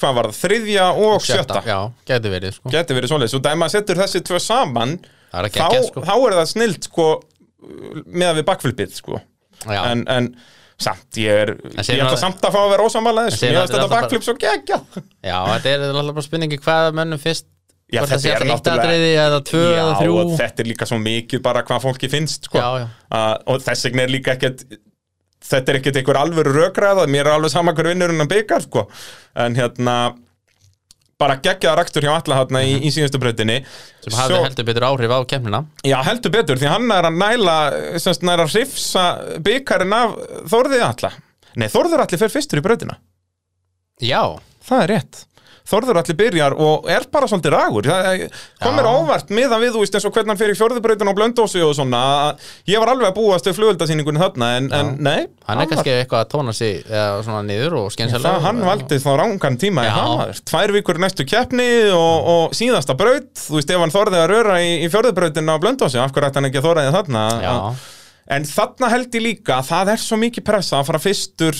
hvað var það, þriðja og sjötta, Já, gæti verið sko geti verið svoleiðis og ef maður setur þessi tvö saman Það er ekki þá, ekki sko þá er það snilt sko meðan við bakflipið sko Já, en, en samt, ég er ég segir ætla maður- samt að fá að vera ósamála þessu, segir ég maður- veist þetta þetta er bakflip svo gegja já þetta er alltaf bara spurningi hvað mönnum fyrst Já, hvort þetta það sé er alltaf eitt náttúrulega- atriði eða tvö Já, eða þrjú og þetta er líka svo mikið bara hvað fólki finnst sko. Já, já. Uh, og þess vegna er líka ekkert þetta er ekkert einhver alvöru rökræða mér er alveg sama hver vinnur en að byggar sko. en hérna bara geggjaða rakstur hjá alla hérna í, í síðustu breytinni sem hafði heldur betur áhrif á kemnina Já, heldur betur, því hann er að næla semst næra að hrifsa byggarinn af Þórðið alla Nei, Þórður allir fer fyrstur í breytina Já, Það er rétt Þórður allir byrjar og er bara svolítið ragur Það það komir Já. óvart meðan við þú veist eins og hvernig hann fyrir fjörðubrautin og blöndósi og svona að ég var alveg að búast við flugöldasýningunni þarna en, en nei, hann er kannski eitthvað að tóna sig eða svona niður og var, skynsalega það, hann valdi þá rángan tíma í Já. hamaður Tvær vikur í næstu keppni og, og síðasta braut þú veist ef hann þorði að röra í, í fjörðubrautin á blöndósi af hverju ætti hann ekki að þorraði þarna Já, Að- En þarna held ég líka að það er svo mikið pressa að fara fyrstur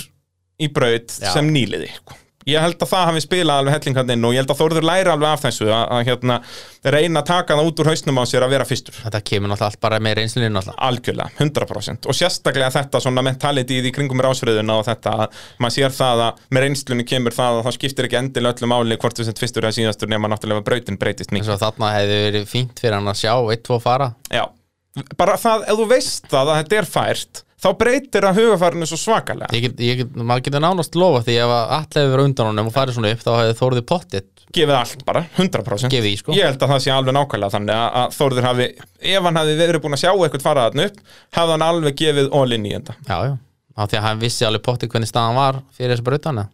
í braut Já. sem nýliði. sko. Ég held að það hafi spilað alveg hellingan inn og ég held að Þórður læri alveg af þessu að, að hérna, reyna að taka það út úr hausnum á sér að vera fyrstur. þetta kemur náttúrulega allt bara með reynslinu náttúrulega Algjörlega, 100% og sérstaklega þetta svona mentalityð í kringum rásröðuna og þetta að maður sér það að með reynslunni kemur það að það skiptir ekki endilega öllu máli hvort þú sent fyrstur eða síðastur nema náttúrulega brautin breytist mikið. eins og þarna hefði verið fínt fyrir hann að sjá eitt, tvo fara Já, bara það, ef þú veist það að þetta er fært, þá breytir að hugafarinu svo svakalega. ég get, ég get, maður getur nánast lofa því ef að allir hefur undan honum og farið svona upp þá hefði Þórði pottitt gefið allt bara, 100% gefið í sko ég held að það sé alveg nákvæmlega þannig að, að Þórður hafi, ef hann hafi verið búin að sjá eitthvað fara þarna upp, hafði hann alveg gefið all in í þetta Já, já, á því að hann vissi alveg pottitt hvernig staðan var fyrir þessu brautana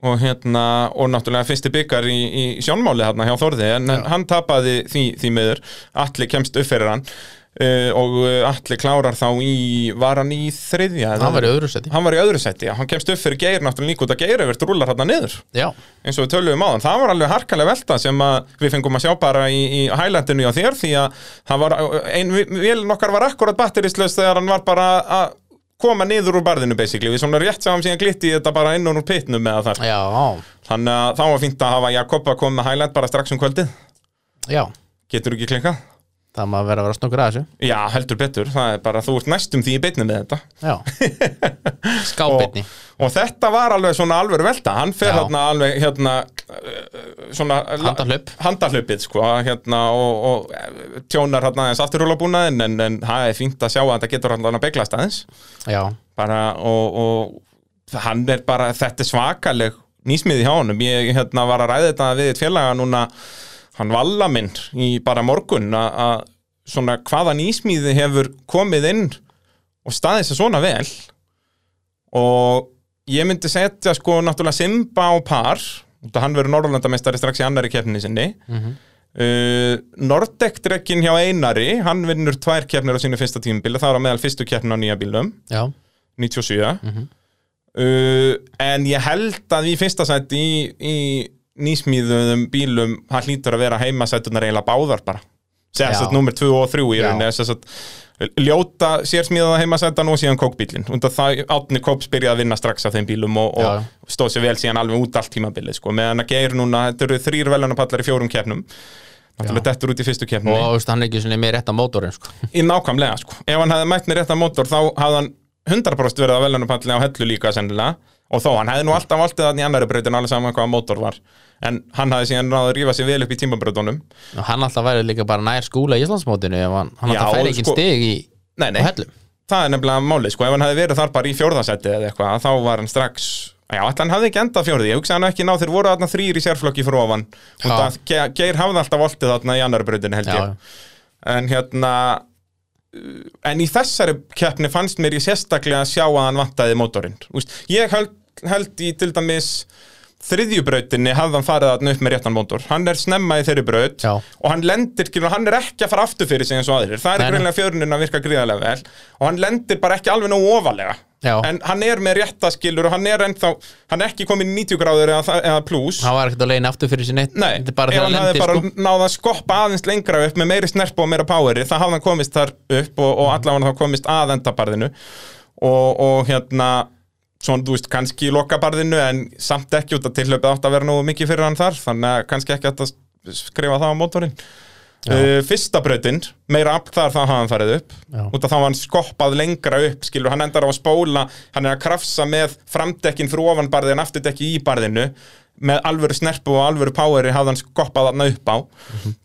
og hérna, og náttúrulega fyrsti byggar í, í sjónmáli þarna hjá Þórði en, en hann tapaði því, því miður allir kemst upp fyrir hann uh, og allir klárar þá í var hann í þriðja? eða- Hann var í öðru seti hann var í öðru seti, já, hann kemst upp fyrir geir náttúrulega líka út að geir yfir drúlar hann niður Já, eins og við töluðum áðan, það var alveg harkalega velta sem að við fengum að sjá bara í, í hælandinu á þér því að það var, ein vél nokkar var akkurat batterislaus þegar hann var bara að koma niður úr barðinu basically, við svona rétt sem hann síðan glitti í þetta bara inn og úr pitnum með það já, þannig að það var fínt að hafa Jakob að koma með hæland bara strax um kvöldið, já getur ekki klinkað Það maður verið að vera snokkur að þessu Já, heldur betur, það er bara, þú ert næstum því í beinni með þetta Já [laughs] Skábyrni Og þetta var alveg svona alveg velta, hann fer Já. hérna alveg hérna eh, svona Handahlaup. handahlaupið sko hérna og, og eh, tjónar hérna aðeins afturhjólabúnaðinn en, en það er fínt að sjá að þetta getur hérna að beglast aðeins Já, bara og, og hann er bara, þetta er svakaleg nýsmiði hjá honum, ég hérna var að ræða þetta við eitt félaga núna hann valla minn í bara morgun að- að svona hvaða nýsmiði hefur komið inn og staðið sér svona vel og ég myndi setja sko náttúrulega Simba á par út að hann verður Norrlandameistari strax í annari keppninni sinni Mhm. uh, Nordekdrekkin hjá Einari hann vinnur tvær keppnir á sínu fyrsta tímabili það er á meðal fyrstu keppnin á nýja bílum já, mhm. 97 uh, en ég held að í fyrsta sætt í, í nýsmíðum bílum hann hlýtur að vera heimasætunar eiginlega báðar bara sérst Já. að nummer 2 og 3 í Já. rauninni sérst að ljóta sérsmíðaða heimasætan og síðan kókbílin undan það átni kóps byrjaði að vinna strax á þeim bílum og, Já. og stóð sér vel síðan alveg út allt tímabilið sko. meðan að geir núna, þetta eru þrýr velunapallar í fjórum keppnum náttúrulega dettur út í fyrstu keppni og þú veist, hann er ekki svona með rétt á mótorinn sko. í nákvæmlega sko. ef hann hefði mætt með réttan mótor þá hafði hann 100% verið að velunarpallin á hellu líka sennilega og þó hann hefði nú alltaf valtið þannig í annari brautin alveg saman hvaða mótor var en hann hafði síðan náðu að rífa sér vel upp í tímabrautunum og hann alltaf væri líka bara nær skúla í Íslandsmótinu ef hann, hann Já, alltaf og færi ekki sko- stig í nei, nei, á hellum það er nefnilega málið sko. ef hann hefði verið þar bara í fjórðasæti eða eitthvað þá var hann strax Já, ætla hann hafði ekki endað fjórði, ég hugsa hann ekki ná þeir voru þarna þrýr í sérflokki frá ofan og Já. það Ge- Geir hafði alltaf voltið þarna í annar brautin held já, ég en hérna uh, en í þessari keppni fannst mér ég sérstaklega að sjá að hann vantaði mótorinn Úst, ég held, held í til dæmis þriðjubrautinni hafði hann farið þarna upp með réttan mótor hann er snemma í þeirri braut Já. og hann lendir, skilur, hann er ekki að fara aftur fyrir sig eins og aðrir, það Nei, nei. er greinlega fjörunin að virka gríðarlega vel og hann lendir bara ekki alveg nógu ofalega Já. en hann er með rétta skilur og hann er ennþá hann er ekki komin í 90 gráður eða, það- eða pluss hann var ekkert að leiðin aftur fyrir sér neitt Nei, þetta er bara ef þegar hann hann hefði lendi bara sko. sko. náða að skoppa aðeins lengra upp með meiri snerpu og meira poweri það hafði hann komist þar upp og, og allavega þá komist að endabarðinu og, og hérna svona, þú veist, kannski í lokabarðinu en samt ekki út að tilhlaupið átt að vera nógu mikið fyrir hann þar þannig að kannski ekki hægt að skrifa það á mótorinn uh, Fyrsta brautinn, meira afl þar það hafði hann farið upp Já. út af þá var hann skoppað lengra upp skilur, hann endar á að spóla hann er að krafsa með framdekkin fyrir ofan barðin afturdekki í barðinu með alvöru snerpu og alvöru poweri hafði hann skoppað þarna upp á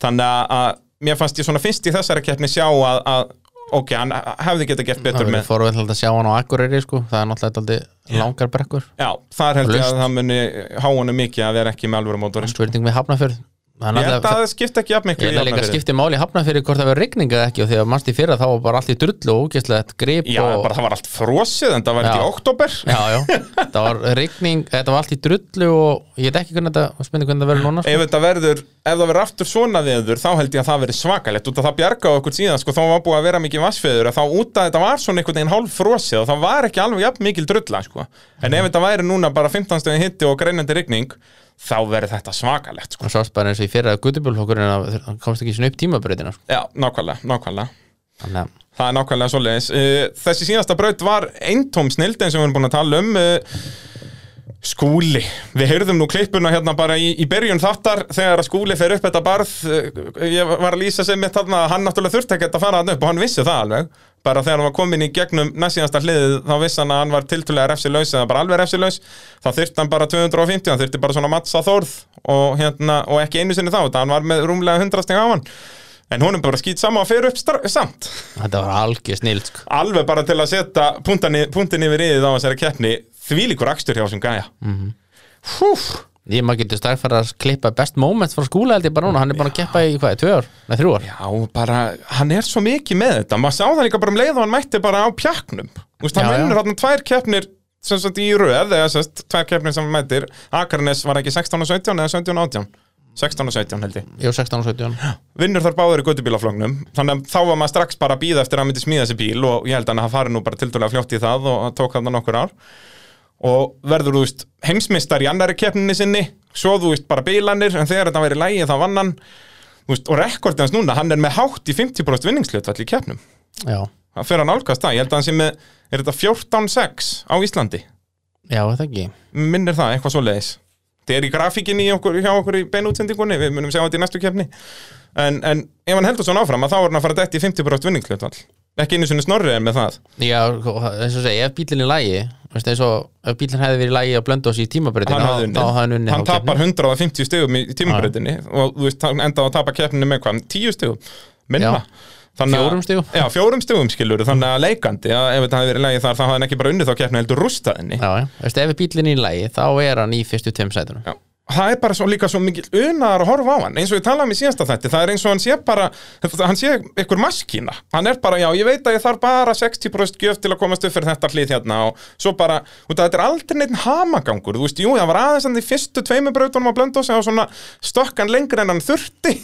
þannig að, að mér fannst ég svona fyrst í þessari keppni sjá að, að ok, hann hefði getað gert það betur verður með forveld að sjá hann á Akureyri sko. það er náttúrulega alltaf langar brekkur já, þar held ég Laust. að það muni há honum mikið að vera ekki með alvöru mótorin spurning við Hafnafjörð Það er ég held að náttúrulega- það skipta ekki jafn Ég miklu held að líka Hafnarfirði. skipti máli hafna fyrir hvort það verður rigning eða ekki og þegar mannst í fyrra þá var bara allt í drullu og ógæslega grip já, og... bara það var allt frosið en það var ekki Já. í oktober Já, já, það var rigning, þetta var allt í drullu og ég veit ekki hvernig þetta, spynni hvernig það verður núna sko. ef þetta verður, ef það verður aftur svona veður þá held ég að það verður svakalegt út að það bjargaði okkur síðan, sko, þá var búið að vera mikið vassveður að þá út að þetta var svona einhvern veginn hálf frosið og það var ekki alveg jafn mikil drulla, sko en ef þetta væri núna bara 15 stöðin hitti og greinandi rigning, þá verður þetta svakalegt, sko og sást bara eins og í fyrra gutubjólflokkurinn að hann komst ekki svona upp tímabröðina sko. Já, nákvæmlega, nákvæmlega þannig að Það er nákvæmlega svoleiðis. Uh, Þessi síðasta braut var eintóm snild eins og við erum búin að tala um uh, skúli. Við heyrðum nú klippuna hérna bara í, í byrjun þáttar þegar að skúli fer upp þetta barð. Uh, Ég var að lýsa sem mitt þarna að hann náttúrulega þurfti ekkert að fara hann upp og hann vissi það alveg. Bara þegar hann var komin í gegnum næstíðasta hliðið þá vissi hann að hann var tiltulega refsilaus eða bara alveg refsilaus. Þá þurfti hann bara 250, hann þurfti bara svona mattsa þórð og, hérna, og ekki einu sinni þá. Þetta hann var með rúmlega 100 stig á hann. En hún er bara skýt sama og fer upp stra- samt þetta var algjör snild sko. alveg bara til að setja punktan, punktin yfir yfir á þessari keppni þvílíkur akstur hjá sem gæja mm ég maður getur stakfæra að klippa best moments frá skúla held ég bara núna, hann er búin að keppa í hvað, í tvö ár, neða þrjú ár Já, bara, hann er svo mikið með þetta maður sá það líka bara um leið og hann mætti bara á pjaknum Úst, hann Já, já. vinnur þarna tvær keppnir sem sagt í röð, eða sem sagt tvær keppnir sem hann mættir, Akarnes var ekki 16 og 17 eða 17 og 18 16 og 17 held ég ég var 16 og 17 vinnur þar báður í göttubílaflóknum þannig að þá var maður strax bara að býða eftir að hann myndi smíða þessi bíl og ég held að hann fari nú bara tildulega fljótt í það og hann tók hann nokkur ár og verður þú veist heimsmeistar í annari keppninni sinni svo þú veist bara bílanir en þegar þetta væri lægi þá vann hann Þú veist, og rekordið hans núna, hann er með hátt í 50% vinningslutfall í keppnum já, það fer hann álgast það, ég held að hann sé með er þetta 14-6 á Íslandi já, það ekki minnir það, eitthvað svoleiðis þetta er í grafíkinni í okkur, hjá okkur í beinútsendingunni við munum sjá þetta í næstu keppni en, en ef hann heldur svona áfram að þá er hann að fara dætt í 50% vinningslutvall ekki einu sinni snorrið er með það já, sko, eins og segja, ef bílinn er lægi veist, eins og ef bílinn hefði verið lægi að blönda oss í tímabröðina, hann, hafði þá, þá unnið. hafði hann unni hann tapar 150 stegum í tímabröðinni og þú veist, hann endaði að tapa keppninu með hvað 10 stegum, minna Já. Fjórum stigum. Já, fjórum stegum skilur, þannig að leikandi að ef þetta hefði verið lægi þar, þá hafði hann ekki bara unnið þá keppni heldur rústaðinni já, já, veist, ef bílinn er í lægi þá er hann í fyrstu tveim sætunum Já. það er bara svo líka svo mikil unaðar að horfa á hann eins og ég talaði um í síðasta þætti, það er eins og hann sé bara hann sé ykkur maskína hann er bara, já, ég veit að ég þarf bara 60% gjöf til að komast upp fyrir þetta hlið hérna og svo bara, út að þetta er aldrei neitt hamagangur, þú veist, jú, það var aðeins hann í fyrstu tveimur brautunum á blöndu og segja svona stokkan lengur en hann þurfti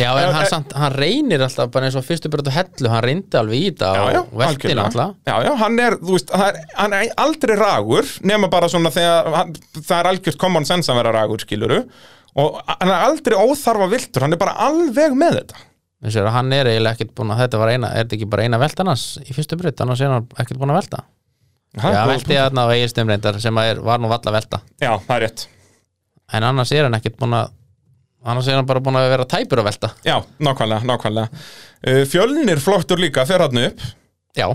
Já, en eh. hann, samt, hann reynir alltaf bara eins og fyrstu brötu hellu, hann reyndi alveg í þetta já, já, og velti algjörlega. alltaf já, já, hann er, þú veist, hann er, hann er aldrei ragur nema bara svona þegar hann, það er algjört common sense að vera ragur skiluru og hann er aldrei óþarfa viltur, hann er bara alveg með þetta Þessi, er að hann er eiginlega ekkert búin að þetta var eina er þetta ekki bara eina velta annars í fyrstu brut annars er hann ekkert búin að velta Það er Já, góð velti punktur. þarna á eiginstum reyndar sem að er, var nú valla velta já, það er rétt en annars er hann ekkert búin að annars er hann bara búin að vera tæpur að velta já, nákvæmlega, nákvæmlega Uh, fjölnir flottur líka, fer hann upp Já,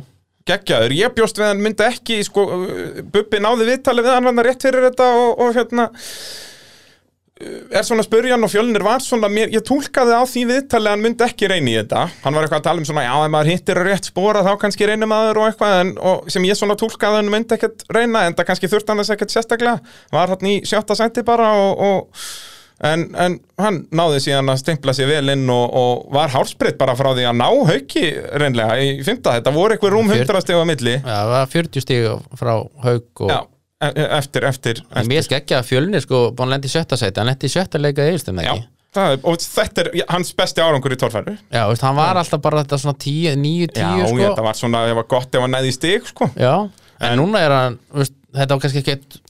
geggjaður, ég bjóst við hann myndi ekki sko, uh, Bubbi náði viðtalið við hann hann rétt fyrir þetta og, og hérna uh, er svona að spurja hann og fjölnir var svona, mér, ég túlkaði á því viðtalið að hann myndi ekki reyni í þetta hann var eitthvað að tala um svona, já, ef maður hittir á rétt spora þá kannski reynir maður og eitthvað en, og sem ég svona túlkaði að hann myndi ekkert reyna en það kannski þurfti hann þess ekkert sérstaklega var hann í sjötta senti bara og, og En, en hann náði síðan að stempla sér vel inn og, og var hálsbreytt bara frá því að ná hauki reynlega í fymta þetta voru eitthvað rúm Fjör- 100 stegu að milli Já, það var 40 stig frá haug og Já, e- e- eftir, eftir, en eftir. mér skekkja að fjölni sko búin að lenda í sjötta sæti, hann lendi í sjötta leika eiginstum Já, ekki það er, og þetta er hans besti árangur í torfæru Já, veist, hann var alltaf bara þetta svona 10, 9, 10 Já, sko. þetta var svona, það var gott ef hann næði í stig sko. Já, en, núna er hann veist, þetta var kannski ekkert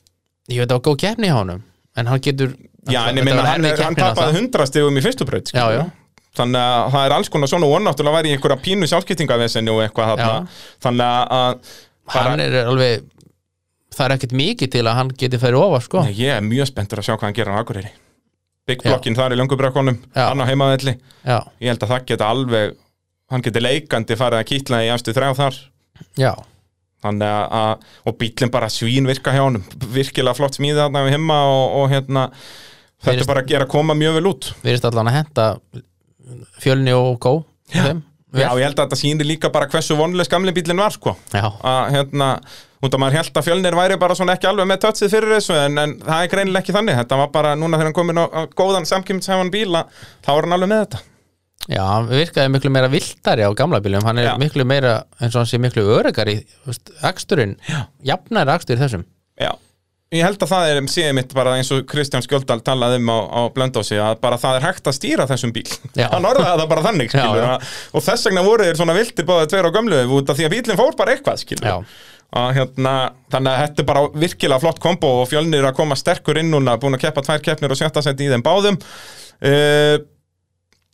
ég veit það var góð keppni hjá honum en hann getur Já, en ég minna, hann, er- hann tapaði 100 stegum í fyrstu braut Já, skilur. já. Þannig að það er alls konar svona og náttúrulega væri í einhverja pínu sjálfskiptingavesenni og eitthvað þarna Þannig að bara- hann er alveg það er ekkert mikið til að hann geti færi ofar sko. Nei, ég er mjög spenntur að sjá hvað hann gerir á Akureyri Big Blockin þar í löngubrekkunum Já. hann á heimavelli, já, ég held að það geta alveg hann geti leikandi farið að kýtla í efstu þrjá þar já, Þannig að, að, og bílinn bara svín virka hjá honum, virkilega flott smíði þarna við heima og, og hérna þetta Fyrir- bara er að koma mjög vel út við erum allan að henda fjölni og gó já, Já, ég held að þetta sýnir líka bara hversu vonleis gamli bílinn var, sko já, að hérna, út að maður held að fjölnir væri bara svona ekki alveg með tötsið fyrir þessu en, en það er greinilega ekki þannig, þetta var bara núna þegar hann komin á, á góðan samkjömsæfan bíla þá er hann alveg með þetta já, hann virkaði miklu meira viltari á gamla bílum, hann er Já. miklu meira eins og hann sé miklu örygari aksturinn, jafnæri akstur í þessum Já, ég held að það er síðan mitt bara eins og Kristján Skjöldal talaði um á, á Blöndósi að bara það er hægt að stýra þessum bíl Já. hann orðaði það bara þannig Já, skilur já. já, og þess vegna voru þeir svona viltir báðið tveir á gömlu út af því að bílinn fór bara eitthvað skilur Já. Að, hérna, þannig að þetta er bara virkilega flott kombo og fjölnir að koma sterkur inn núna búin að keppa tvær keppnir og sjötta seti í þeim báðum uh,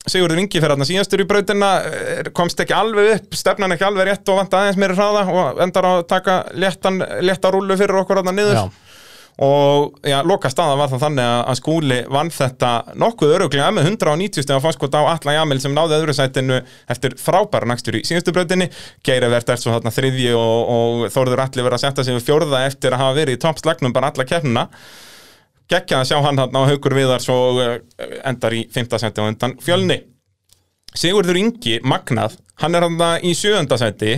Sigurður Ingi fyrir þarna síðastur í brautina eh, komst ekki alveg upp, stefnan ekki alveg rétt og vant aðeins meiri hraða og endar á að taka léttan, létta rúlu fyrir okkur þarna niður já, og já, loka staða var það þannig að- að skúli vann þetta nokkuð öruglega með 190 stegar fórskot á Atla Jamil sem náði öðru sætinu eftir frábæra nægstur í síðustu brautinni Geirivert er svo þarna þriðji og, og Þórður Atli verið að setja sig við fjórða eftir að hafa verið í toppslagnum bara alla keppnina geggjað að sjá hann þarna á haukur viðar svo endar í 5. seti og undan fjölni Sigurður Ingi, Magnað, hann er hann í sjöunda seti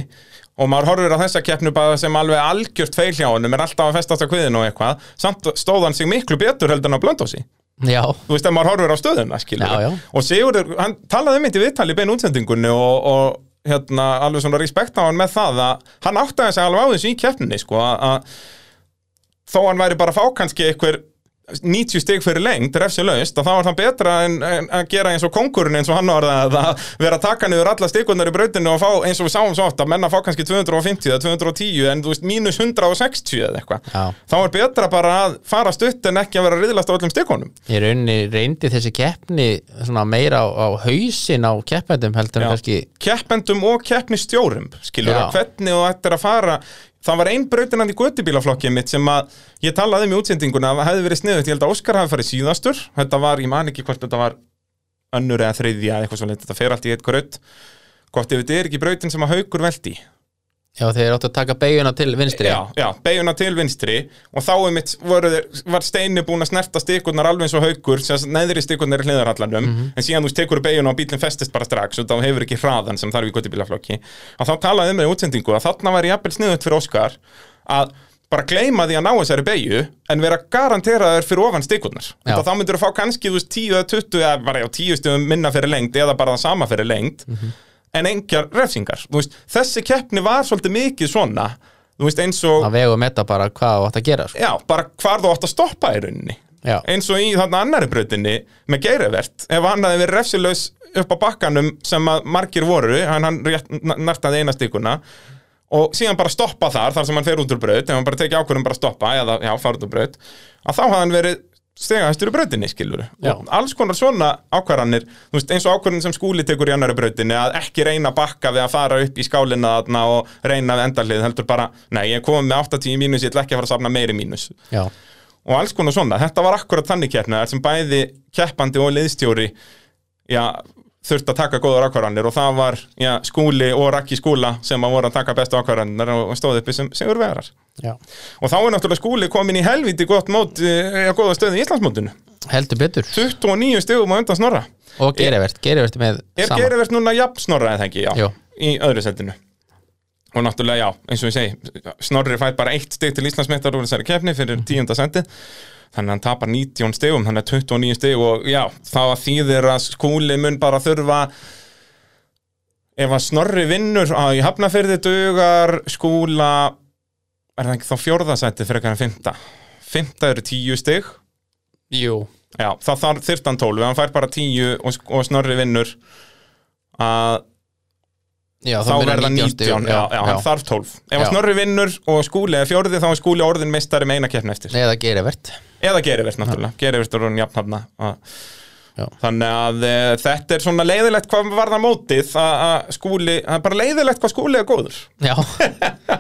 og maður horfir á þessa keppnu bara sem alveg algjört feil hjá honum, er alltaf að festast á kviðinu og eitthvað, samt stóð hann sig miklu betur heldur en á blöndósi. já, Þú veist að maður horfir á stöðuna, skilur. Já, já. Og Sigurður, hann talaði um eitt í viðtali í beinu útsendingunni og, og hérna, alveg svona respekt á hann með það að hann áttaði sig alveg á þessu í keppninni, sko, að- að þó hann væri bara að fá kannski einhver 90 stig fyrir lengd, refsilaust að þá er það betra en, en að gera eins og konkurinn eins og hann orðaði að vera að taka niður alla stigundar í brautinu og fá eins og við sáum svo oft að menna fá kannski 250 eða 210 en þú veist mínus 160 eða eitthvað Já. þá er betra bara að fara stutt en ekki að vera að riðlast á öllum stigunum í rauninni reyndi þessi keppni svona meira á, á hausin á keppendum Já. heldur en kannski keppendum og keppnistjórum skilur Já. að hvernig þú ættir að fara það var ein brautinand í göttibílaflokkið mitt sem að ég talaði um í útsendinguna að það hefði verið sniðut, ég held að Óskar hafi farið síðastur þetta var, ég man ekki hvort þetta var önnur eða þriðja eða eitthvað svo þetta fer allt í eitt gröð gott ef þetta er ekki brautin sem að haukur veldi já þeir áttu að taka beiguna til vinstri já, já, beiguna til vinstri og þá um mitt var steini búin að snerta stikurnar alveg eins og haukur sem sagt, neðri stikurnar í hliðarallanum Mhm. en síðan þú veist, tekur beiguna og bílinn festist bara strax og þá hefur ekki hraðan sem þarf í guttibílaflokki og þá talaði um með útsendingu að þarna væri jafnvel sniðut fyrir Óskar að bara gleyma því að ná þessari beigju en vera garanteraður fyrir ofan stikurnar Já. þá myndur þú fá kannski þú veist 10 eða 20 eða bara já 10 stöðum minna fyrir lengt eða bara það sama fyrir lengt Mhm. en engjar refsingar Þú veist, þessi keppni var svolítið mikið svona þú veist eins og að vega og metta bara hvað þú átt að gera sko. já, bara hvar þú átt að stoppa í rauninni já, eins og í þarna annari brautinni með geirivert, ef hann hafði verið refsilaus upp á bakkanum sem að margir voru hann, hann rétt, n- nartaði eina stíkuna og síðan bara stoppa þar þar sem hann fer út úr braut, ef hann bara tekið ákvörðum bara stoppa eða já, fara út úr braut að þá hafði hann verið stegahæstur í brautinni skilur Já. og alls konar svona ákvarðanir þú veist, eins og ákvarðan sem skúli tekur í annari brautinni að ekki reyna að bakka við að fara upp í skálina þarna og reyna við endarlið heldur bara, nei, ég er komið með 80 í mínus ég ætla ekki að fara að safna meiri mínus já, og alls konar svona, þetta var akkurat þannig keppna þar sem bæði keppandi og liðstjóri já, þurfti að taka góðar ákvarðanir og það var já, skúli og rakki skúla sem að voru að taka bestu ákvarðanir og stóð uppi sem sigur vegarar já og þá er náttúrulega skúli komin í helviti gott mót eh, að góða stöðu í Íslandsmótinu heldur betur 29 stegum á undan snorra og gerivert, gerivert með er sama gerivert núna jafn snorra eða ekki, já, Jú. í öðru setinu og náttúrulega já, eins og ég segi Snorri fær bara eitt stig til Íslandsmeistar úr þessari keppni fyrir tíunda sendi þannig að hann tapar 19 stigum, þannig að 29 stig og já, það þýðir að skúli mun bara þurfa ef að Snorri vinnur að í hafnafyrði dugar skúla er það ekki þá fjórða seti frekar en fymta fymta eru 10 stig jú, já, það þarf þyrtan 12 ef hann fær bara 10 og, og Snorri vinnur að já, þá byrjar verða 19, stigum, já, já, hann þarf 12 ef að Já. Snorri vinnur og Skúli er fjórði þá er Skúli orðin meistari með eina keppn eftir eða gerivert eða Gerivert náttúrulega, Gerivert er orðin jafnhafna að- Já. þannig að e, þetta er svona leiðilegt hvað varða mótið að að Skúli, það er bara leiðilegt hvað Skúli er góður [laughs] Já,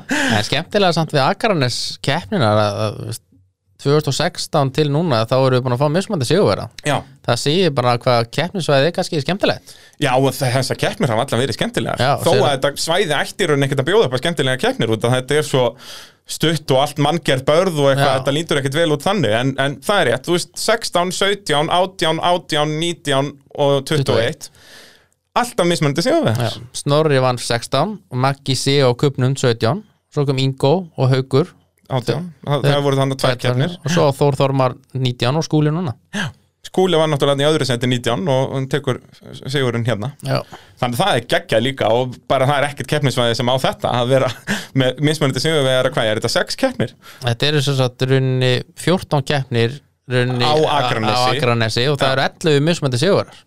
það er skemmtilega samt við Akaranes keppninar að, að þú veist, 2016 til núna þá erum við búin að fá mismandi sigurvera já, Það segir bara hvað keppnisvæði er kannski skemmtilegt já og þe- þessar keppnir hafa allar verið skemmtilegar Já, þó að segir það. þetta svæði ættir en ekkert að bjóða upp að skemmtilega keppnir út að þetta er svo stutt og allt manngjart börð og eitthvað, Já. þetta lítur ekkert vel út þannig en, en það er rétt, þú veist 16, 17, 18, 18, 19 og 21 alltaf mismunandi Já. sigurvegar Snorri vann 16 og Maggi C á kupnum 17 Svo kom Ingo og Haugur 18, það, það voru þannig tvær keppnir Og svo Þór Þormar 19 og skúli núna Skúli var náttúrulega í öðru seti 19 og hún tekur sigurinn hérna Já, þannig að það er geggjað líka og bara það er ekkert keppnisvæði sem á þetta að vera [laughs] með mismunandi sigurvegar að hvað er þetta sex keppnir þetta eru svo satt runni 14 keppnir runni Á Akranesi. á Akranesi og það eru 11 mismandi sigurverar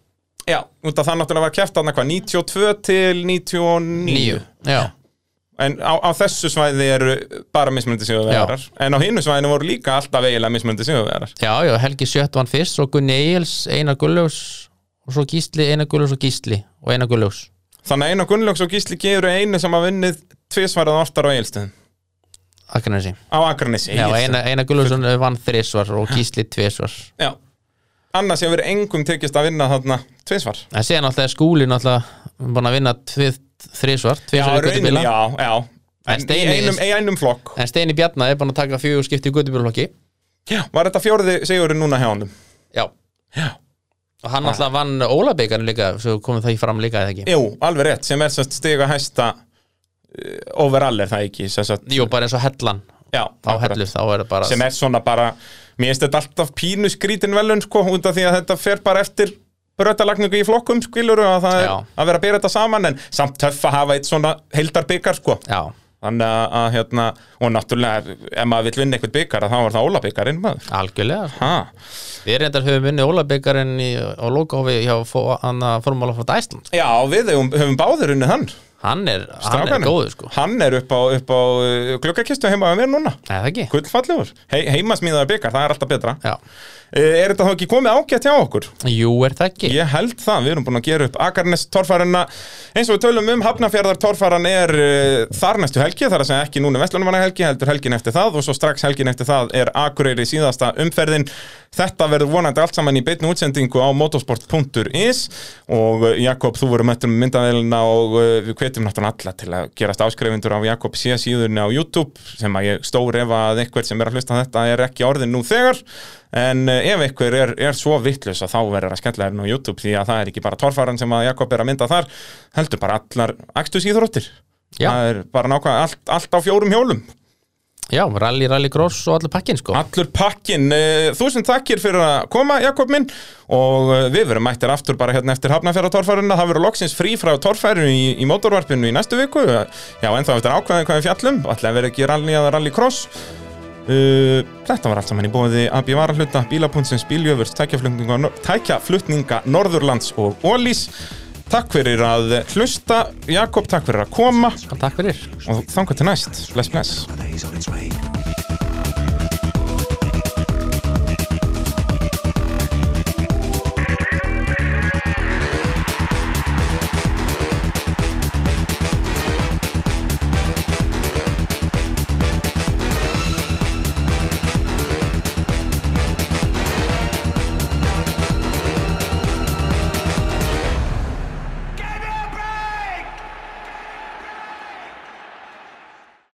Já, út af það náttúrulega var keppt þarna hvað 92 til 99 Níu Já, En á, á þessu svæði eru bara mismunandi sigurvegarar En á hinu svæðinu voru líka alltaf eiginlega mismunandi sigurvegarar Já, já, Helgi Sjött vann fyrst, svo Gunni Egils, Einar Gulljófs og svo Gísli, Einar Gulljófs og Gísli og Einar Gulljófs. Þannig að einu Gunnlaugs og Gísli gefur einu sem að vinnið tvisvarað oftar á eigilstöðum Akranesi. Á Akranesi Já, Egilsstöðum. Einar, Einar Gulljófsson vann þrisvar og Gísli tvisvar. Já. Annars hefur engum tekist að vinna þarna tvisvar En síðan alltaf er skúlin alltaf búin að vinna tvið, þrisvar, tvisvar í raunin, guttubíla. já, já En En í Steini- einum, í einum flokk En Steini Bjarnar er búin að taka fjögur skipti í guttubílflokki. já. Var þetta fjórði sigurinn núna hjá honum? Já. Já Ah. Og hann alltaf vann Ólabekarinn líka, svo komið það í fram líka eða ekki. Jú, alveg rétt, sem er sérst stiga hæsta uh, overall er það ekki sem sagt, Jú, bara eins og hellan já, á akkurat. hellu, þá er það bara... sem er svona bara mér finnst þetta alltaf pínu skrítin velun sko, út af því að þetta fer bara eftir brötalagningu í flokkum skilur og að það er Já. að vera að byrja þetta saman en samt töff að hafa eitt svona heildar byggar sko Já, þannig að, að hérna og náttúrulega ef maður vill vinna eitthvað byggar þá er það óla byggarinn maður algjörlega. ha. Við reyndar höfum unni Ólabyggarinn á lokahofi hjá fó- hann að formúla frá Æsland Já, við höfum, höfum báður unni hann Hann er, hann er strákanum. góður sko Hann er upp á, upp á uh, gluggakistu heima með mér núna Eða ekki? Gullfallegur, He, heimasmíðaður byggar, það er alltaf betra Já. Eh, Er þetta þá ekki komið ágætt hjá okkur? Jú, er það ekki? Ég held það, við erum búin að gera upp Akarnes torfærarna, eins og við tölum um Hafnafjörðar torfæran er uh, þar næstu helgi, þar að segja ekki núna Vestlunumanna helgi heldur helgin eftir það og svo strax helgin eftir það er Akureyri síðasta umferðin þetta verður vonandi allt saman í beitnu útsendingu á motorsport.is og uh, Jakob, þú voru mættur með myndavélina og uh, við hvetjum náttúrulega alla til að gerast áskrifundur af Jakob sé síðurni á YouTube sem að ég stór ef að eitthvað sem er að hlusta á þetta er ekki orðin nú þegar en eh, ef einhver er, er svo vittlus að þá verður að skella hérna á YouTube því að það er ekki bara torfaran sem að Jakob er að mynda þar heldur bara allar akstus íþróttir Já. það er bara nákvæm allt, allt á fjórum hjólum Já, rally, rally cross og allir pakkin sko Allur pakkin, eh, þúsund takkir fyrir að koma Jakob minn og eh, við verum mættir aftur bara hérna eftir hafnafjara torfæruna það verður loksins frí frá torfærinu í, í mótorvarpinu í næstu viku já ennþá eftir ákveðin hvað við fjallum allavega verður ekki rally eða rally cross Uh, þetta var allt saman í bóði AB Varahluta, Bílapuntsins, Bíljöfurs, tækjaflutninga, nor tækjaflutninga Norðurlands og Ólís Takk fyrir að hlusta, Jakob, takk fyrir að koma Takk fyrir og þangað til næst, bless bless days on its way.